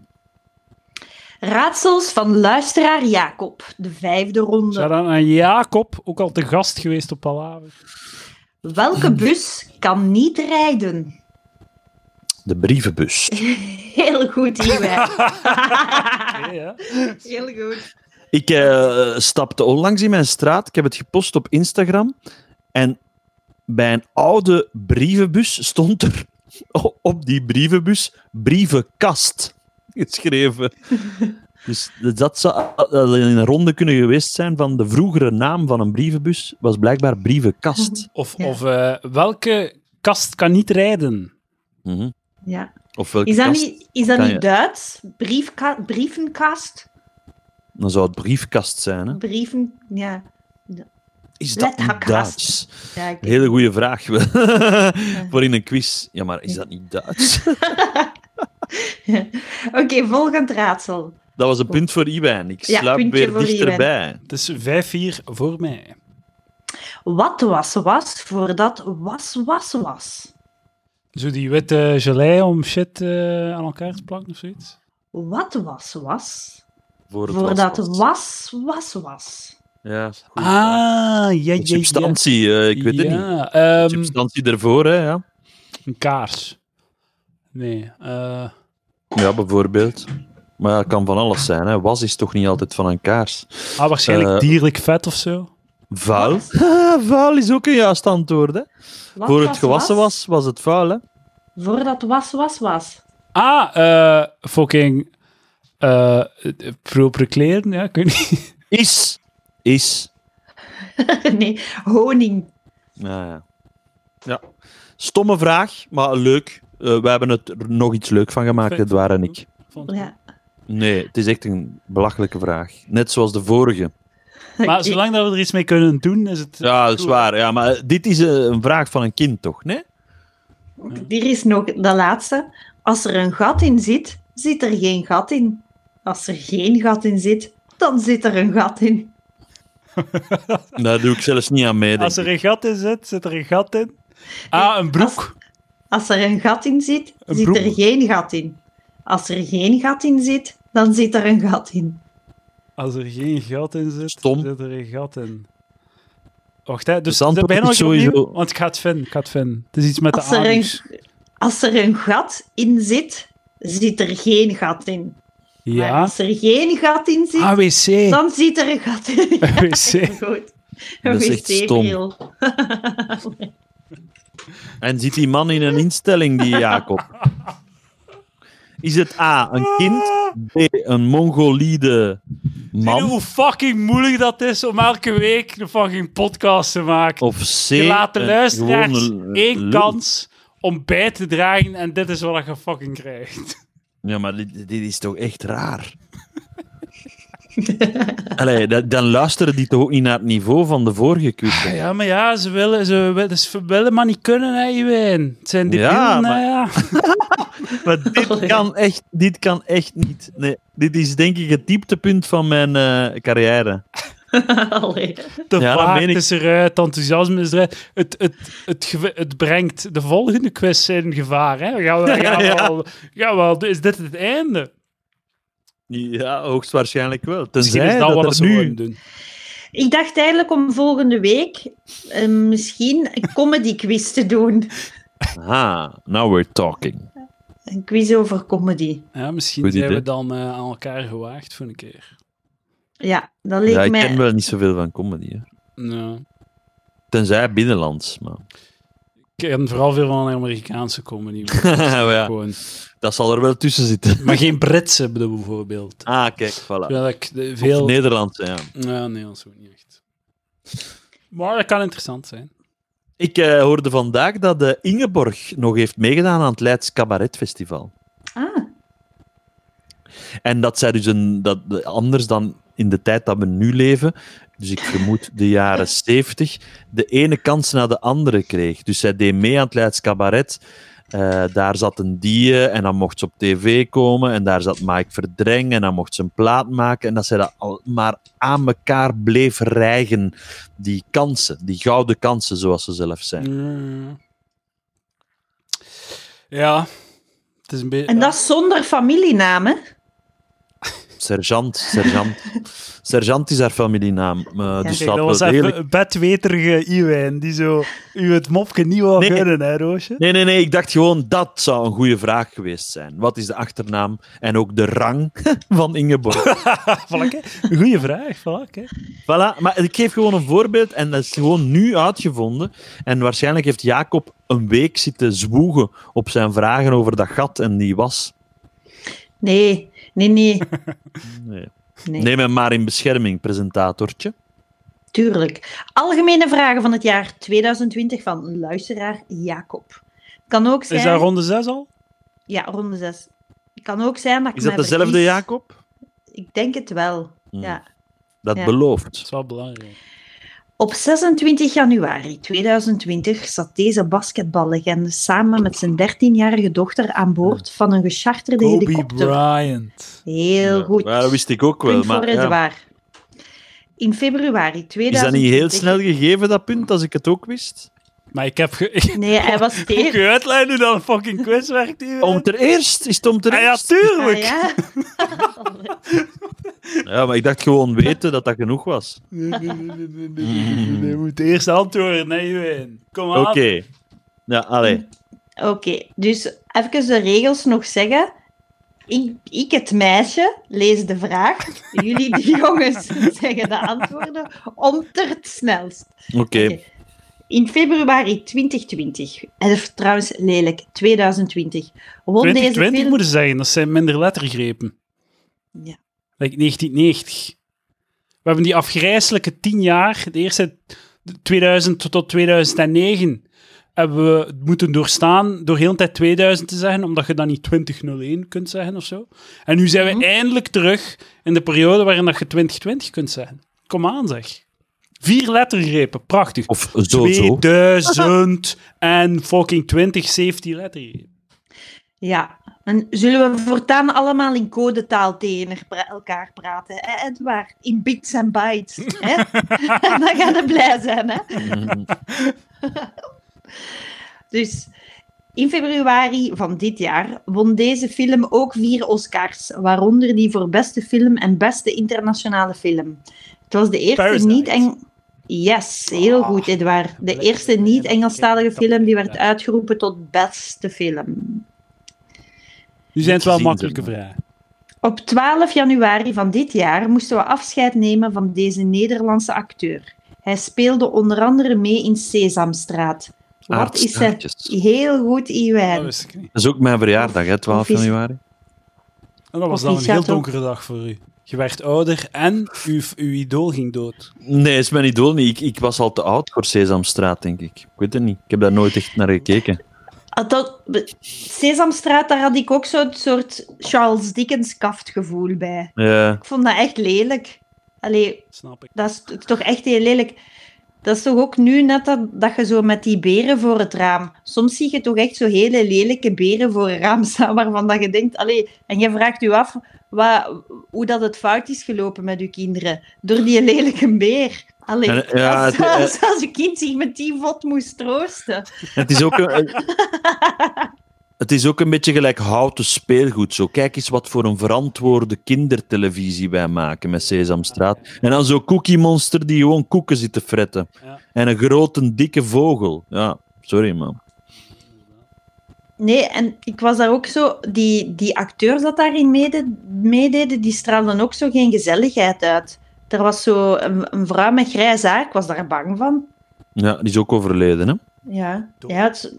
[SPEAKER 1] Raadsels van luisteraar Jacob, de vijfde ronde.
[SPEAKER 2] Zou dan aan Jacob, ook al te gast geweest op Palaver?
[SPEAKER 1] Welke bus kan niet rijden?
[SPEAKER 3] De brievenbus.
[SPEAKER 1] Heel goed, Iwe.
[SPEAKER 2] Nee, hè?
[SPEAKER 1] Heel goed.
[SPEAKER 3] Ik eh, stapte onlangs in mijn straat. Ik heb het gepost op Instagram. En bij een oude brievenbus stond er o- op die brievenbus brievenkast geschreven. Dus dat zou al in een ronde kunnen geweest zijn van de vroegere naam van een brievenbus was blijkbaar brievenkast.
[SPEAKER 2] Of,
[SPEAKER 1] Ja.
[SPEAKER 2] of eh, welke kast kan niet rijden?
[SPEAKER 3] Mhm.
[SPEAKER 1] Ja.
[SPEAKER 3] Of welke
[SPEAKER 1] Is dat
[SPEAKER 3] kast?
[SPEAKER 1] niet, is dat
[SPEAKER 3] kan
[SPEAKER 1] niet
[SPEAKER 3] je-
[SPEAKER 1] Duits? Briefka brievenkast?
[SPEAKER 3] Dan zou het briefkast zijn. Hè?
[SPEAKER 1] Brieven... Ja.
[SPEAKER 3] Is dat niet
[SPEAKER 1] Letterkast.
[SPEAKER 3] Duits?
[SPEAKER 1] ja ik-
[SPEAKER 3] Hele goede vraag. wel. Voor in een quiz. Ja, maar is dat niet Duits?
[SPEAKER 1] Oké, volgend raadsel.
[SPEAKER 3] Dat was een punt voor Iwijn. Ik
[SPEAKER 1] Ja,
[SPEAKER 3] sluip
[SPEAKER 1] puntje
[SPEAKER 3] weer
[SPEAKER 1] voor
[SPEAKER 3] dichterbij.
[SPEAKER 2] Het is 5-4 voor mij.
[SPEAKER 1] Wat was was voordat was was was?
[SPEAKER 2] Zo die witte gelei om shit eh, aan elkaar te plakken of zoiets?
[SPEAKER 1] Wat was was
[SPEAKER 3] Voor het
[SPEAKER 1] voordat
[SPEAKER 3] was-
[SPEAKER 1] was was was?
[SPEAKER 3] Ja, goed.
[SPEAKER 2] Ah, ja,
[SPEAKER 3] De
[SPEAKER 2] ja, ja.
[SPEAKER 3] substantie, eh, ik weet het niet.
[SPEAKER 2] Ja, ehm,
[SPEAKER 3] De substantie ervoor, hè, ja.
[SPEAKER 2] een kaars. Nee. eh,
[SPEAKER 3] Ja, bijvoorbeeld. Maar ja, het kan van alles zijn. Hè. Was is toch niet altijd van een kaars.
[SPEAKER 2] ah, waarschijnlijk
[SPEAKER 3] Eh,
[SPEAKER 2] dierlijk vet of zo.
[SPEAKER 3] Vuil.
[SPEAKER 1] Wat?
[SPEAKER 3] Ah, vuil is ook een juist antwoord. Hè.
[SPEAKER 1] Wat
[SPEAKER 3] Voor het gewassen was, was het vuil. Hè.
[SPEAKER 1] Voordat was was was.
[SPEAKER 2] Ah, eh, fucking eh, eh, propere kleren, ja, ik weet niet.
[SPEAKER 3] Is. Is.
[SPEAKER 1] nee, honing.
[SPEAKER 3] Ja, ja. ja. Stomme vraag, maar leuk. Eh, we hebben het er nog iets leuk van gemaakt,
[SPEAKER 2] Vet.
[SPEAKER 3] Edouard en ik.
[SPEAKER 2] Vond ik.
[SPEAKER 1] Ja.
[SPEAKER 3] Nee, het is echt een belachelijke vraag. Net zoals de vorige.
[SPEAKER 2] Maar zolang dat we er iets mee kunnen doen, is het...
[SPEAKER 3] Ja, dat is waar. Ja, maar dit is eh, een vraag van een kind, toch? Nee?
[SPEAKER 1] Hier is nog de laatste. Als er een gat in zit, zit er geen gat in. Als er geen gat in zit, dan zit er een gat in.
[SPEAKER 3] Daar doe ik zelfs niet aan mee. denk
[SPEAKER 2] Als er
[SPEAKER 3] ik.
[SPEAKER 2] een gat in zit, zit er een gat in. Ah, een broek.
[SPEAKER 1] Als er een gat in zit,
[SPEAKER 2] Een
[SPEAKER 1] zit er
[SPEAKER 2] broek.
[SPEAKER 1] geen gat in. Als er geen gat in zit, dan zit er een gat in.
[SPEAKER 2] Als er geen gat in zit,
[SPEAKER 3] Stom.
[SPEAKER 2] zit er een gat in. Wacht, hè. Dus
[SPEAKER 3] Het antwoord
[SPEAKER 2] dat ben nog
[SPEAKER 3] is
[SPEAKER 2] sowieso...
[SPEAKER 3] sowieso-
[SPEAKER 2] want ik ga het vinden, ik ga het vinden. Het is iets met
[SPEAKER 1] Als
[SPEAKER 2] de
[SPEAKER 1] er een-
[SPEAKER 2] anus.
[SPEAKER 1] Als er een gat in zit, zit er geen gat in. Maar
[SPEAKER 2] Ja. Ah,
[SPEAKER 1] als er geen gat in zit,
[SPEAKER 2] AWC.
[SPEAKER 1] dan zit er een gat in. Ja,
[SPEAKER 2] AWC.
[SPEAKER 1] Goed.
[SPEAKER 3] Dat is echt stom.
[SPEAKER 1] wc-bril.
[SPEAKER 3] En zit die man in een instelling, die Jacob? Is het A, een kind? B, een mongoliede
[SPEAKER 2] Zie je
[SPEAKER 3] man?
[SPEAKER 2] hoe fucking moeilijk dat is om elke week een fucking podcast te maken?
[SPEAKER 3] Of C,
[SPEAKER 2] je laat de
[SPEAKER 3] een
[SPEAKER 2] luisteraars
[SPEAKER 3] gewone
[SPEAKER 2] één
[SPEAKER 3] eh, lul?
[SPEAKER 2] kans om bij te dragen en dit is wat je fucking krijgt.
[SPEAKER 3] Ja, maar dit, dit is toch echt raar? Allee, da- dan luisteren die toch ook niet naar het niveau van de vorige quiz. hè?
[SPEAKER 2] Ja, maar ja, ze willen, ze willen, ze willen maar niet kunnen, hè, Iwijn. Het zijn die
[SPEAKER 3] Ja,
[SPEAKER 2] ja,
[SPEAKER 3] maar-
[SPEAKER 2] ja.
[SPEAKER 3] Maar dit kan, echt, dit kan echt niet. Nee, dit is denk ik het dieptepunt van mijn eh, carrière.
[SPEAKER 1] Allee.
[SPEAKER 2] De
[SPEAKER 3] Ja, dat
[SPEAKER 2] vaart
[SPEAKER 3] meen ik.
[SPEAKER 2] is eruit, het enthousiasme is eruit. Het, het, het, gew- het brengt de volgende quiz in gevaar, hè. Gaan we, gaan we
[SPEAKER 3] Ja.
[SPEAKER 2] al- gaan we al- is dit het einde?
[SPEAKER 3] Ja, hoogstwaarschijnlijk wel.
[SPEAKER 2] Misschien
[SPEAKER 3] Tenzij
[SPEAKER 2] is dat,
[SPEAKER 3] dat,
[SPEAKER 2] wat
[SPEAKER 3] er
[SPEAKER 2] ze
[SPEAKER 3] nu...
[SPEAKER 2] nu doen.
[SPEAKER 1] Ik dacht eigenlijk om volgende week eh, misschien een comedy quiz te doen.
[SPEAKER 3] Ah, now we're talking.
[SPEAKER 1] Een quiz over comedy.
[SPEAKER 2] Ja, misschien
[SPEAKER 3] Goed
[SPEAKER 2] zijn
[SPEAKER 3] idee.
[SPEAKER 2] we dan eh, aan elkaar gewaagd voor een keer.
[SPEAKER 1] Ja, dat leek
[SPEAKER 3] Ja, ik
[SPEAKER 1] mij.
[SPEAKER 3] ken wel niet zoveel van comedy. Hè.
[SPEAKER 2] Ja.
[SPEAKER 3] Tenzij binnenlands. Maar...
[SPEAKER 2] Ik ken vooral veel van Amerikaanse comedy.
[SPEAKER 3] Maar ja,
[SPEAKER 2] Gewoon.
[SPEAKER 3] dat zal er wel tussen zitten.
[SPEAKER 2] Maar geen Britse bedoel, bijvoorbeeld.
[SPEAKER 3] Ah, kijk, voilà.
[SPEAKER 2] Terwijl ik de-
[SPEAKER 3] Of
[SPEAKER 2] veel... Nee.
[SPEAKER 3] Nederlands, ja.
[SPEAKER 2] Ja, Nederlands ook niet echt. Maar dat kan interessant zijn.
[SPEAKER 3] Ik eh, hoorde vandaag dat de Ingeborg nog heeft meegedaan aan het Leids Cabaret Festival.
[SPEAKER 1] Ah,
[SPEAKER 3] En dat zij dus een, dat, de- anders dan in de tijd dat we nu leven, dus ik vermoed de jaren 70, de ene kans na de andere kreeg. Dus zij deed mee aan het Leids Cabaret. Eh, daar zat een die en dan mocht ze op tv komen en daar zat Mike Verdreng en dan mocht ze een plaat maken en dat zij dat al maar aan elkaar bleef rijgen, die kansen, die gouden kansen zoals ze zelf zijn.
[SPEAKER 2] Ja. Ja. Het is een beetje...
[SPEAKER 1] en dat is zonder familienaam, hè?
[SPEAKER 3] Sergeant, sergeant. sergeant is haar familienaam. eh, dus
[SPEAKER 2] Kijk, dat
[SPEAKER 3] dat
[SPEAKER 2] was
[SPEAKER 3] wel
[SPEAKER 2] even
[SPEAKER 3] degelijk-
[SPEAKER 2] een bedweterige Iwijn, die zo u het mopje niet wou
[SPEAKER 3] Nee.
[SPEAKER 2] gunnen, hè, Roosje?
[SPEAKER 3] Nee, nee, nee. Ik dacht gewoon, dat zou een goede vraag geweest zijn. Wat is de achternaam en ook de rang van Ingeborg?
[SPEAKER 2] Vlakke. Goeie vraag, vlakke.
[SPEAKER 3] voilà. Maar ik geef gewoon een voorbeeld en dat is gewoon nu uitgevonden. En waarschijnlijk heeft Jacob een week zitten zwoegen op zijn vragen over dat gat en die was.
[SPEAKER 1] Nee, nee, nee.
[SPEAKER 3] Nee.
[SPEAKER 1] nee.
[SPEAKER 3] Neem hem maar in bescherming, presentatortje.
[SPEAKER 1] Tuurlijk. Algemene vragen van het jaar 2020 van luisteraar Jacob. Kan ook zijn...
[SPEAKER 2] Is dat ronde 6 al?
[SPEAKER 1] Ja, ronde 6. Kan ook zijn dat ik
[SPEAKER 3] Is dat
[SPEAKER 1] mij
[SPEAKER 3] dezelfde
[SPEAKER 1] vergis.
[SPEAKER 3] Jacob?
[SPEAKER 1] Ik denk het wel,
[SPEAKER 3] Hmm,
[SPEAKER 1] ja.
[SPEAKER 3] Dat
[SPEAKER 1] Ja.
[SPEAKER 2] Dat is
[SPEAKER 3] belooft.
[SPEAKER 2] wel belangrijk.
[SPEAKER 1] Op 26 januari 2020 zat deze basketballegende samen met zijn 13-jarige dochter aan boord van een gecharterde
[SPEAKER 2] Kobe
[SPEAKER 1] helikopter.
[SPEAKER 2] Bryant.
[SPEAKER 1] Heel
[SPEAKER 3] Ja,
[SPEAKER 1] goed.
[SPEAKER 3] maar dat wist ik ook wel.
[SPEAKER 1] Punt voor
[SPEAKER 3] Maar, ja.
[SPEAKER 1] Edouard. In februari 2020...
[SPEAKER 3] Is dat niet heel snel gegeven, dat punt, als ik het ook wist?
[SPEAKER 2] Maar ik heb... Ge... Ik
[SPEAKER 1] Nee, hij was
[SPEAKER 2] moet
[SPEAKER 1] tegen.
[SPEAKER 2] je uitleggen hoe dat een fucking quiz werkt, Iwijn.
[SPEAKER 3] Om ter eerst? Is het om ter
[SPEAKER 2] Ah ja,
[SPEAKER 3] eerst?
[SPEAKER 1] Ah,
[SPEAKER 2] tuurlijk.
[SPEAKER 1] ja.
[SPEAKER 3] Ja, maar ik dacht gewoon weten dat dat genoeg was.
[SPEAKER 2] Nee, nee, nee, nee, nee, nee, nee, nee. Je moet eerst antwoorden, nee, Iwijn. Kom aan.
[SPEAKER 3] Oké. Ja, allee.
[SPEAKER 1] Oké, dus even de regels nog zeggen. Ik, ik, het meisje, lees de vraag. Jullie, de jongens, zeggen de antwoorden. Om ter het snelst.
[SPEAKER 3] Oké.
[SPEAKER 1] Oké. In februari 2020, of trouwens lelijk, 2020, won
[SPEAKER 2] 2020
[SPEAKER 1] deze film...
[SPEAKER 2] moeten zeggen, dat zijn minder lettergrepen.
[SPEAKER 1] Ja.
[SPEAKER 2] Like 1990. We hebben die afgrijzelijke tien jaar, de eerste 2000 tot 2009, hebben we moeten doorstaan door heel de tijd 2000 te zeggen, omdat je dan niet 2001 kunt zeggen of zo. En nu zijn we
[SPEAKER 1] Mhm.
[SPEAKER 2] eindelijk terug in de periode waarin dat je 2020 kunt zeggen. Kom aan, zeg. Vier lettergrepen, prachtig.
[SPEAKER 3] Of zo, zo.
[SPEAKER 2] 2000 en fucking 20, 17 lettergrepen.
[SPEAKER 1] ja. En zullen we voortaan allemaal in codetaal tegen er- pra- elkaar praten? Hè, Edouard? In bits en bytes. Hè? dan gaan we blij zijn, hè?
[SPEAKER 3] Mhm.
[SPEAKER 1] Dus in februari van dit jaar won deze film ook vier Oscars, waaronder die voor beste film en beste internationale film. Het was de eerste
[SPEAKER 2] Parasite.
[SPEAKER 1] niet-Eng... Yes, heel
[SPEAKER 2] Ah,
[SPEAKER 1] goed, Edouard. De
[SPEAKER 2] lekker.
[SPEAKER 1] eerste niet-Engelstalige
[SPEAKER 2] Lekker.
[SPEAKER 1] film die werd
[SPEAKER 2] Ja.
[SPEAKER 1] uitgeroepen tot beste film.
[SPEAKER 2] Nu zijn het wel
[SPEAKER 3] gezien,
[SPEAKER 2] makkelijke
[SPEAKER 3] zeg maar.
[SPEAKER 2] vragen.
[SPEAKER 1] Op 12 januari van dit jaar moesten we afscheid nemen van deze Nederlandse acteur. Hij speelde onder andere mee in Sesamstraat. Wat is zijn...
[SPEAKER 3] Aardstaartjes.
[SPEAKER 1] Heel goed,
[SPEAKER 2] Dat
[SPEAKER 1] Iwijn.
[SPEAKER 2] wist ik niet.
[SPEAKER 3] Dat is ook mijn verjaardag, hè, 12
[SPEAKER 1] Of is-
[SPEAKER 3] januari.
[SPEAKER 2] En dat was
[SPEAKER 1] Of
[SPEAKER 2] dan een
[SPEAKER 1] die
[SPEAKER 2] heel
[SPEAKER 1] gaat ook-
[SPEAKER 2] donkere dag voor u. Je werd ouder en uw, uw idool ging dood.
[SPEAKER 3] Nee, is mijn idool niet. Ik, ik was al te oud voor Sesamstraat, denk ik. Ik weet het niet. Ik heb daar nooit echt naar gekeken.
[SPEAKER 1] Dat, Sesamstraat, daar had ik ook zo'n soort Charles Dickens kaftgevoel bij.
[SPEAKER 3] Ja.
[SPEAKER 1] Ik vond dat echt lelijk. Allee,
[SPEAKER 2] Snap ik.
[SPEAKER 1] dat is t- toch echt heel lelijk. Dat is toch ook nu net dat, dat je zo met die beren voor het raam. Soms zie je toch echt zo hele lelijke beren voor een raam staan waarvan dat je denkt, allee, en je vraagt je af wa, hoe dat het fout is gelopen met je kinderen door die lelijke beer. Allee,
[SPEAKER 3] En, ja,
[SPEAKER 1] als,
[SPEAKER 3] het-
[SPEAKER 1] als, als je kind zich met die vod moest troosten.
[SPEAKER 3] Het is ook een... Het is ook een beetje gelijk houten speelgoed. Zo. Kijk eens wat voor een verantwoorde kindertelevisie wij maken met Sesamstraat. En dan zo'n cookie monster die gewoon koeken zit te fretten.
[SPEAKER 2] Ja.
[SPEAKER 3] En een grote, dikke vogel. Ja, sorry man.
[SPEAKER 1] Nee, en ik was daar ook zo... Die, die acteurs dat daarin meede- meededen, die straalden ook zo geen gezelligheid uit. Er was zo een, een vrouw met grijs haar, ik was daar bang van.
[SPEAKER 3] Ja, die is ook overleden, hè?
[SPEAKER 1] Ja,
[SPEAKER 2] Doe.
[SPEAKER 1] ja het-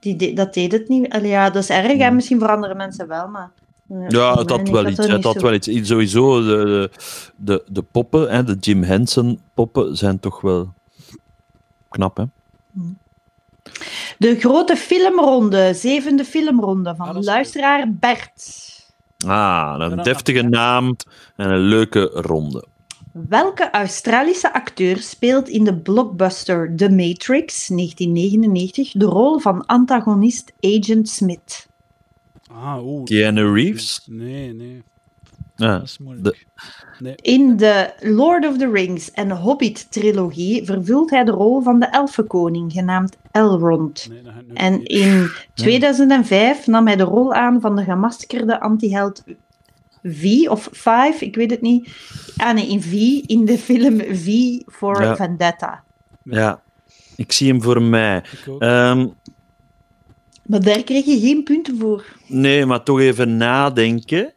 [SPEAKER 1] die, de- dat deed het niet. Allee, ja, dat is erg, hè.
[SPEAKER 3] Hmm.
[SPEAKER 1] misschien voor andere mensen wel, maar... eh,
[SPEAKER 3] Ja,
[SPEAKER 1] voor
[SPEAKER 3] het
[SPEAKER 1] mij
[SPEAKER 3] had
[SPEAKER 1] niet,
[SPEAKER 3] wel
[SPEAKER 1] ik
[SPEAKER 3] iets.
[SPEAKER 1] er
[SPEAKER 3] Het
[SPEAKER 1] niet
[SPEAKER 3] had
[SPEAKER 1] zo-
[SPEAKER 3] wel iets. I- Sowieso, de, de, de poppen, hè, de Jim Henson-poppen, zijn toch wel knap, hè?
[SPEAKER 1] De grote filmronde, zevende filmronde van
[SPEAKER 2] Ah, dat is
[SPEAKER 1] luisteraar Bert.
[SPEAKER 3] Ah,
[SPEAKER 2] dan-
[SPEAKER 3] een deftige naam en een leuke ronde.
[SPEAKER 1] Welke Australische acteur speelt in de blockbuster The Matrix 1999 de rol van antagonist Agent Smith?
[SPEAKER 2] Ah, oeh.
[SPEAKER 3] Keanu Reeves.
[SPEAKER 2] Nee, nee.
[SPEAKER 3] Ja.
[SPEAKER 2] Dat is moeilijk.
[SPEAKER 1] In de Lord of the Rings en Hobbit-trilogie vervult hij de rol van de elfenkoning, genaamd Elrond.
[SPEAKER 2] Nee, dat gaat nooit
[SPEAKER 1] En
[SPEAKER 2] meer.
[SPEAKER 1] in 2005 nam hij de rol aan van de gemaskerde antiheld V of Five, ik weet het niet. Ah nee, in V, in de film V for
[SPEAKER 3] Ja.
[SPEAKER 1] Vendetta.
[SPEAKER 3] ja, ik zie hem voor mij.
[SPEAKER 2] Ik ook.
[SPEAKER 3] Ehm,
[SPEAKER 1] Maar daar kreeg je geen punten voor.
[SPEAKER 3] nee, maar toch even nadenken.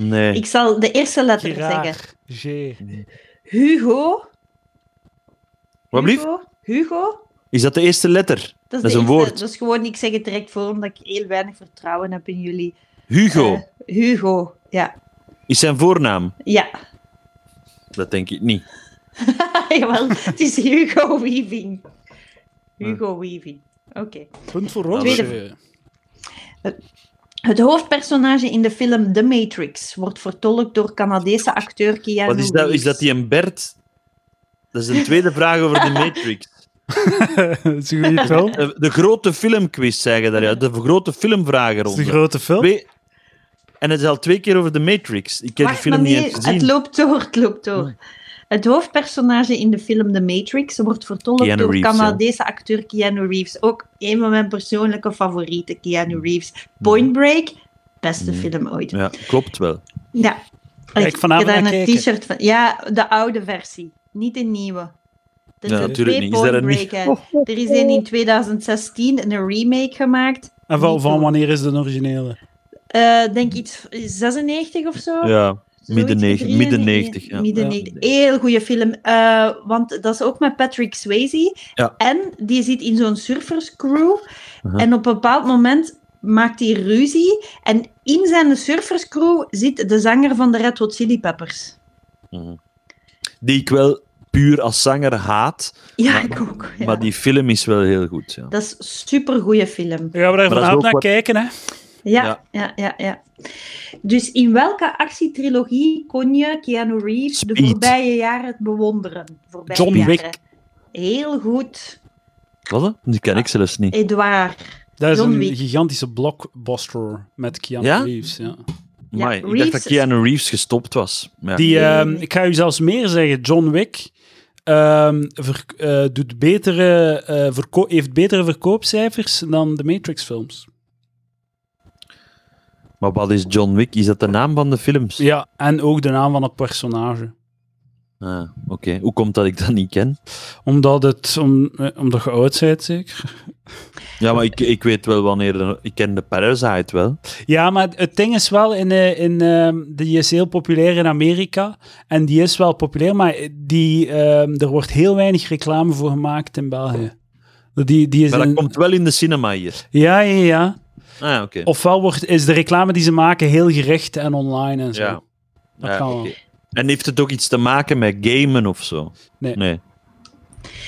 [SPEAKER 3] Nee.
[SPEAKER 1] Ik zal de eerste letter zeggen.
[SPEAKER 2] Gerard. G.
[SPEAKER 1] Hugo.
[SPEAKER 3] Wat blieft?
[SPEAKER 1] Hugo. Hugo.
[SPEAKER 3] Is dat de eerste letter?
[SPEAKER 1] Dat is,
[SPEAKER 3] is
[SPEAKER 1] de
[SPEAKER 3] een
[SPEAKER 1] eerste.
[SPEAKER 3] woord.
[SPEAKER 1] Dat is gewoon, ik zeg het direct voor, omdat ik heel weinig vertrouwen heb in jullie.
[SPEAKER 3] Hugo
[SPEAKER 1] Eh, Hugo, ja.
[SPEAKER 3] is zijn voornaam.
[SPEAKER 1] Ja,
[SPEAKER 3] Dat denk ik niet.
[SPEAKER 1] jawel. Het is Hugo Weaving. Hugo Weaving. Oké.
[SPEAKER 2] Punt voor
[SPEAKER 3] Tweede
[SPEAKER 2] Roosje.
[SPEAKER 1] Het hoofdpersonage in de film The Matrix wordt vertolkt door Canadese acteur Keanu
[SPEAKER 3] Wat is dat? Is
[SPEAKER 1] Reeves.
[SPEAKER 3] dat die een Bert? Dat is een tweede vraag over de Matrix.
[SPEAKER 2] Dat is een goede film.
[SPEAKER 3] Eh, De grote filmquiz, zeggen daar. Ja. De grote
[SPEAKER 2] Dat is de
[SPEAKER 3] filmvragenronde.
[SPEAKER 2] grote film.
[SPEAKER 3] Twee... En het is al twee keer over de Matrix. Ik heb
[SPEAKER 1] Wacht,
[SPEAKER 3] die film
[SPEAKER 1] maar
[SPEAKER 3] niet
[SPEAKER 1] nee,
[SPEAKER 3] eens
[SPEAKER 1] Het
[SPEAKER 3] gezien.
[SPEAKER 1] loopt door, het loopt door. Het hoofdpersonage in de film The Matrix wordt vertolkt
[SPEAKER 3] Keanu
[SPEAKER 1] door
[SPEAKER 3] Reeves,
[SPEAKER 1] Canadese acteur Keanu Reeves. Ook een van mijn persoonlijke favorieten, Keanu Reeves. Point Break, beste
[SPEAKER 3] Mhm.
[SPEAKER 1] film ooit. Ja,
[SPEAKER 3] Ja, klopt wel.
[SPEAKER 2] ik vanavond
[SPEAKER 1] heb daar
[SPEAKER 2] naar
[SPEAKER 1] een
[SPEAKER 2] kijken.
[SPEAKER 1] t-shirt van. Ja, de oude versie, niet de nieuwe. Er
[SPEAKER 3] Ja,
[SPEAKER 1] zijn
[SPEAKER 3] natuurlijk
[SPEAKER 1] twee
[SPEAKER 3] niet. Is daar
[SPEAKER 1] Point
[SPEAKER 3] een
[SPEAKER 1] Break uit. Er is een in 2016 en een remake gemaakt.
[SPEAKER 2] En van,
[SPEAKER 1] niet
[SPEAKER 2] van
[SPEAKER 1] zo.
[SPEAKER 2] wanneer is de originele?
[SPEAKER 1] Eh, denk iets 96 of zo.
[SPEAKER 3] Ja.
[SPEAKER 1] Zoiets,
[SPEAKER 3] Midden negen-
[SPEAKER 1] 93,
[SPEAKER 3] midden 90, ja.
[SPEAKER 1] midden
[SPEAKER 2] Ja.
[SPEAKER 1] 90. Heel goede film. eh, want dat is ook met Patrick Swayze.
[SPEAKER 3] Ja.
[SPEAKER 1] En die zit in zo'n surferscrew.
[SPEAKER 3] Aha.
[SPEAKER 1] En op een bepaald moment maakt hij ruzie. En in zijn surferscrew zit de zanger van de Red Hot Chili Peppers.
[SPEAKER 3] Die ik wel puur als zanger haat,
[SPEAKER 1] Ja,
[SPEAKER 3] Maar-
[SPEAKER 1] ik ook. ja.
[SPEAKER 3] maar die film is wel heel goed. Ja.
[SPEAKER 1] Dat is een supergoeie film.
[SPEAKER 2] Dan gaan we daar
[SPEAKER 3] dat is
[SPEAKER 2] vanavond
[SPEAKER 3] ook
[SPEAKER 2] naar
[SPEAKER 3] wat-
[SPEAKER 2] kijken, hè.
[SPEAKER 1] Ja,
[SPEAKER 3] Ja.
[SPEAKER 1] ja. ja, ja, Dus in welke actietrilogie kon je Keanu Reeves de
[SPEAKER 3] Speed.
[SPEAKER 1] voorbije jaren bewonderen? Voorbije
[SPEAKER 2] John
[SPEAKER 1] jaren.
[SPEAKER 2] Wick.
[SPEAKER 1] Heel goed,
[SPEAKER 3] Wat? hè? Die ken ik zelfs niet.
[SPEAKER 1] Edouard.
[SPEAKER 2] Dat is
[SPEAKER 1] John
[SPEAKER 2] een
[SPEAKER 1] Wick.
[SPEAKER 2] gigantische blockbuster met Keanu
[SPEAKER 3] Ja?
[SPEAKER 2] Reeves. Ja.
[SPEAKER 1] Ja,
[SPEAKER 3] Amai, ik dacht
[SPEAKER 1] Reeves
[SPEAKER 3] dat
[SPEAKER 1] is-
[SPEAKER 3] Keanu Reeves gestopt was. Ja.
[SPEAKER 2] Die,
[SPEAKER 1] Nee,
[SPEAKER 2] ehm,
[SPEAKER 1] nee.
[SPEAKER 2] ik ga u zelfs meer zeggen, John Wick ehm, verk- eh, doet betere, eh, verko- heeft betere verkoopcijfers dan de Matrix-films.
[SPEAKER 3] Maar wat is John Wick? Is dat de naam van de films?
[SPEAKER 2] Ja, en ook de naam van het personage.
[SPEAKER 3] Ah, Oké, hoe komt dat ik dat niet ken?
[SPEAKER 2] Omdat, het, om, eh, omdat je oud bent, zeker.
[SPEAKER 3] Ja, maar ik, ik weet wel wanneer... de- ik ken de Parasite wel.
[SPEAKER 2] Ja, maar het ding is wel, in, eh, in, ehm, die is heel populair in Amerika. En die is wel populair, maar die, ehm, er wordt heel weinig reclame voor gemaakt in België. Die, die is
[SPEAKER 3] Maar dat
[SPEAKER 2] in-
[SPEAKER 3] komt wel in de cinema hier.
[SPEAKER 2] Ja, ja, ja.
[SPEAKER 3] Ah, oké.
[SPEAKER 2] Ofwel wordt, is de reclame die ze maken heel gericht en online en zo.
[SPEAKER 3] Ja.
[SPEAKER 2] Dat
[SPEAKER 3] Ja,
[SPEAKER 2] kan wel.
[SPEAKER 3] oké. En heeft het ook iets te maken met gamen of zo?
[SPEAKER 2] Nee.
[SPEAKER 3] nee.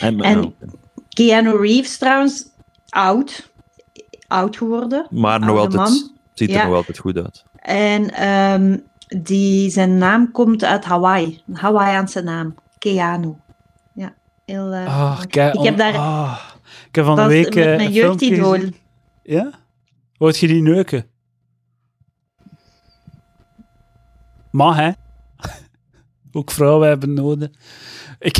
[SPEAKER 3] En,
[SPEAKER 1] En-
[SPEAKER 3] oh,
[SPEAKER 1] Keanu Reeves trouwens, oud. Oud geworden.
[SPEAKER 3] maar nog
[SPEAKER 1] oude
[SPEAKER 3] altijd,
[SPEAKER 1] man.
[SPEAKER 3] ziet er
[SPEAKER 1] Ja.
[SPEAKER 3] nog altijd goed uit.
[SPEAKER 1] En ehm, die, zijn naam komt uit Hawaii. Een Hawaiiaanse naam. Keanu. Ja, heel... eh,
[SPEAKER 2] Ah, kei-
[SPEAKER 1] Ik heb daar-
[SPEAKER 2] ah. ik heb van
[SPEAKER 1] dat
[SPEAKER 2] de
[SPEAKER 1] is
[SPEAKER 2] week eh,
[SPEAKER 1] met mijn
[SPEAKER 2] een filmpje
[SPEAKER 1] jeugdidool.
[SPEAKER 2] gezien. Ja? Hoort je die neuken? Mag, hè? Ook vrouwen hebben noden. Ik,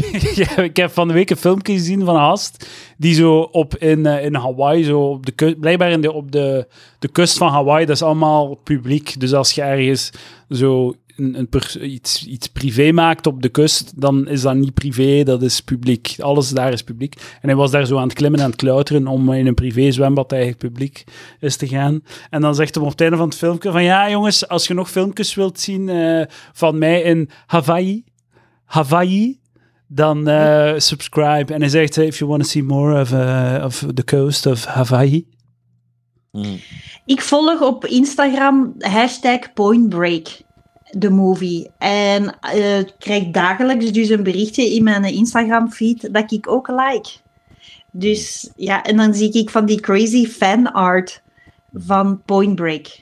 [SPEAKER 2] ik heb van de week een filmpje gezien van een gast die zo op in, eh, in Hawaii, zo op de kust, blijkbaar in de, op de, de kust van Hawaii, dat is allemaal publiek. Dus als je ergens zo een, een pers- iets, iets privé maakt op de kust, dan is dat niet privé, dat is publiek. Alles daar is publiek. En hij was daar zo aan het klimmen en aan het klauteren om in een privé zwembad eigenlijk publiek is te gaan. En dan zegt hij op het einde van het filmpje van ja jongens, als je nog filmpjes wilt zien eh, van mij in Hawaii, Hawaii, dan eh, subscribe. En hij zegt, if you want to see more of, eh, of the coast of Hawaii.
[SPEAKER 3] Mm.
[SPEAKER 1] Ik volg op Instagram hashtag Point Break, de movie. En eh, ik krijg dagelijks dus een berichtje in mijn Instagram-feed dat ik ook like. Dus ja, en dan zie ik van die crazy fanart van Point Break.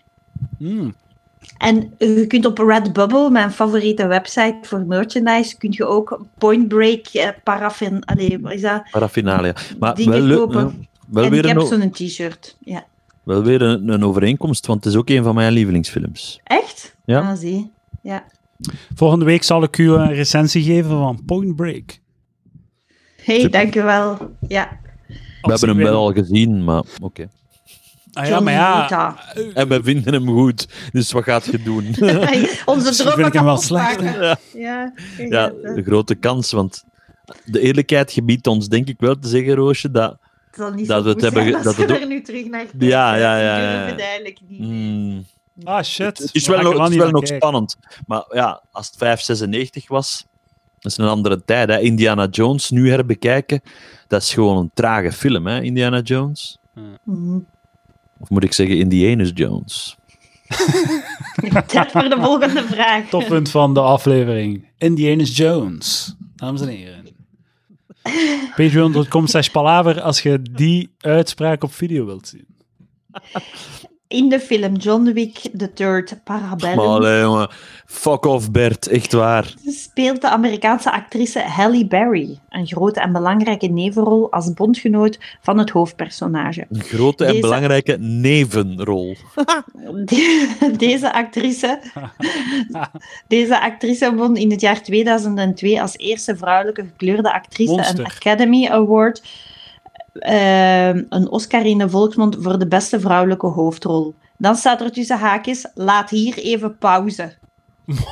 [SPEAKER 3] Hmm.
[SPEAKER 1] En eh, je kunt op Redbubble, mijn favoriete website voor merchandise, kun je ook Point Break eh, paraffin, allee, wat is dat?
[SPEAKER 3] Parafinalia. Maar
[SPEAKER 1] Dingen
[SPEAKER 3] wel, leuk-
[SPEAKER 1] kopen.
[SPEAKER 3] ja, wel,
[SPEAKER 1] en ik
[SPEAKER 3] weer
[SPEAKER 1] heb
[SPEAKER 3] een, o-
[SPEAKER 1] zo'n t-shirt. Ja.
[SPEAKER 3] wel weer een, een overeenkomst, want het is ook een van mijn lievelingsfilms.
[SPEAKER 2] Oh,
[SPEAKER 1] Echt?
[SPEAKER 3] Ja.
[SPEAKER 1] Ah, zie. Ja.
[SPEAKER 2] Volgende week zal ik u een recensie geven van Point Break.
[SPEAKER 1] hey, dankjewel. Ja.
[SPEAKER 3] We hebben hem wel al gezien, maar oké.
[SPEAKER 2] Ah, ja, maar ja,
[SPEAKER 1] John Vita.
[SPEAKER 2] Eh.
[SPEAKER 3] En we vinden hem goed, dus wat gaat je doen?
[SPEAKER 1] Onze
[SPEAKER 2] Misschien
[SPEAKER 1] dromen
[SPEAKER 2] vind ik hem wel
[SPEAKER 1] kapot
[SPEAKER 2] slecht,
[SPEAKER 1] maken.
[SPEAKER 2] hè?
[SPEAKER 1] Ja, ja,
[SPEAKER 3] ja, de grote kans, want de eerlijkheid gebiedt ons denk ik wel te zeggen, Roosje, dat...
[SPEAKER 1] het zal niet
[SPEAKER 3] dat
[SPEAKER 1] zo
[SPEAKER 3] we het
[SPEAKER 1] goed
[SPEAKER 3] hebben
[SPEAKER 1] zijn
[SPEAKER 3] ge-
[SPEAKER 1] als
[SPEAKER 3] dat
[SPEAKER 1] we
[SPEAKER 3] het ook-
[SPEAKER 1] er nu terug naar kijken.
[SPEAKER 3] Ja, ja, ja,
[SPEAKER 1] Die
[SPEAKER 3] ja,
[SPEAKER 1] durven
[SPEAKER 3] ja.
[SPEAKER 1] duidelijk niet.
[SPEAKER 3] mm,
[SPEAKER 2] ah shit.
[SPEAKER 3] Het is
[SPEAKER 2] Dan
[SPEAKER 3] wel,
[SPEAKER 2] ga ik er
[SPEAKER 3] nog- het is
[SPEAKER 2] niet
[SPEAKER 3] wel
[SPEAKER 2] naar
[SPEAKER 3] nog
[SPEAKER 2] kijken.
[SPEAKER 3] spannend. Maar ja, als het 596 was, dat is een andere tijd. Hè. Indiana Jones nu herbekijken, dat is gewoon een trage film, hè, Indiana Jones.
[SPEAKER 1] Mhm.
[SPEAKER 3] Of moet ik zeggen Indianus Jones?
[SPEAKER 1] Tijd voor de volgende vraag.
[SPEAKER 2] Toppunt van de aflevering. Indianis Jones. Dames en heren. Patreon.com slash palaver als je die uitspraak op video wilt zien.
[SPEAKER 1] In de film John Wick the Third
[SPEAKER 3] Maar
[SPEAKER 1] Parabellum
[SPEAKER 3] allee, jongen, fuck off Bert, echt waar.
[SPEAKER 1] speelt de Amerikaanse actrice Halle Berry een grote en belangrijke nevenrol als bondgenoot van het hoofdpersonage.
[SPEAKER 3] Een grote en
[SPEAKER 1] Deze-
[SPEAKER 3] belangrijke nevenrol.
[SPEAKER 1] De- Deze actrice, deze actrice won in het jaar 2002 als eerste vrouwelijke gekleurde actrice
[SPEAKER 2] Monster.
[SPEAKER 1] een Academy Award, ehm, een Oscar in de volksmond voor de beste vrouwelijke hoofdrol. Dan staat er tussen haakjes, laat hier even pauze.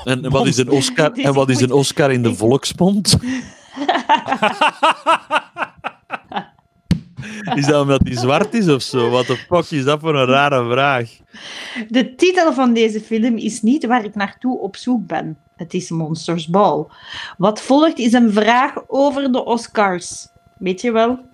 [SPEAKER 3] En wat is een Oscar, en wat is een Oscar in de volksmond? Is dat omdat hij zwart is of zo? Wat de fuck is dat voor een rare vraag?
[SPEAKER 1] De titel van deze film is niet waar ik naartoe op zoek ben. Het is Monsters Ball. Wat volgt is een vraag over de Oscars. Weet je wel?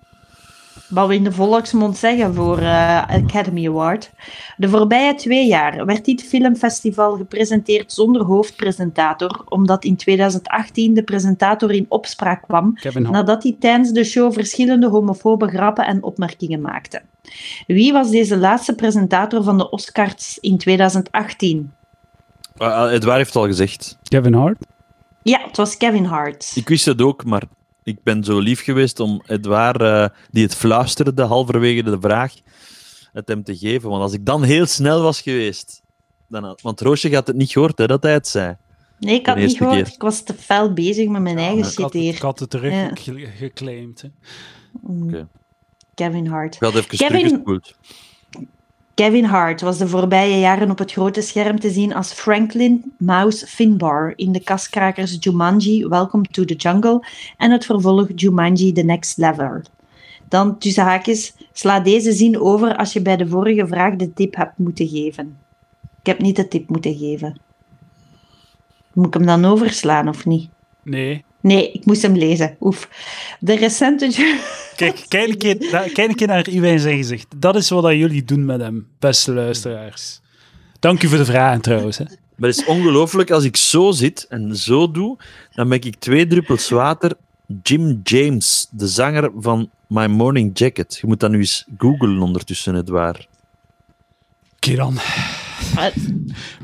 [SPEAKER 1] wat we in de volksmond zeggen voor eh, Academy Award. De voorbije twee jaar werd dit filmfestival gepresenteerd zonder hoofdpresentator, omdat in 2018 de presentator in opspraak kwam
[SPEAKER 2] Kevin Hart.
[SPEAKER 1] nadat hij tijdens de show verschillende homofobe grappen en opmerkingen maakte. Wie was deze laatste presentator van de Oscars in 2018?
[SPEAKER 3] Eh, eh, Edouard heeft het al gezegd.
[SPEAKER 2] Kevin Hart?
[SPEAKER 1] Ja, het was Kevin Hart.
[SPEAKER 3] Ik wist het ook, maar ik ben zo lief geweest om Edouard, eh, die het fluisterde halverwege de vraag, het hem te geven. Want als ik dan heel snel was geweest... Dan had- want Roosje gaat het niet gehoord, hè, dat hij het zei.
[SPEAKER 1] Nee, ik had
[SPEAKER 3] de
[SPEAKER 1] niet
[SPEAKER 3] eerste
[SPEAKER 1] gehoord.
[SPEAKER 3] keer.
[SPEAKER 1] Ik was te fel bezig met mijn eigen
[SPEAKER 2] Ik had
[SPEAKER 1] shit
[SPEAKER 2] het-
[SPEAKER 1] hier.
[SPEAKER 2] Ik had het terug
[SPEAKER 1] Ja.
[SPEAKER 2] ge- geclaimd. hè.
[SPEAKER 1] Mm.
[SPEAKER 3] Oké.
[SPEAKER 1] Kevin Hart.
[SPEAKER 3] Ik had even
[SPEAKER 1] Kevin-
[SPEAKER 3] teruggespoeld.
[SPEAKER 1] Kevin Hart was de voorbije jaren op het grote scherm te zien als Franklin Mouse Finbar in de kaskrakers Jumanji Welcome to the Jungle en het vervolg Jumanji The Next Level. Dan tussen haakjes, sla deze zin over als je bij de vorige vraag de tip hebt moeten geven. Ik heb niet de tip moeten geven. Moet ik hem dan overslaan of niet?
[SPEAKER 2] Nee.
[SPEAKER 1] Nee, ik moest hem lezen. Oef. De recente... Ju-
[SPEAKER 2] Kijk, kijk een keer, da- kijk een keer naar Iwijn zijn gezicht. Dat is wat dat jullie doen met hem, beste luisteraars. Dank u voor de vragen trouwens. Hè.
[SPEAKER 3] Maar het is ongelooflijk, als ik zo zit en zo doe, dan ben ik twee druppels water Jim James, de zanger van My Morning Jacket. Je moet dat nu eens googlen ondertussen, het waar.
[SPEAKER 2] Oké dan.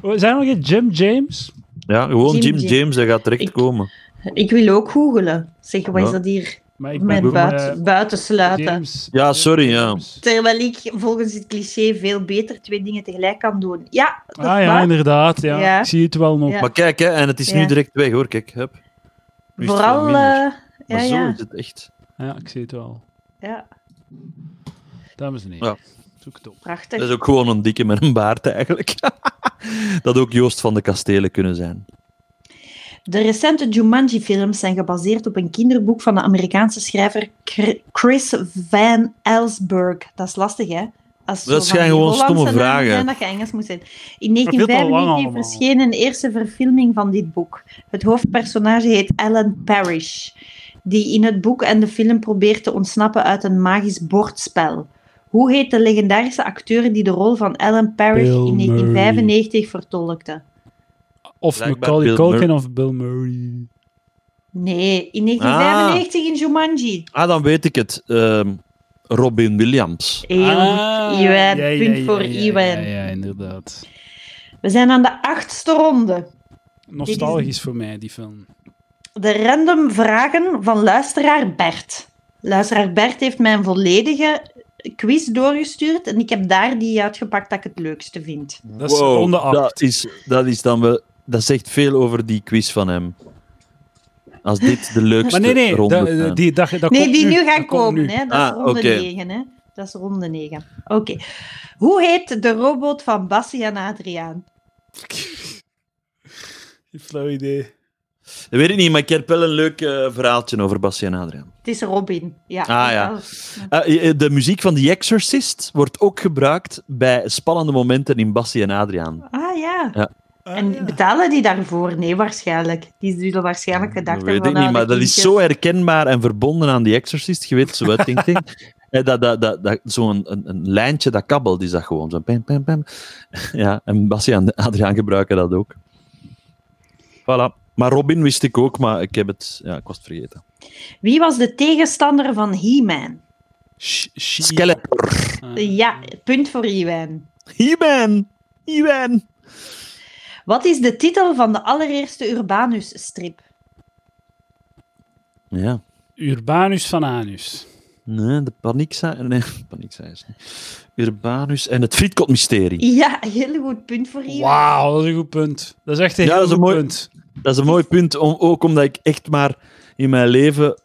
[SPEAKER 2] Oh, Zijn er nog geen Jim James?
[SPEAKER 3] Ja, gewoon
[SPEAKER 1] Jim
[SPEAKER 3] Jim,
[SPEAKER 1] James.
[SPEAKER 3] James, dat gaat direct
[SPEAKER 1] Ik-
[SPEAKER 3] komen.
[SPEAKER 1] Ik wil ook googelen. Zeg, wat is
[SPEAKER 3] Ja.
[SPEAKER 1] dat hier?
[SPEAKER 2] Maar
[SPEAKER 1] Mijn buiten,
[SPEAKER 2] eh,
[SPEAKER 1] buitensluiten.
[SPEAKER 2] James-
[SPEAKER 3] Ja, sorry, ja.
[SPEAKER 2] James.
[SPEAKER 1] Terwijl ik volgens het cliché veel beter twee dingen tegelijk kan doen. Ja, dat
[SPEAKER 2] Ah ja,
[SPEAKER 1] waar.
[SPEAKER 2] inderdaad. Ja.
[SPEAKER 1] Ja.
[SPEAKER 2] Ik zie het wel nog.
[SPEAKER 1] Ja.
[SPEAKER 3] Maar kijk, hè, en het is
[SPEAKER 1] Ja.
[SPEAKER 3] nu direct weg, hoor. Kijk, hup. Nu is het
[SPEAKER 1] Vooral...
[SPEAKER 3] wel minder.
[SPEAKER 1] eh, ja,
[SPEAKER 3] Maar zo
[SPEAKER 1] ja,
[SPEAKER 3] is het echt.
[SPEAKER 2] Ja, ik zie het wel.
[SPEAKER 1] ja,
[SPEAKER 2] Dames en heren,
[SPEAKER 3] Ja.
[SPEAKER 2] zoek het op.
[SPEAKER 1] prachtig.
[SPEAKER 3] Dat is ook gewoon een dikke met een baard, eigenlijk. dat ook Joost van de Kastelen kunnen zijn.
[SPEAKER 1] De recente Jumanji-films zijn gebaseerd op een kinderboek van de Amerikaanse schrijver Cr- Chris Van Ellsberg. Dat is lastig, hè? Als
[SPEAKER 3] Dat
[SPEAKER 1] zo van
[SPEAKER 3] zijn
[SPEAKER 1] die
[SPEAKER 3] gewoon
[SPEAKER 1] Hollandse
[SPEAKER 3] stomme
[SPEAKER 1] namen
[SPEAKER 3] vragen.
[SPEAKER 1] Zijn dat je Engels moet zijn. In
[SPEAKER 2] vind het al lang
[SPEAKER 1] 1995
[SPEAKER 2] allemaal.
[SPEAKER 1] verscheen een eerste verfilming van dit boek. Het hoofdpersonage heet Alan Parrish, die in het boek en de film probeert te ontsnappen uit een magisch bordspel. Hoe heet de legendarische acteur die de rol van Alan Parrish
[SPEAKER 2] Bill
[SPEAKER 1] in 1995 vertolkte?
[SPEAKER 2] Of
[SPEAKER 3] Blijkbaar
[SPEAKER 2] Macaulay
[SPEAKER 3] Bill
[SPEAKER 2] Culkin
[SPEAKER 3] Murray.
[SPEAKER 2] of Bill Murray.
[SPEAKER 1] Nee, in 1995 in Jumanji.
[SPEAKER 3] Ah, dan weet ik het. Ehm, Robin Williams.
[SPEAKER 1] Heel
[SPEAKER 2] Ah,
[SPEAKER 1] goed, Iwan.
[SPEAKER 2] ja, ja,
[SPEAKER 1] Punt
[SPEAKER 2] ja,
[SPEAKER 1] voor
[SPEAKER 2] ja,
[SPEAKER 1] Iwan.
[SPEAKER 2] Ja, ja, inderdaad.
[SPEAKER 1] We zijn aan de achtste ronde.
[SPEAKER 2] Nostalgisch voor mij, die film.
[SPEAKER 1] De random vragen van luisteraar Bert. Luisteraar Bert heeft mij een volledige quiz doorgestuurd en ik heb daar die uitgepakt dat ik het leukste vind.
[SPEAKER 2] Dat is ronde acht.
[SPEAKER 3] Dat is, dat is dan wel... Dat zegt veel over die quiz van hem. Als dit de leukste
[SPEAKER 2] Maar nee, nee,
[SPEAKER 3] ronde
[SPEAKER 2] dat-
[SPEAKER 3] zijn.
[SPEAKER 2] die, dat, dat
[SPEAKER 1] nee,
[SPEAKER 2] komt
[SPEAKER 1] die nu,
[SPEAKER 2] dat
[SPEAKER 1] gaan
[SPEAKER 2] komt
[SPEAKER 1] komen.
[SPEAKER 2] nu.
[SPEAKER 1] Hè? Dat is
[SPEAKER 3] Ah,
[SPEAKER 1] ronde
[SPEAKER 3] oké.
[SPEAKER 1] 9. Hè? Dat is ronde 9. Oké. Hoe heet de robot van Bassi en Adriaan?
[SPEAKER 2] Flauw idee.
[SPEAKER 3] Dat weet ik niet, maar ik heb wel een leuk eh, verhaaltje over Bastien Adriaan.
[SPEAKER 1] Het is Robin. Ja,
[SPEAKER 3] Ah, ja. Eh, eh, de muziek van The Exorcist wordt ook gebruikt bij spannende momenten in Bassie en Adriaan.
[SPEAKER 1] Ah ja.
[SPEAKER 2] Ah,
[SPEAKER 1] En
[SPEAKER 2] ja.
[SPEAKER 1] betalen die daarvoor? Nee, waarschijnlijk. Die zullen waarschijnlijk gedacht
[SPEAKER 3] Dat
[SPEAKER 1] hebben
[SPEAKER 3] weet ik
[SPEAKER 1] van,
[SPEAKER 3] niet,
[SPEAKER 1] ah,
[SPEAKER 3] maar dat is
[SPEAKER 1] kindjes.
[SPEAKER 3] zo herkenbaar en verbonden aan The Exorcist. Je weet zo wat, denk ik. Eh, Dat, dat, dat, dat, Zo'n een, een lijntje dat kabbelt, is dat gewoon. Zo'n pam, pam, pam. Ja, en Bassie en Adriaan gebruiken dat ook. Voilà. Maar Robin wist ik ook, maar ik heb het... Ja, ik was het vergeten.
[SPEAKER 1] Wie was de tegenstander van He-Man?
[SPEAKER 2] Sh- she-
[SPEAKER 3] Skeletor.
[SPEAKER 2] Ah.
[SPEAKER 1] Ja, punt voor Iwan.
[SPEAKER 3] He-Man! He-Man!
[SPEAKER 1] Wat is de titel van de allereerste Urbanus-strip?
[SPEAKER 3] Ja.
[SPEAKER 2] Urbanus van Anus.
[SPEAKER 3] Nee, de paniekzaaiers. Nee, paniekzaaiers niet. Urbanus en het Frietkot-mysterie.
[SPEAKER 1] Ja, heel goed, punt voor Iwan.
[SPEAKER 2] Wauw, dat is een goed punt. Dat is echt een
[SPEAKER 3] Ja,
[SPEAKER 2] heel
[SPEAKER 3] dat is een
[SPEAKER 2] goed
[SPEAKER 3] mooi-
[SPEAKER 2] punt.
[SPEAKER 3] Dat is een mooi punt, om, ook omdat ik echt maar in mijn leven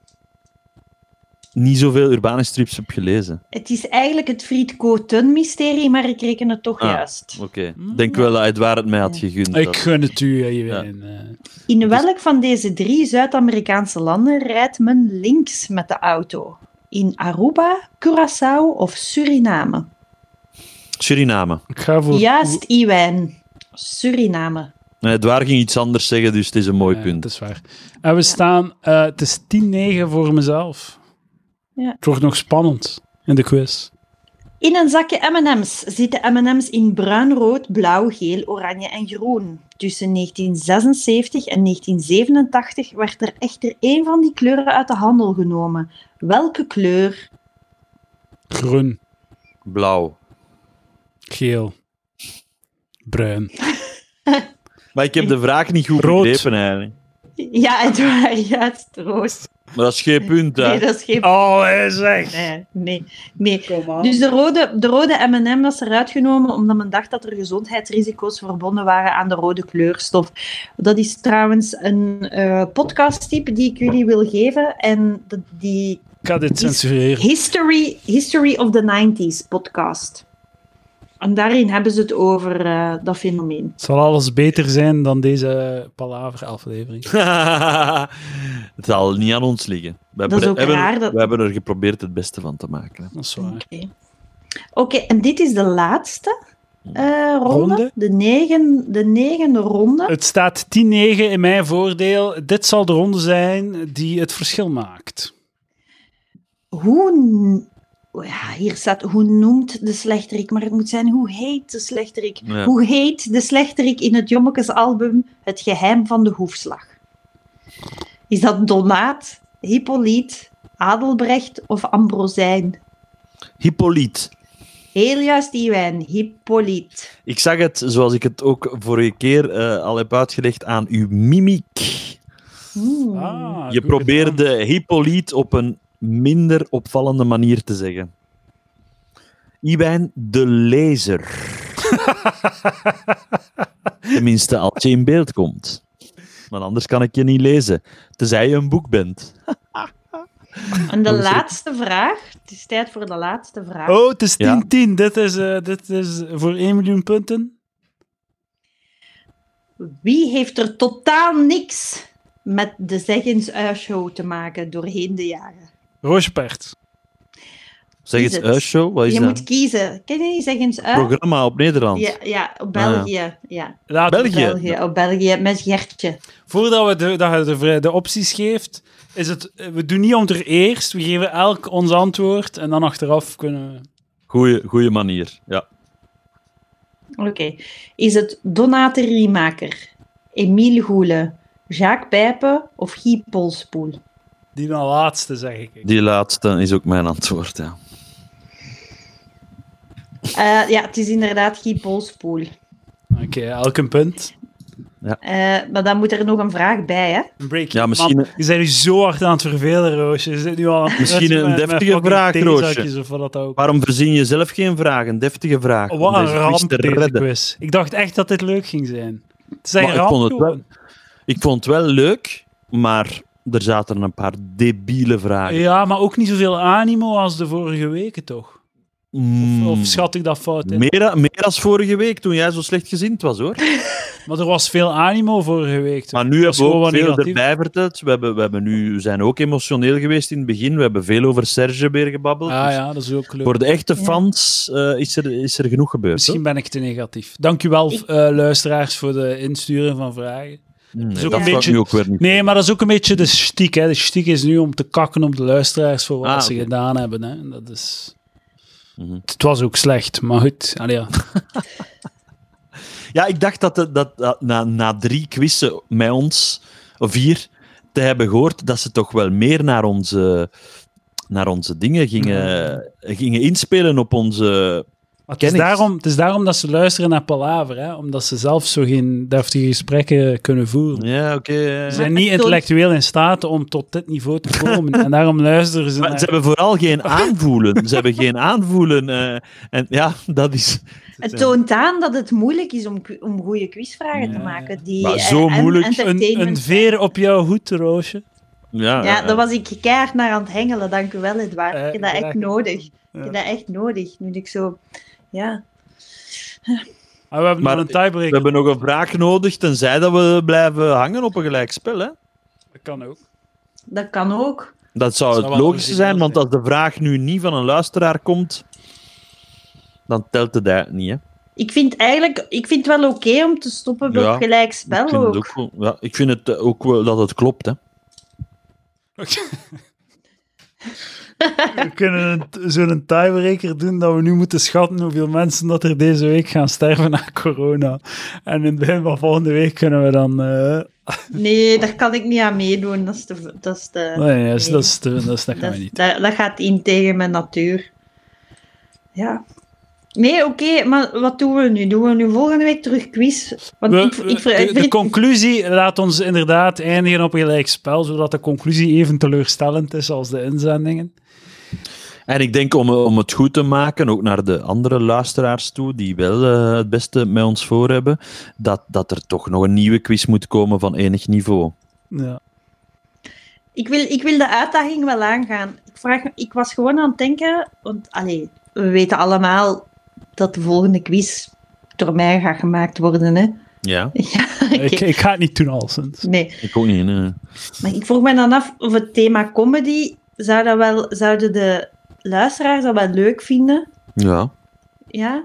[SPEAKER 3] niet zoveel Urbanus-strips heb gelezen.
[SPEAKER 1] Het is eigenlijk het Fried-Coten-mysterie, maar ik reken het toch
[SPEAKER 3] Ah.
[SPEAKER 1] juist.
[SPEAKER 3] Oké. Denk wel dat Edouard het mij had gegund.
[SPEAKER 2] Ik gun het u, hè, je
[SPEAKER 3] Ja.
[SPEAKER 2] weet, eh.
[SPEAKER 1] In welk van deze drie Zuid-Amerikaanse landen rijdt men links met de auto? In Aruba, Curaçao of Suriname?
[SPEAKER 3] Suriname.
[SPEAKER 2] Ik ga voor...
[SPEAKER 1] Juist, Iwan. Suriname.
[SPEAKER 3] Nee, Edouard ging iets anders zeggen, dus het is een mooi
[SPEAKER 2] Ja,
[SPEAKER 3] punt.
[SPEAKER 2] Dat is waar. En we staan... eh, het is 10-9 voor mezelf.
[SPEAKER 1] Ja.
[SPEAKER 2] Het wordt nog spannend. in de quiz.
[SPEAKER 1] In een zakje M&M's zitten M&M's in bruin, rood, blauw, geel, oranje en groen. Tussen 1976 en 1987 werd er echter één van die kleuren uit de handel genomen. Welke kleur?
[SPEAKER 2] Groen,
[SPEAKER 3] Blauw.
[SPEAKER 2] geel, bruin.
[SPEAKER 3] Maar ik heb de vraag niet goed
[SPEAKER 2] Rood.
[SPEAKER 3] begrepen eigenlijk.
[SPEAKER 1] Ja, het waar, juist, roos.
[SPEAKER 3] Maar dat is geen punt, hè.
[SPEAKER 1] Nee, dat is geen...
[SPEAKER 2] Oh, hij zegt.
[SPEAKER 1] Nee, nee, nee. Dus de rode, de rode M&M was eruit genomen omdat men dacht dat er gezondheidsrisico's verbonden waren aan de rode kleurstof. Dat is trouwens een eh podcasttype die ik jullie wil geven. En dat- die
[SPEAKER 2] Ik ga dit
[SPEAKER 1] Is-
[SPEAKER 2] censureren.
[SPEAKER 1] History, History of the 90s podcast. En daarin hebben ze het over eh, dat fenomeen.
[SPEAKER 2] Het zal alles beter zijn dan deze palaver-aflevering.
[SPEAKER 3] het zal niet aan ons liggen. We
[SPEAKER 1] Dat is ook
[SPEAKER 3] hebben,
[SPEAKER 1] raar dat-
[SPEAKER 3] we hebben er geprobeerd het beste van te maken. hè.
[SPEAKER 2] Dat is
[SPEAKER 1] Oké,
[SPEAKER 2] waar.
[SPEAKER 1] Oké, en dit is de laatste eh, ronde.
[SPEAKER 2] Ronde?
[SPEAKER 1] De, negen, de negende ronde.
[SPEAKER 2] Het staat 10-9 in mijn voordeel. Dit zal de ronde zijn die het verschil maakt.
[SPEAKER 1] Hoe... n- oh Ja, hier staat hoe noemt de slechterik, maar het moet zijn hoe heet de slechterik.
[SPEAKER 3] Ja.
[SPEAKER 1] Hoe heet de slechterik in het Jommekesalbum Het geheim van de hoefslag? Is dat Donaat, Hippolyte, Adelbrecht of Ambrosijn?
[SPEAKER 3] Hippolyte.
[SPEAKER 1] Heel juist, Iwijn, Hippolyte.
[SPEAKER 3] Ik zag het, zoals ik het ook vorige keer eh, al heb uitgelegd, aan uw mimiek.
[SPEAKER 1] Hmm.
[SPEAKER 2] Ah,
[SPEAKER 3] Je
[SPEAKER 2] goed
[SPEAKER 3] probeerde Hippolyte op een minder opvallende manier te zeggen. Iwijn de lezer. Tenminste, als je in beeld komt. Want anders kan ik je niet lezen. Tenzij je een boek bent.
[SPEAKER 1] En de
[SPEAKER 3] Oh, sorry.
[SPEAKER 1] laatste vraag. Het is tijd voor de laatste vraag.
[SPEAKER 2] gedaan. Oh, het is 10-10.
[SPEAKER 3] Ja.
[SPEAKER 2] Dit, is, eh, dit is voor 1 miljoen punten.
[SPEAKER 1] Wie heeft er totaal niks met de zeggens uitshow te maken doorheen de jaren?
[SPEAKER 2] Roosje Pert.
[SPEAKER 3] Zeg
[SPEAKER 1] Is
[SPEAKER 3] eens,
[SPEAKER 1] het?
[SPEAKER 3] Uitshow, wat is
[SPEAKER 1] Je
[SPEAKER 3] dat?
[SPEAKER 1] moet kiezen. Ken je die zeggens uit?
[SPEAKER 3] Programma op Nederland.
[SPEAKER 1] Ja, ja, op België. ja.
[SPEAKER 2] Laat-
[SPEAKER 3] Ah, België.
[SPEAKER 1] België, op België met Gertje.
[SPEAKER 2] Voordat we de, dat je de, vrij- de opties geeft, is het, eh, we doen niet om ter eerst. We geven elk ons antwoord en dan achteraf kunnen we...
[SPEAKER 3] Goeie, goeie manier. Ja.
[SPEAKER 1] Oké. Is het Donate Riemaker, Emiel Goele, Jacques Pijpen of Guy Polspoel?
[SPEAKER 2] Die dan laatste, zeg ik.
[SPEAKER 3] Die laatste is ook mijn antwoord. Ja.
[SPEAKER 1] Eh, ja, het is inderdaad Guy Polspoel.
[SPEAKER 2] Oké, elk een punt.
[SPEAKER 1] Eh, maar dan moet er nog een vraag bij, hè?
[SPEAKER 2] Een break.
[SPEAKER 3] Ja, misschien-
[SPEAKER 2] Man, je bent nu zo hard aan het vervelen, Roosje. Je zit nu al aan het
[SPEAKER 3] Misschien
[SPEAKER 2] kletsen
[SPEAKER 3] een
[SPEAKER 2] met- met
[SPEAKER 3] deftige
[SPEAKER 2] fucking
[SPEAKER 3] vraag, Roosje.
[SPEAKER 2] theezakjes Of wat dat ook.
[SPEAKER 3] Waarom verzin je zelf geen vragen? Deftige vraag.
[SPEAKER 2] Wat
[SPEAKER 3] om
[SPEAKER 2] een
[SPEAKER 3] deze quiz
[SPEAKER 2] ramp
[SPEAKER 3] te
[SPEAKER 2] deze
[SPEAKER 3] redden.
[SPEAKER 2] quiz. Ik dacht echt dat dit leuk ging zijn. Het is echt
[SPEAKER 3] Maar ik
[SPEAKER 2] ramp,
[SPEAKER 3] vond het wel-
[SPEAKER 2] gewoon.
[SPEAKER 3] Ik vond het wel leuk, maar er zaten een paar debiele vragen.
[SPEAKER 2] Ja, maar ook niet zoveel animo als de vorige weken, toch?
[SPEAKER 3] Mm.
[SPEAKER 2] Of schat ik dat fout in?
[SPEAKER 3] meer, meer als vorige week, toen jij zo slecht gezind was, hoor.
[SPEAKER 2] Maar er was veel animo vorige week. toch?
[SPEAKER 3] Maar nu hebben
[SPEAKER 2] is
[SPEAKER 3] we
[SPEAKER 2] gewoon
[SPEAKER 3] ook
[SPEAKER 2] wat
[SPEAKER 3] veel
[SPEAKER 2] negatief.
[SPEAKER 3] erbij verteld. We, hebben, we hebben nu, we zijn ook emotioneel geweest in het begin. We hebben veel over Serge weer gebabbeld.
[SPEAKER 2] Ah
[SPEAKER 3] Dus
[SPEAKER 2] ja, dat is ook leuk.
[SPEAKER 3] Voor de echte
[SPEAKER 1] Ja.
[SPEAKER 3] fans eh, is, er, is er genoeg gebeurd.
[SPEAKER 2] Misschien ben ik te negatief. Dank u wel,
[SPEAKER 1] Ik-
[SPEAKER 2] eh, luisteraars, voor de insturen van vragen.
[SPEAKER 3] hoor. Nee,
[SPEAKER 2] is ook
[SPEAKER 3] dat
[SPEAKER 2] een
[SPEAKER 3] gaat
[SPEAKER 2] beetje-
[SPEAKER 3] nu ook weer niet.
[SPEAKER 2] Nee, maar dat is ook een beetje de stiek. Hè. De stiek is nu om te kakken op de luisteraars voor wat
[SPEAKER 3] Ah,
[SPEAKER 2] ze
[SPEAKER 3] oké.
[SPEAKER 2] gedaan hebben. Hè. Dat is...
[SPEAKER 3] Mhm.
[SPEAKER 2] Het was ook slecht, maar goed. Allee, ja.
[SPEAKER 3] Ja, ik dacht dat, dat, dat na, na drie quizzen met ons, of vier, te hebben gehoord dat ze toch wel meer naar onze, naar onze dingen gingen, gingen inspelen op onze...
[SPEAKER 2] Maar het, is
[SPEAKER 3] Ken ik.
[SPEAKER 2] daarom, het is daarom dat ze luisteren naar Palaver, hè? omdat ze zelf zo geen deftige gesprekken kunnen voeren.
[SPEAKER 3] Ja, oké.
[SPEAKER 2] Ze
[SPEAKER 3] ja.
[SPEAKER 2] zijn niet intellectueel in staat om tot dit niveau te komen. en daarom luisteren ze
[SPEAKER 3] Maar
[SPEAKER 2] naar...
[SPEAKER 3] ze hebben vooral geen aanvoelen. Ze hebben geen aanvoelen. eh, en ja, dat is...
[SPEAKER 1] Het toont aan dat het moeilijk is om, om goede quizvragen te
[SPEAKER 2] Ja.
[SPEAKER 1] maken. Die,
[SPEAKER 3] Maar
[SPEAKER 1] eh,
[SPEAKER 3] zo
[SPEAKER 1] en
[SPEAKER 3] moeilijk.
[SPEAKER 2] een,
[SPEAKER 1] entertainment
[SPEAKER 2] een veer op jouw hoed, Roosje.
[SPEAKER 3] Ja, eh,
[SPEAKER 1] Ja, daar was ik keihard naar aan het hengelen. Dank u wel, Edouard.
[SPEAKER 2] Eh,
[SPEAKER 1] Ik heb dat
[SPEAKER 2] graag
[SPEAKER 1] echt
[SPEAKER 2] gedaan.
[SPEAKER 1] nodig. Ik
[SPEAKER 2] Ja.
[SPEAKER 1] heb dat echt nodig. Nu ik zo... Ja.
[SPEAKER 2] Ah, we hebben
[SPEAKER 3] Maar
[SPEAKER 2] nog een
[SPEAKER 3] We
[SPEAKER 2] tiebreaker.
[SPEAKER 3] hebben nog een vraag nodig, tenzij dat we blijven hangen op een gelijk spel. Hè?
[SPEAKER 2] Dat kan ook.
[SPEAKER 1] Dat kan ook.
[SPEAKER 3] Dat zou,
[SPEAKER 2] Zou
[SPEAKER 3] het
[SPEAKER 2] wel
[SPEAKER 3] logische
[SPEAKER 2] origineel
[SPEAKER 3] zijn, want
[SPEAKER 2] zijn.
[SPEAKER 3] als de vraag nu niet van een luisteraar komt, dan telt het eigenlijk niet. Hè?
[SPEAKER 1] Ik vind eigenlijk... Ik vind het wel oké om te stoppen bij
[SPEAKER 3] Ja,
[SPEAKER 1] gelijk
[SPEAKER 3] ik,
[SPEAKER 1] spel
[SPEAKER 3] vind
[SPEAKER 1] ook.
[SPEAKER 3] het ook wel- ja, ik vind het eh, ook wel dat het klopt. Hè?
[SPEAKER 2] We kunnen een- zo'n tiebreaker doen dat we nu moeten schatten hoeveel mensen dat er deze week gaan sterven na corona. En in het begin van volgende week kunnen we dan... eh,
[SPEAKER 1] Nee, daar kan ik niet aan meedoen. Dat, is te, dat, is te,
[SPEAKER 2] nee, dat, is, dat, is te- dat, is- dat gaan
[SPEAKER 1] dat,
[SPEAKER 2] we
[SPEAKER 1] is-
[SPEAKER 2] niet.
[SPEAKER 1] dat, dat gaat in tegen mijn natuur. Ja. Nee, oké, maar wat doen we nu? doen we nu volgende week terug quiz? Want
[SPEAKER 2] We-
[SPEAKER 1] ik, ik,
[SPEAKER 2] we-
[SPEAKER 1] ver- ik
[SPEAKER 2] de, de
[SPEAKER 1] ver-
[SPEAKER 2] conclusie laat ons inderdaad eindigen op een gelijk spel, zodat de conclusie even teleurstellend is als de inzendingen.
[SPEAKER 3] En ik denk om, eh, om het goed te maken, ook naar de andere luisteraars toe, die wel eh, het beste met ons voor hebben, dat, dat er toch nog een nieuwe quiz moet komen van enig niveau.
[SPEAKER 2] Ja.
[SPEAKER 1] Ik wil, ik wil de uitdaging wel aangaan. Ik, vraag, me- ik was gewoon aan het denken, want allee, we weten allemaal dat de volgende quiz door mij gaat gemaakt worden. Hè?
[SPEAKER 3] Ja,
[SPEAKER 1] Ja, oké.
[SPEAKER 2] Ik, ik ga het niet doen, alleszins.
[SPEAKER 1] Nee,
[SPEAKER 3] ik ook niet. nee.
[SPEAKER 1] maar ik vroeg me dan af of het thema comedy, zou dat wel, zouden de luisteraars dat wel leuk vinden?
[SPEAKER 3] Ja,
[SPEAKER 1] Ja?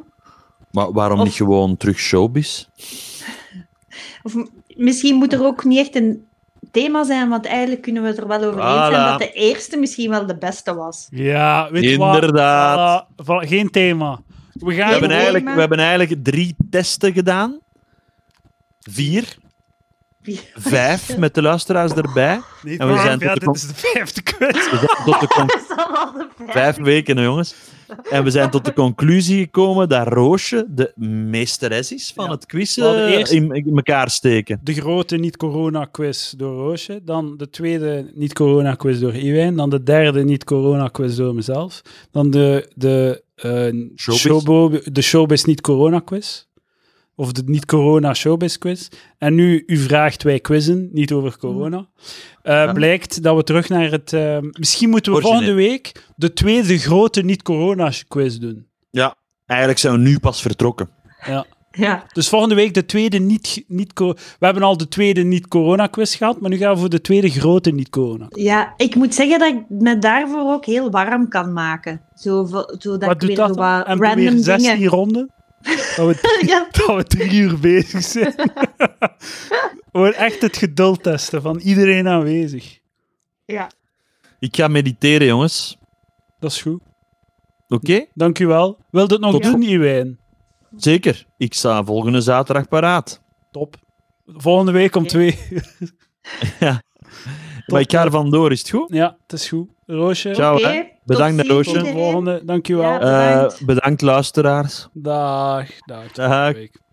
[SPEAKER 3] maar waarom
[SPEAKER 1] Of-
[SPEAKER 3] niet gewoon terug showbiz?
[SPEAKER 1] Of m- misschien moet er ook niet echt een thema zijn, want eigenlijk kunnen we het er wel over eens zijn
[SPEAKER 3] Voilà.
[SPEAKER 1] dat de eerste misschien wel de beste was.
[SPEAKER 2] Ja, weet je wat?
[SPEAKER 3] Inderdaad.
[SPEAKER 2] Voilà, voilà, geen thema. We
[SPEAKER 3] We
[SPEAKER 1] Ja,
[SPEAKER 2] gaan
[SPEAKER 3] hebben,
[SPEAKER 1] maar-
[SPEAKER 3] eigenlijk,
[SPEAKER 1] maar-
[SPEAKER 3] we hebben eigenlijk drie testen gedaan. Vier, vijf met de luisteraars erbij.
[SPEAKER 2] Niet
[SPEAKER 3] En we
[SPEAKER 2] waar,
[SPEAKER 3] zijn tot
[SPEAKER 2] ja,
[SPEAKER 3] de
[SPEAKER 2] dit
[SPEAKER 3] con-
[SPEAKER 2] is de vijfde quiz.
[SPEAKER 3] We zijn tot de con-
[SPEAKER 1] Dat is dan al de vijfde.
[SPEAKER 3] Vijf weken, hè, jongens. En we zijn tot de conclusie gekomen dat Roosje de meesteres is van
[SPEAKER 2] Ja.
[SPEAKER 3] het quiz
[SPEAKER 2] We hadden
[SPEAKER 3] eh,
[SPEAKER 2] eerst-
[SPEAKER 3] in, in elkaar steken.
[SPEAKER 2] De grote niet-corona-quiz door Roosje. Dan de tweede niet-corona-quiz door Iwijn. Dan de derde niet-corona-quiz door mezelf. Dan de, de, eh,
[SPEAKER 3] Showbiz.
[SPEAKER 2] showbo- de showbiz niet-corona-quiz. Of de niet-corona-showbiz-quiz. En nu, u vraagt wij quizzen, niet over corona. Eh, Blijkt dat we terug naar het... eh, misschien moeten we
[SPEAKER 3] Origineel.
[SPEAKER 2] volgende week de tweede grote niet-corona-quiz doen.
[SPEAKER 3] Ja. Eigenlijk zijn we nu pas vertrokken.
[SPEAKER 1] Ja,
[SPEAKER 2] Dus volgende week de tweede niet... niet co- we hebben al de tweede niet-corona-quiz gehad, maar nu gaan we voor de tweede grote niet-corona.
[SPEAKER 1] ja, ik moet zeggen dat ik me daarvoor ook heel warm kan maken. Zo, vo- zo dat
[SPEAKER 2] Wat
[SPEAKER 1] ik weer
[SPEAKER 2] doet
[SPEAKER 1] zo
[SPEAKER 2] dat? dan?
[SPEAKER 1] wat
[SPEAKER 2] En
[SPEAKER 1] random
[SPEAKER 2] weer 16
[SPEAKER 1] dingen...
[SPEAKER 2] ronden? Dat we,
[SPEAKER 1] Ja,
[SPEAKER 2] dat we drie uur bezig zijn. Gewoon echt het geduld testen van iedereen aanwezig.
[SPEAKER 1] ja.
[SPEAKER 3] Ik ga mediteren, jongens.
[SPEAKER 2] Dat is goed.
[SPEAKER 3] Oké?
[SPEAKER 2] Dank u wel. Wil het nog
[SPEAKER 3] Tot
[SPEAKER 2] doen, Iwijn?
[SPEAKER 3] Zeker. Ik sta volgende zaterdag paraat.
[SPEAKER 2] Top. Volgende week om
[SPEAKER 1] Oké.
[SPEAKER 2] twee uur.
[SPEAKER 3] Maar ik ga er vandoor, is het goed?
[SPEAKER 2] Ja, het is goed. Roosje,
[SPEAKER 3] Ciao,
[SPEAKER 1] Oké,
[SPEAKER 3] Oh, hè.
[SPEAKER 1] tot
[SPEAKER 3] Bedankt,
[SPEAKER 1] ziens,
[SPEAKER 3] Roosje.
[SPEAKER 2] tot de
[SPEAKER 1] iedereen.
[SPEAKER 2] volgende. Dank u wel.
[SPEAKER 1] Ja.
[SPEAKER 3] Eh,
[SPEAKER 1] Bedankt.
[SPEAKER 3] bedankt, luisteraars.
[SPEAKER 2] Dag. Dag. tot
[SPEAKER 3] Dag.
[SPEAKER 2] volgende week.